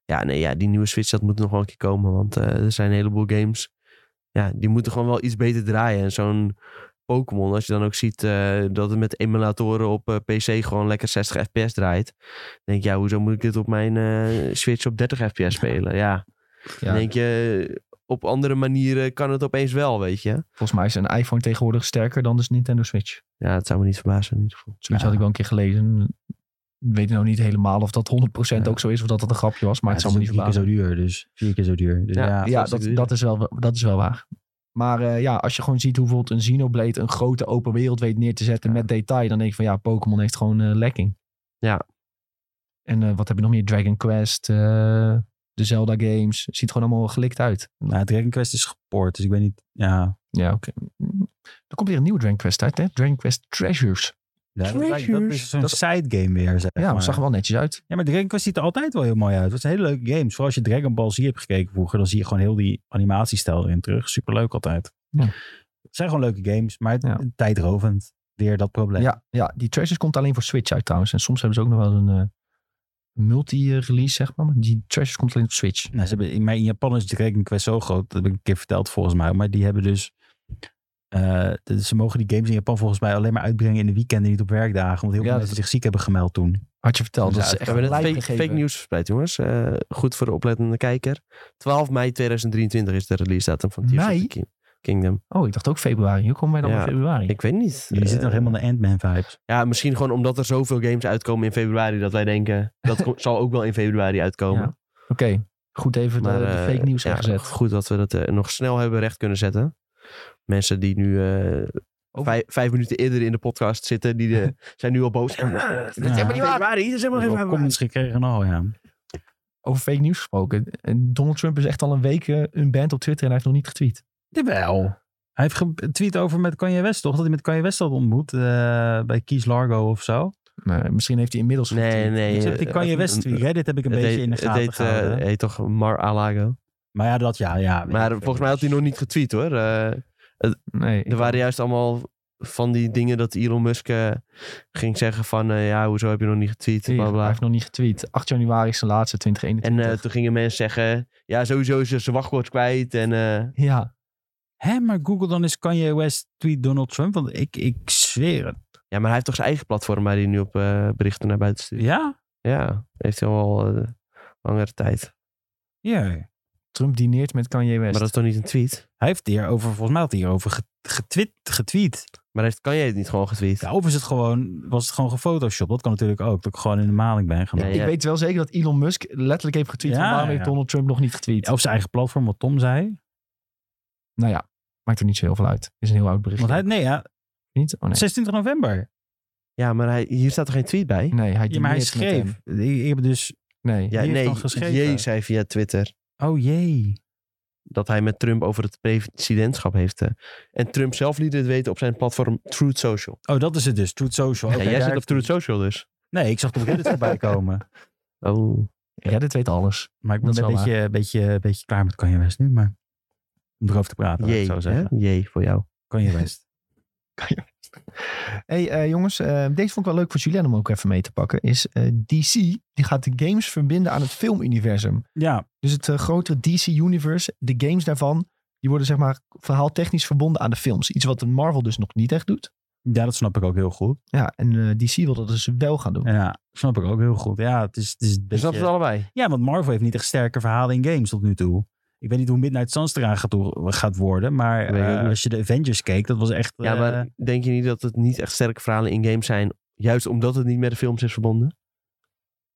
Ja, nee, ja, die nieuwe Switch dat moet nog wel een keer komen. Want eh, er zijn een heleboel games. Ja, die moeten gewoon wel iets beter draaien. En zo'n Pokémon, als je dan ook ziet eh, dat het met emulatoren op eh, PC gewoon lekker 60 fps draait. Dan denk je, ja, hoezo moet ik dit op mijn eh, Switch op 30 fps spelen? Ja.
Ja.
Dan denk je, op andere manieren kan het opeens wel, weet je.
Volgens mij is een iPhone tegenwoordig sterker dan de Nintendo Switch.
Ja, het zou me niet verbazen in ieder geval.
Zoiets
Ja.
had ik wel een keer gelezen. Ik weet nou niet helemaal of dat 100%
Ja.
ook zo is of dat dat een grapje was, maar het
Maar
zou me niet
vier keer zo
verbazen.
duur, dus vier keer zo duur. Dus
Ja.
ja,
Ja,
dat is
dat,
duur.
dat, is wel, dat is wel waar. Maar eh, ja, als je gewoon ziet hoe bijvoorbeeld een Xenoblade een grote open wereld weet neer te zetten
Ja.
met detail, dan denk ik van ja, Pokémon heeft gewoon eh, lekking.
Ja.
En eh, wat heb je nog meer? Dragon Quest, eh, de Zelda games. Ziet gewoon allemaal gelikt uit.
Nou, Dragon Quest is gepoord, dus ik weet niet... Ja,
Ja, oké. Er komt weer een nieuwe Dragon Quest uit, hè? Dragon Quest Treasures.
ja dat,
Treasures.
lijkt- dat is zo'n
Dat is-
side game weer, zeg
ja,
maar.
maar zag er wel netjes uit.
Ja, maar Dragon Quest ziet er altijd wel heel mooi uit. Het zijn hele leuke games. Vooral als je Dragon Ball Z hebt gekeken vroeger, dan zie je gewoon heel die animatiestijl erin terug. Superleuk altijd.
Ja.
Het zijn gewoon leuke games, maar het-
Ja.
tijdrovend. Weer dat probleem.
Ja, ja, die Treasures komt alleen voor Switch uit trouwens. En soms hebben ze ook nog wel een eh, multi-release, zeg maar. Maar Die Treasures komt alleen op Switch.
Nou, ze hebben, maar in Japan is Dragon Quest zo groot, dat heb ik een keer verteld volgens mij. Maar die hebben dus... eh, de- ze mogen die games in Japan volgens mij alleen maar uitbrengen in de weekenden, niet op werkdagen. Want heel
Ja,
veel
dat-
mensen zich ziek hebben gemeld toen.
Had je verteld.
Ja,
dat is
het-
echt
We hebben net
lijp
fake,
gegeven.
fake nieuws verspreid, jongens. Eh, goed voor de oplettende kijker. 12 mei 2023 is de release datum van Tears of
Mei?
the Ki- Kingdom.
Oh, ik dacht ook februari. Hoe komen wij dan
Ja,
in februari?
Ik weet niet.
Jullie
Eh,
zitten nog helemaal in de Ant-Man vibes.
Ja, misschien gewoon omdat er zoveel games uitkomen in februari dat wij denken dat ko- zal ook wel in februari uitkomen.
Ja. Oké, Goed even de-
Maar,
de,
eh,
fake nieuws
ja,
gezet.
Goed dat we dat eh, nog snel hebben recht kunnen zetten. Mensen die nu eh,
Over-
vijf, vijf minuten eerder in de podcast zitten, die eh, zijn nu al boos. dat is helemaal niet waar. Dat is helemaal geen
Ik heb comments gekregen al, ja.
Over fake nieuws gesproken. En Donald Trump is echt al een week eh, een band op Twitter en hij heeft nog niet getweet.
Jawel. Hij heeft getweet over met Kanye West, toch? Dat hij met Kanye West had ontmoet eh, bij Keys Largo of zo.
Maar misschien heeft hij inmiddels
Nee,
getweet.
nee.
Ik heb die
eh,
Kanye West
een-
tweet. Reddit heb ik een
het
beetje
heet-
in de
het
gaten
heet, eh,
gehouden.
heet toch Mar Alago?
Ah, maar ja, dat ja. ja
Maar volgens mij had hij nog niet getweet hoor. Eh,
Nee, ik-
er waren juist allemaal van die dingen dat Elon Musk eh, ging zeggen van... eh, ja, hoezo heb je nog niet getweet? Bla,
Hij
bla.
heeft nog niet getweet. 8 januari is zijn laatste
En
2021.
eh, toen gingen mensen zeggen... Ja, sowieso is hij zijn wachtwoord kwijt. En eh,
ja,
Hé, maar Google dan is Kanye West tweet Donald Trump. Want ik, ik zweer het.
Ja, maar hij heeft toch zijn eigen platform waar hij nu op eh, berichten naar buiten stuurt.
Ja?
Ja, heeft hij al eh, langere tijd.
Ja.
Trump dineert met Kanye West.
Maar dat is toch niet een tweet?
Hij heeft hierover, volgens mij had hij hierover get- getwit, getweet.
Maar heeft, kan jij het niet gewoon getweet?
Ja, of is het gewoon, was het gewoon gefotoshopt? Dat kan natuurlijk ook. Dat ik gewoon in de maling ben genomen.
Ja,
Ik weet wel zeker dat Elon Musk letterlijk heeft getweet.
Ja,
van waarom
ja.
heeft Donald Trump nog niet getweet?
Of zijn eigen platform, wat Tom zei.
Nou ja, maakt er niet zo heel veel uit. Is een heel oud bericht.
Want hij, nee ja,
niet? Oh, nee.
26 november.
Ja, maar hij, hier staat er geen tweet bij.
Nee, hij
Ja, maar hij
dineert met hem.
schreef. Ik, ik heb dus,
Nee.
Ja,
Wie heeft
nee,
dan geschreven?
Jee zei via Twitter
oh jee.
dat hij met Trump over het presidentschap heeft. eh, en Trump zelf liet het weten op zijn platform Truth Social.
Oh, dat is het dus. Truth Social.
ja,
Oké,
jij
daar
zit op
heeft-
Truth Social dus.
Nee, ik zag het op Reddit voorbij komen.
Oh.
Ja, dit weet alles.
Maar ik
Dat
ben
is
een
wel
beetje, een beetje, een beetje klaar met Kanye West nu. Maar om erover te praten, laat ik
Oh, Jee,
het zo
hè?
zeggen.
Jee voor jou.
Kanye West.
hey, eh, jongens, eh, deze vond ik wel leuk voor Julien om ook even mee te pakken. Is eh, DC, die gaat de games verbinden aan het filmuniversum.
Ja,
Dus het eh, grotere DC Universe, de games daarvan, die worden zeg maar verhaaltechnisch verbonden aan de films. Iets wat Marvel dus nog niet echt doet.
ja, dat snap ik ook heel goed.
Ja, en eh, DC wil dat dus wel gaan doen.
Ja, snap ik ook heel goed. Ja, het is, het is een
Dus dat is
beetje-
het allebei.
Ja, want Marvel heeft niet echt sterke verhalen in games tot nu toe. Ik weet niet hoe Midnight Suns eraan gaat, toe- gaat worden. Maar
Weet ik ook
eh,
niet.
als je de Avengers keek, dat was echt...
Ja,
eh,
maar denk je niet dat het niet echt sterke verhalen in games zijn, juist omdat het niet met de films is verbonden?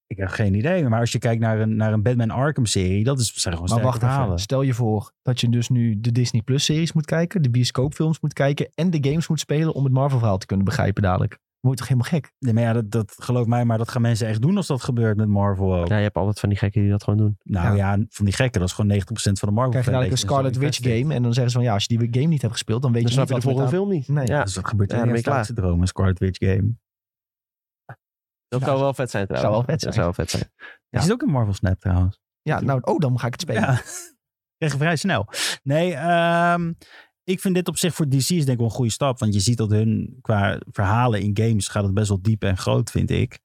ik heb geen idee. Maar als je kijkt naar een, naar een Batman Arkham serie, dat is, zijn gewoon
Maar
sterke
wacht
verhalen.
even, stel je voor dat je dus nu de Disney Plus series moet kijken, de bioscoopfilms moet kijken en de games moet spelen om het Marvel verhaal te kunnen begrijpen dadelijk. Wordt toch helemaal gek?
Nee, maar ja, dat, dat geloof mij, maar dat gaan mensen echt doen als dat gebeurt met Marvel ook.
Ja, je hebt altijd van die gekken die dat gewoon doen.
Nou ja. van die gekken, dat is gewoon 90% van de Marvel.
krijg je dadelijk een
fanbase en zo
Scarlet Witch
invested.
game en dan zeggen ze van ja, als je die game niet hebt gespeeld, dan weet
Dan
je
snap
niet
je de
wat er
volgende
met
film niet.
aan- Nee.
Ja,
Dus dat gebeurt
Ja,
in
dan
de
ben je klaar.
syndroom, een Scarlet Witch game.
dat zou wel vet zijn trouwens.
wel vet
Dat
zijn.
zou wel vet zijn.
Er zit ook een Marvel Snap trouwens.
Ja, nou, oh, dan ga ik het spelen.
Ja, echt vrij snel. Nee, ehm, ik vind dit op zich voor DC is denk ik wel een goede stap. Want je ziet dat hun qua verhalen in games gaat het best wel diep en groot, vind ik.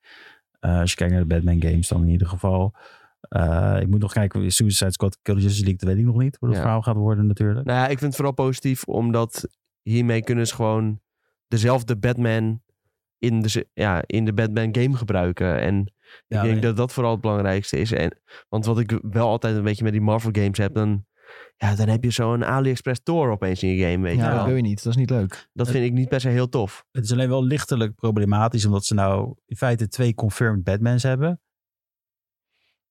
Eh, als je kijkt naar de Batman games dan in ieder geval. Eh, ik moet nog kijken, Suicide Squad, Kill the Justice League, dat weet ik nog niet. Hoe dat
Ja.
verhaal gaat worden natuurlijk.
Nou ja, ik vind het vooral positief, omdat hiermee kunnen ze gewoon dezelfde Batman in de, z- ja, in de Batman game gebruiken. En
Ja,
ik denk
nee.
dat dat vooral het belangrijkste is. En, want wat ik wel altijd een beetje met die Marvel games heb, dan, ja, dan heb je zo'n AliExpress Tour opeens in je game, weet
Ja,
je wel.
dat wil je niet. Dat is niet leuk.
Dat vind ik niet per se heel tof.
Het is alleen wel lichtelijk problematisch, omdat ze nou in feite twee confirmed Batmans hebben.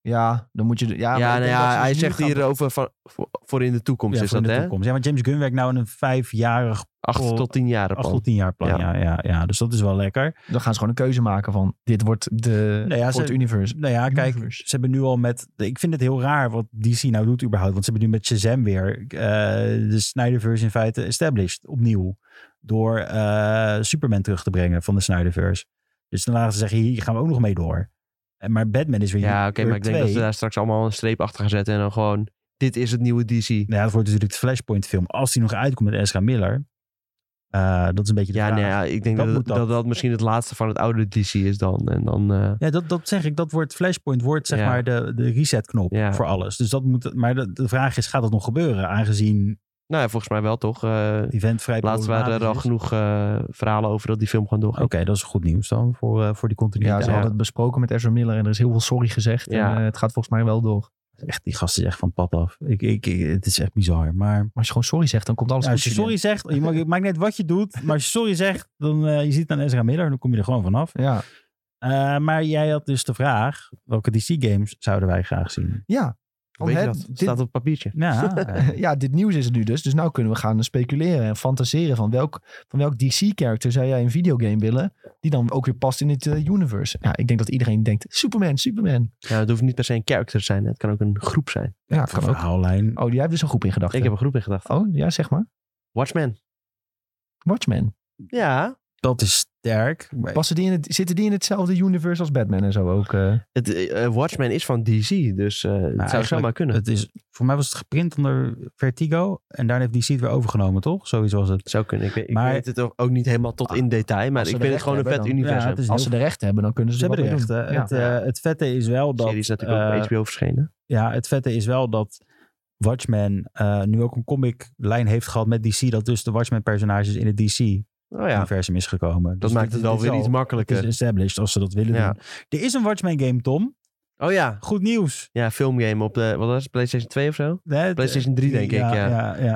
Ja, dan moet je... de- Ja,
Ja,
maar ik
nou
denk dat ze
ja
dus
hij
nu
zegt
gaan-
hier over van, voor, voor in de toekomst
Ja,
is
voor in
dat,
de
hè?
toekomst. Ja, maar James Gunn werkt nou in een vijfjarig,
Acht tot tien jaar
acht
plan.
tot tien jaar plan.
Ja.
Ja, ja, ja, dus dat is wel lekker.
Dan gaan ze gewoon een keuze maken van dit wordt de,
Nou ja,
voor
ze-
het universe.
Nou ja, kijk,
Universe.
ze hebben nu al met... Ik vind het heel raar wat DC nou doet überhaupt. Want ze hebben nu met Shazam weer eh, de Snyderverse in feite established. Opnieuw. Door eh, Superman terug te brengen van de Snyderverse. Dus dan laten ze zeggen, hier gaan we ook nog mee door. En, maar Batman is weer
Ja, oké,
weer
maar ik denk dat eh,
twee.
ze daar straks allemaal een streep achter gaan zetten en dan gewoon, dit is het nieuwe DC.
Nou ja, dat wordt natuurlijk de Flashpoint film. Als die nog uitkomt met Ezra Miller. Eh, dat is een beetje de
Ja,
vraag.
nee, ja, ik denk
Dat
dat dat,
moet
dat
dan.
misschien het laatste van het oude DC is dan. En dan eh,
Ja, dat, dat zeg ik. Dat wordt Flashpoint wordt zeg
Ja.
maar de, de resetknop
Ja.
voor alles. Dus dat moet... Maar de, de vraag is, gaat dat nog gebeuren? Aangezien
nou ja, volgens mij wel toch. eh
event vrij
laatst waren er al
problematisch is.
genoeg eh, verhalen over dat die film gewoon doorgaat.
Oké, dat is goed nieuws dan voor, eh, voor die
Ja,
continuïteit.
ze
ja.
hadden het besproken met Ezra Miller en er is heel veel sorry gezegd.
Ja.
En, eh, het gaat volgens mij wel door.
echt, die gast is echt van het pad af. Ik, ik, ik- het is echt bizar. Maar
Maar als je gewoon sorry zegt, dan komt alles
Ja, als je
goed.
sorry zegt, je mag, het maakt net wat je doet, maar als je sorry zegt, dan eh, je ziet dan Ezra Miller, dan kom je er gewoon vanaf.
Ja.
Eh maar jij had dus de vraag, welke DC-games zouden wij graag zien?
ja.
Hoe
Want
weet je
het-
dat?
dit-
Staat op het papiertje.
Ja, eh,
Ja, dit nieuws is er nu dus. Dus nu kunnen we gaan speculeren en fantaseren van welk, van welk DC-character zou jij een videogame willen... die dan ook weer past in het eh, universe. Ja, ik denk dat iedereen denkt, Superman, Superman.
Ja, het hoeft niet per se een character te zijn. hè. Het kan ook een groep zijn.
Ja,
voor
kan ook.
verhaallijn.
Oh, jij hebt dus een groep in gedachten.
Ik heb een groep in gedachten.
Oh, ja, zeg maar.
Watchmen.
Watchmen.
Ja,
Dat is sterk. Maar
Passen die in het, zitten die in hetzelfde universe als Batman en zo ook? eh?
het, eh, eh, Watchmen is van DC. Dus eh, het zou
eigenlijk-
zomaar kunnen.
het is, voor mij was het geprint onder Vertigo. En daarna heeft DC het weer overgenomen, toch? Zoiets was het.
Het zou kunnen. Ik weet, ik
Maar- Ah,
weet het ook ook niet helemaal tot in detail. Maar
Als ze
ik
de
vind het gewoon een vet
rechten hebben,
universum.
Ja, het is
Als
heel-
ze de rechten hebben, dan kunnen
Ze
ze,
hebben de
er wat mee
rechten.
doen.
Het, eh, het vette is wel
De
dat...
serie is natuurlijk ook
eh,
op HBO verschenen.
Ja, het vette is wel dat Watchmen eh, nu ook een comic lijn heeft gehad met DC. Dat dus de Watchmen personages in het DC
Oh ja,
universum is gekomen.
dat maakt het wel weer iets makkelijker.
Het Dus is established als ze dat willen
Ja.
doen. Er is een Watchmen game, Tom.
Oh ja.
Goed nieuws.
Ja, filmgame op de, wat was het, PlayStation 2 of zo?
Nee, het-
PlayStation 3 denk ik, ja.
ja,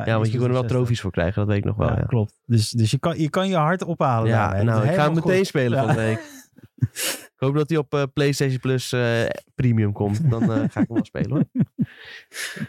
Ja, want je kon er wel trofies voor krijgen, dat weet ik nog wel.
Ja,
Ja,
klopt. Dus, dus je, kan, je kan je hart ophalen.
ja.
daarmee.
nou, ik ga hem
Helemaal
meteen
goed.
spelen
Ja.
van de week. ik hoop dat hij op eh, PlayStation Plus eh, Premium komt. Dan eh, ga ik hem wel spelen hoor.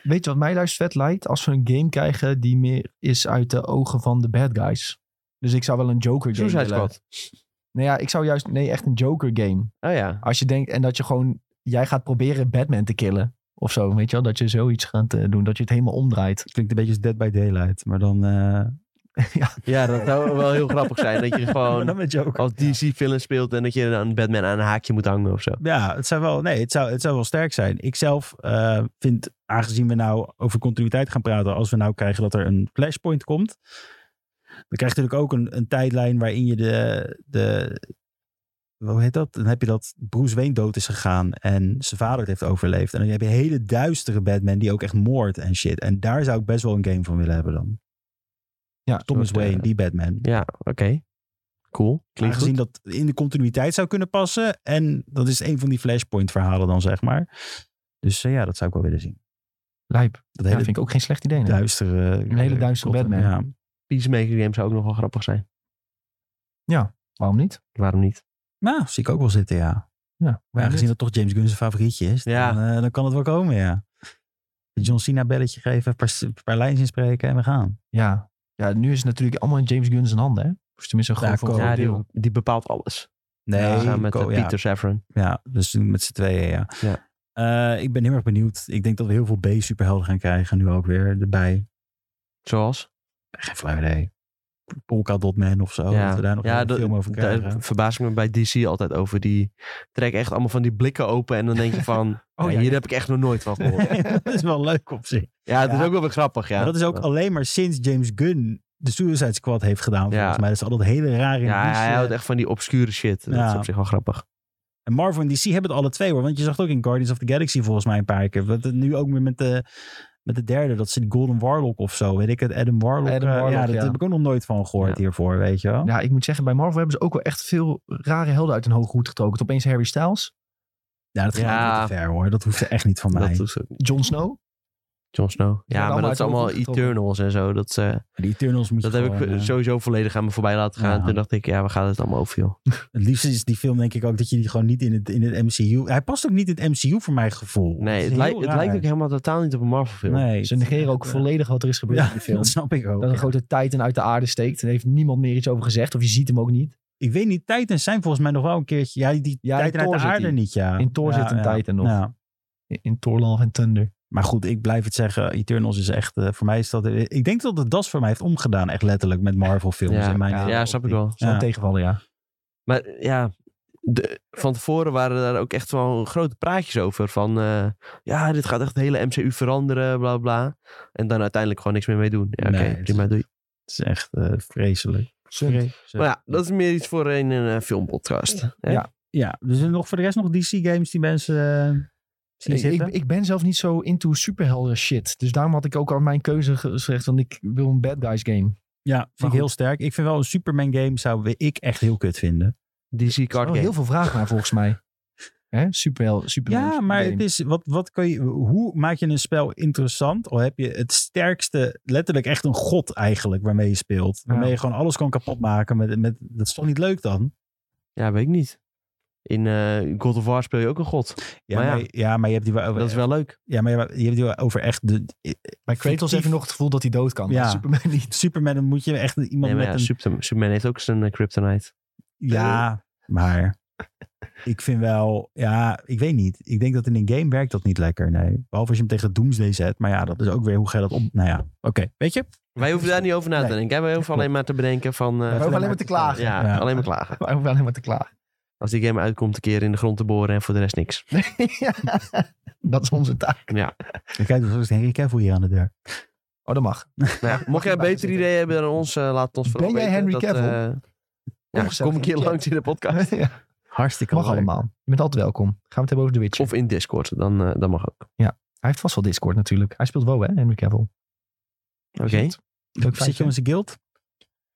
Weet je wat mij juist vet lijkt? Als we een game krijgen die meer is uit de ogen van de bad guys. Dus ik zou wel een Joker game
Suicide
willen.
Squad.
Nee, ja, ik zou juist... Nee, echt een Joker game.
Oh ja.
Als je denkt... En dat je gewoon... Jij gaat proberen Batman te killen. Of zo, weet je wel? Dat je zoiets gaat eh, doen. Dat je het helemaal omdraait.
Klinkt een beetje als Dead by Daylight. Maar dan, eh,
Ja, dat zou Oh, wel heel grappig zijn. Dat je
maar dan
gewoon
met Joker.
als DC film speelt en dat je dan Batman aan een haakje moet hangen of zo.
Ja, het zou wel, nee, het zou, het zou wel sterk zijn. Ik zelf eh, vind, aangezien we nou over continuïteit gaan praten, als we nou krijgen dat er een flashpoint komt, dan krijg je natuurlijk ook een, een tijdlijn waarin je de, de, hoe heet dat? Dan heb je dat Bruce Wayne dood is gegaan en zijn vader het heeft overleefd. En dan heb je een hele duistere Batman die ook echt moordt en shit. En daar zou ik best wel een game van willen hebben dan.
Ja,
Thomas
soort, eh,
Wayne, die Batman.
Ja, oké. Cool. Klinkt
Aangezien
goed.
dat in de continuïteit zou kunnen passen. En dat is een van die flashpoint verhalen dan, zeg maar. Dus eh, ja, dat zou ik wel willen zien.
Lijp.
Dat
Ja,
hele
vind ik ook geen slecht idee. nee.
duistere...
Een hele duistere
Gotham,
Batman.
Ja.
Peacemaker game zou ook nog wel grappig zijn.
Waarom niet?
Waarom niet?
Nou, zie ik ook wel zitten, ja.
Ja,
Maar
waarom
aangezien dat toch James Gunn zijn favorietje is,
Ja.
dan, eh, dan kan het wel komen, ja. John Cena belletje geven, een paar, een paar lijns inspreken en we gaan.
niet? Ja. ja, nu is het natuurlijk allemaal in James Gunn's handen, hè? Of tenminste, gewoon
Ja,
voor
Cole.
een
Ja,
groot
die,
deel.
die bepaalt alles.
Oh, Nee,
Ja, samen met eh,
Ko- ja.
Peter Safran.
Ja, dus met z'n tweeën, ja.
Ja.
Eh, ik ben heel erg benieuwd. Ik denk dat we heel veel B-superhelden gaan krijgen nu ook weer erbij.
Zoals?
Geen flauw idee. Polkadot Man of zo. Dat we daar nog een
dat-
film over
daar
krijgen.
verbaas ik me bij DC altijd over. Die trekken echt allemaal van die blikken open. En dan denk je van, oh,
ja,
hier heb ik echt nog nooit van gehoord.
dat is wel leuk op zich.
Ja, dat
Ja.
is ook wel weer grappig. Ja.
Maar dat is ook alleen maar sinds James Gunn de Suicide Squad heeft gedaan.
Ja.
Volgens mij dat is altijd hele rare
Ja,
niche,
hij
eh.
houdt echt van die obscure shit. Dat
Ja.
is op zich wel grappig.
En Marvel en DC hebben het alle twee hoor. Want je zag het ook in Guardians of the Galaxy volgens mij een paar keer. Wat het nu ook weer met de, met de derde. Dat ze die Golden Warlock of zo. Weet ik het. Adam Warlock.
Adam
eh, ja,
Warlock,
dat
ja.
heb ik ook nog nooit van gehoord
Ja.
hiervoor. Weet je wel.
Ja, ik moet zeggen, bij Marvel hebben ze ook wel echt veel rare helden uit hun hoge hoed getrokken. Opeens Harry Styles,
Ja, dat gaat
Ja.
wel te ver hoor. Dat hoeft echt niet van mij.
Dat is ook-
Jon Snow.
Jon Snow.
Ja,
Ja, maar
allemaal
dat is
uit de
allemaal
hoek getrokken.
Eternals en zo. Dat, eh,
Die Eternals moet je
dat heb
gewoon,
ik
eh,
sowieso volledig aan me voorbij laten gaan.
Ja.
Toen dacht ik, ja, we gaan het allemaal over, joh.
Het liefste is die film, denk ik ook, dat je die gewoon niet in het, in het MCU. Hij past ook niet in het MCU voor mijn gevoel.
Nee,
is
het, lijkt
heel
het
raar.
lijkt ook helemaal totaal niet op een Marvel film.
Nee.
Ze negeren ook
Ja,
volledig wat er is gebeurd
Ja,
in de film.
dat snap ik ook.
Dat een
ja.
grote Titan uit de aarde steekt. En heeft niemand meer iets over gezegd. Of je ziet hem ook niet.
Ik weet niet, Titans zijn volgens mij nog wel een keertje. Ja, die, die
Ja, in
Titan uit
Thor
de
zit
aarde
die.
niet, ja.
In Thor
Ja,
zit een
ja.
Titan nog.
Ja.
In, in Thor Love en Thunder.
Maar goed, ik blijf het zeggen. Eternals is echt, eh, voor mij is dat... Ik denk dat het das voor mij heeft omgedaan, echt letterlijk, met Marvel films.
Ja,
in mijn
ja,
Ja, snap ik wel.
Zal
Ja.
tegenvallen, ja.
Maar ja, de, van tevoren waren daar ook echt wel grote praatjes over. Van eh, ja, dit gaat echt de hele MCU veranderen, bla bla. En dan uiteindelijk gewoon niks meer mee doen. Ja, oké,
Nee, het-
prima, doei.
Het is echt eh, vreselijk. Dus,
Maar ja, dat is meer iets voor een, eh, filmpodcast. hè?
Ja.
Ja, dus er nog voor de rest nog DC-games die mensen eh, zien
Ik, ik,
zitten?
ik ben zelf niet zo into superhelden shit. Dus daarom had ik ook al mijn keuze gezegd. Want ik wil een bad guys game.
Ja, vind
goed.
ik heel sterk. Ik vind wel een Superman game zou ik echt heel kut vinden.
DC
Er
Card
is wel
Game.
Oh, heel veel vraag naar volgens mij. Hè? Superhel, superman,
Ja, maar
supergame.
het is, wat, wat kan je, hoe maak je een spel interessant? Al heb je het sterkste, letterlijk echt een god eigenlijk waarmee je speelt. Waarmee
Ja.
je gewoon alles kan kapotmaken. Met, met, dat is toch niet leuk dan?
Ja, weet ik niet. In eh, God of War speel je ook een god.
Ja,
Maar ja.
maar, ja, maar je hebt die Oh, wel over,
Dat is wel leuk.
ja, maar je hebt- je hebt die wel over echt... De,
Bij Kratos
Fictief.
heb je nog het gevoel dat hij dood kan.
Ja.
Ja. Superman niet.
Superman moet je echt iemand
Nee, maar
met
ja,
een...
Superman, Superman heeft ook zijn eh, kryptonite.
Ja, maar ik vind wel, ja, ik weet niet. Ik denk dat in een game werkt dat niet lekker, nee. Behalve als je hem tegen Doomsday zet. Maar ja, dat is ook weer hoe ga je dat om... Nou ja, oké, weet je?
Wij hoeven daar niet over na te
Nee.
denken. hè. Wij hoeven alleen maar te bedenken van... eh,
We hoeven alleen maar te klagen.
ja,
Ja.
alleen maar klagen.
We hoeven alleen maar te klagen.
Als die game uitkomt, een keer in de grond te boren en voor de rest niks.
Ja. dat is onze taak.
Ik kijk, dus er is Henry Cavill hier aan de deur.
Oh, dat mag.
Nou, mocht jij
erbij
een beter
zitten.
idee hebben dan ons, eh, laat het ons
Ben
vooral
jij
weten.
Henry
Dat,
Cavill?
eh, ja,
Ongezellig
kom een keer
in de chat.
langs in de podcast.
Ja,
Hartstikke
mag
leuk.
allemaal. Je bent altijd welkom. Gaan we het hebben over The Witcher.
Of in Discord, dan, eh dan mag ook.
Hij heeft vast wel Discord natuurlijk. Hij speelt WoW, hè, Henry Cavill.
Oké.
Zit. Leuk
Zit je
feitje.
in onze guild?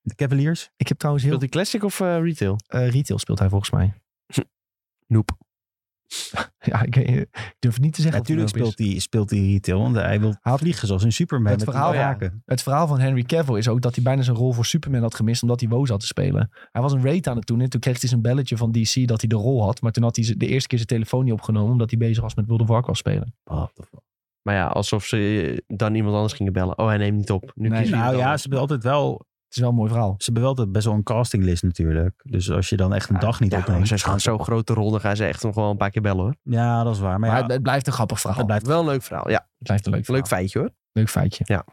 De Cavaliers?
Ik heb trouwens heel...
Speelt hij classic of eh, retail?
eh, retail speelt hij volgens mij.
Noep.
Ja, ik, eh, ik durf het niet te zeggen. of
Natuurlijk
hij wel is.
speelt hij, speelt hij retail, want hij wil vliegen zoals een Superman.
Het
met die
verhaal-
draken.
Het verhaal van Henry Cavill is ook dat hij bijna zijn rol voor Superman had gemist omdat hij Woz had te spelen. Hij was een raid aan het doen en toen kreeg hij zijn belletje van DC dat hij de rol had. Maar toen had hij ze- de eerste keer zijn telefoon niet opgenomen omdat hij bezig was met World of Warcraft spelen.
Maar ja, alsof ze eh, dan iemand anders gingen bellen. Oh, hij neemt niet op. Nu
Nee.
kiezen we
Nou
iemand
ja,
anders.
ze hebben altijd wel,
Het is wel een mooi verhaal.
ze hebben wel altijd best wel een castinglist natuurlijk. Dus als je dan echt een dag niet
Ja, maar
opneemt.
ze is gewoon zo'n grote rol, dan gaan ze echt nog wel een paar keer bellen hoor.
Ja, dat is waar. Maar,
Maar
ja,
het, het blijft een grappig verhaal.
het blijft
Wel een leuk verhaal, ja.
Het blijft een leuk verhaal.
Leuk feitje hoor.
Leuk feitje.
Ja.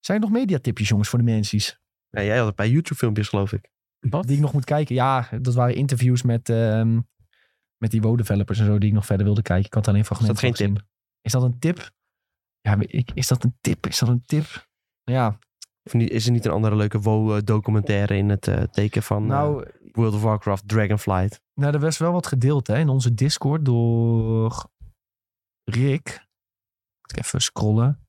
Zijn er nog mediatipjes jongens voor de mensen
Ja, jij had een paar YouTube filmpjes geloof ik.
die ik nog moet kijken? Ja, dat waren interviews met, ehm, met die WoW-developers en zo die ik nog verder wilde kijken. Ik had alleen fragmenten
geen
van gezien. Is dat een tip? Ja, maar ik, is dat een tip? Is dat een tip? Ja,
Of niet, is er niet een andere leuke WoW-documentaire in het eh, teken van eh,
nou,
World of Warcraft Dragonflight?
Nou, er was wel wat gedeeld hè, in onze Discord door Rick. Moet ik even scrollen.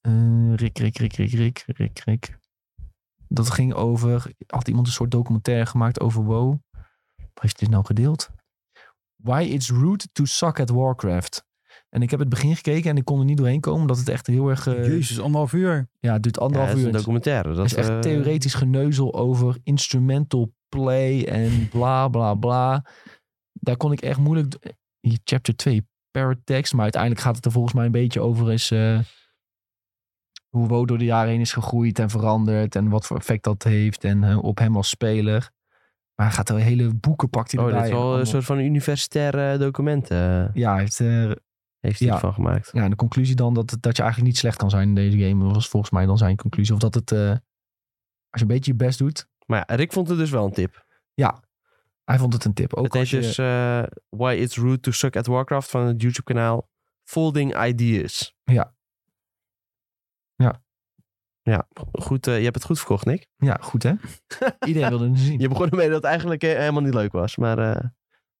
Eh, Rick, Rick, Rick, Rick, Rick, Rick, Rick. Dat ging over, had iemand een soort documentaire gemaakt over WoW. Waar heeft dit nou gedeeld? Why it's rude to suck at Warcraft. En ik heb het begin gekeken en ik kon er niet doorheen komen. Omdat het echt heel erg... eh,
Jezus, anderhalf uur.
ja, het duurt
Ja,
anderhalf
dat is
uur.
een
en het-
documentaire. Dat
dat is echt
eh,
theoretisch geneuzel over instrumental play en bla bla bla. Daar kon ik echt moeilijk. d- Hier, chapter 2, paratext. Maar uiteindelijk gaat het er volgens mij een beetje over is. eh, hoe Wo door de jaren heen is gegroeid en veranderd. En wat voor effect dat heeft. En eh, op hem als speler. Maar hij gaat er hele boeken pakt hij
Oh,
erbij.
dat is
en
wel een
allemaal-
soort van universitair eh, document eh,
Ja, hij heeft, eh,
heeft hij
Ja.
ervan gemaakt.
ja, en de conclusie dan dat, dat je eigenlijk niet slecht kan zijn in deze game. was volgens mij dan zijn conclusie. Of dat het. eh, als je een beetje je best doet.
Maar ja, Rick vond het dus wel een tip.
Hij vond het een tip. Ook
het
als
is
je,
dus eh, Why It's Rude to Suck at Warcraft van het YouTube kanaal Folding Ideas.
Ja. Ja.
Ja, goed, eh, je hebt het goed verkocht, Nick.
Ja, goed hè? Iedereen wilde hem zien.
Je begon ermee dat het eigenlijk eh, helemaal niet leuk was. Maar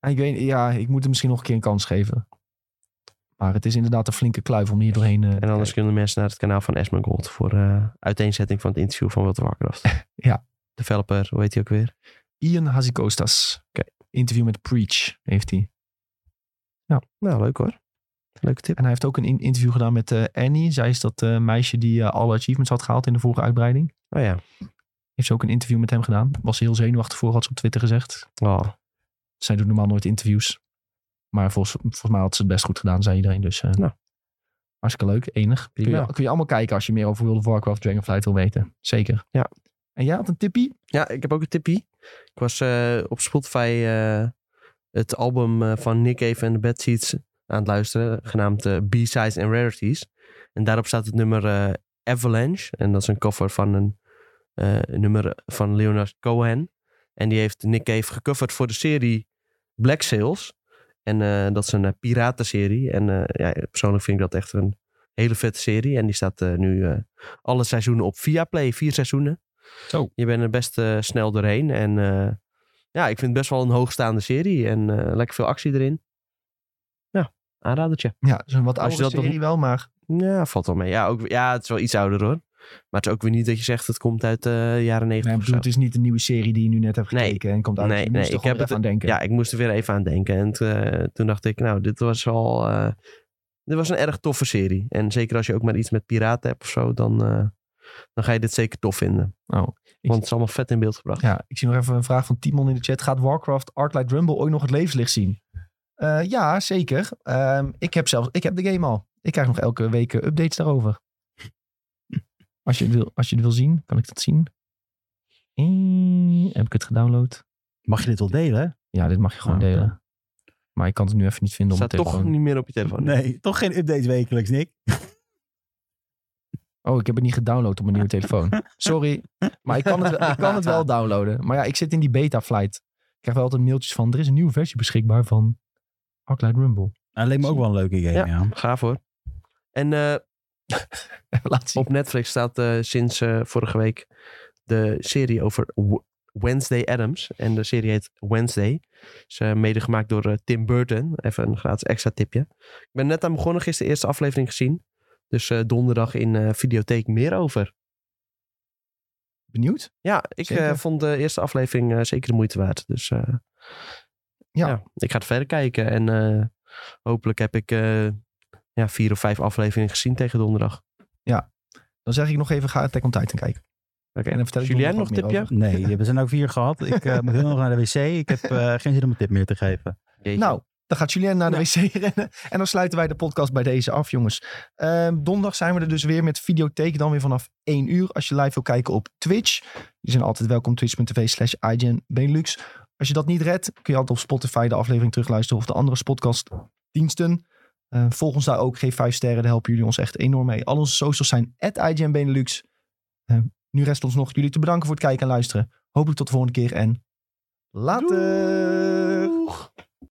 eh,
Ik weet, ja, ik moet hem misschien nog een keer een kans geven. Maar het is inderdaad een flinke kluif om hier doorheen... eh, te
En anders
kijken.
kunnen mensen naar het kanaal van Esmergold voor eh, uiteenzetting van het interview van World of Warcraft.
Ja.
Developer, hoe heet hij ook weer?
Ian Hazikostas.
Oké.
Interview met Preach heeft hij.
Nou, leuk hoor. Leuke tip.
En hij heeft ook een in- interview gedaan met eh, Annie. Zij is dat eh, meisje die eh, alle achievements had gehaald in de vorige uitbreiding.
Oh ja.
Heeft ze ook een interview met hem gedaan. Was ze heel zenuwachtig voor, had ze op Twitter gezegd.
Oh.
Zij doet normaal nooit interviews. Maar volgens, volgens mij had ze het best goed gedaan, zei iedereen. Dus eh,
Nou.
hartstikke leuk, enig. Kun je,
Prima.
kun je allemaal kijken als je meer over World of Warcraft Dragonflight wil weten. Zeker.
Ja.
En jij had een tippie?
Ja, ik heb ook een tippie. Ik was eh, op Spotify eh, het album eh, van Nick Cave en de Bad Seeds aan het luisteren, genaamd eh, B-Sides and Rarities. En daarop staat het nummer eh, Avalanche. En dat is een cover van een eh, een nummer van Leonard Cohen. En die heeft Nick Cave gecoverd voor de serie Black Sails. En eh, dat is een eh, piratenserie. En eh, ja, persoonlijk vind ik dat echt een hele vette serie. En die staat eh, nu eh, alle seizoenen op Viaplay. Vier seizoenen.
Zo.
Je bent er best eh, snel doorheen. En eh, ja, ik vind het best wel een hoogstaande serie. En eh, lekker veel actie erin. Ja, aanradertje.
Ja, dat is een wat
Als je
oudere
dat nog-
serie wel, maar...
Ja, valt wel mee. Ja, ook, ja, het is wel iets ouder hoor. Maar het is ook weer niet dat je zegt het komt uit eh, de jaren
Nee,
negentig
ik
of zo.
bedoel, het is niet een nieuwe serie die je nu net hebt
Nee.
gekeken en komt uit.
Nee,
je moest
nee,
er
ik
gewoon
heb
even
het-
aan denken.
Ja, ik moest er weer even aan denken. En eh, toen dacht ik, nou, dit was al. eh, dit was een erg toffe serie. En zeker als je ook maar iets met piraten hebt of zo, dan eh, dan ga je dit zeker tof vinden.
Oh, ik-
Want het is allemaal vet in beeld gebracht.
Ja, ik zie nog even een vraag van Timon in de chat. Gaat Warcraft Arclight Rumble ooit nog het levenslicht zien? Eh, ja, zeker. Ehm, ik heb zelfs, ik heb de game al. Ik krijg nog elke week eh, updates daarover. Als je, het wil, als je het wil zien, kan ik dat zien. Eh, heb ik het gedownload?
Mag je dit wel delen? hè?
Ja, dit mag je gewoon
Ah, oké.
delen. Maar ik kan het nu even niet vinden op
staat
mijn
toch
telefoon.
niet meer op je telefoon.
Nee, toch geen update wekelijks, Nick.
Oh, ik heb het niet gedownload op mijn nieuwe telefoon. Sorry. Maar ik kan, het, wel- ik kan het wel downloaden. Maar ja, ik zit in die beta-flight. Ik krijg wel altijd mailtjes van... er is een nieuwe versie beschikbaar van Arclight Rumble.
Dat Nou, leek me ook wel een leuke game, ja.
Ja. Gaaf hoor. En eh,
Laat zien.
op Netflix staat eh, sinds eh, vorige week de serie over W- Wednesday Adams. En de serie heet Wednesday. Is eh, mede gemaakt door eh, Tim Burton. Even een gratis extra tipje. Ik ben net aan begonnen, gisteren de eerste aflevering gezien. Dus eh, donderdag in eh, Videotheek meer over.
Benieuwd?
Ja, ik
Zeker.
eh, vond de eerste aflevering eh, zeker de moeite waard. Dus eh,
Ja.
ja. ik ga het verder kijken. En eh, hopelijk heb ik eh, ja, vier of vijf afleveringen gezien tegen donderdag.
Dan zeg ik nog even, ga Attack on Titan kijken.
Oké.
En dan vertel ik
Julien, nog
donderdag
een
wat
tipje?
meer
Nee, we zijn ook vier gehad. Ik eh, moet heel nog naar de wc. Ik heb eh, geen zin om een tip meer te geven.
Jeetje.
Nou, dan gaat Julien naar de wc rennen. En dan sluiten wij de podcast bij deze af, jongens. Ehm, donderdag zijn we er dus weer met videotheek. Dan weer vanaf 1 uur. Als je live wil kijken op Twitch. Je zijn altijd welkom. Twitch.tv slash IGN Benelux. Als je dat niet redt, kun je altijd op Spotify de aflevering terugluisteren. Of de andere podcast diensten. Eh volg ons daar ook. Geef 5 sterren. Daar helpen jullie ons echt enorm mee. Al onze socials zijn at IGN Benelux. Eh, nu rest ons nog jullie te bedanken voor het kijken en luisteren. Hopelijk tot de volgende keer en later.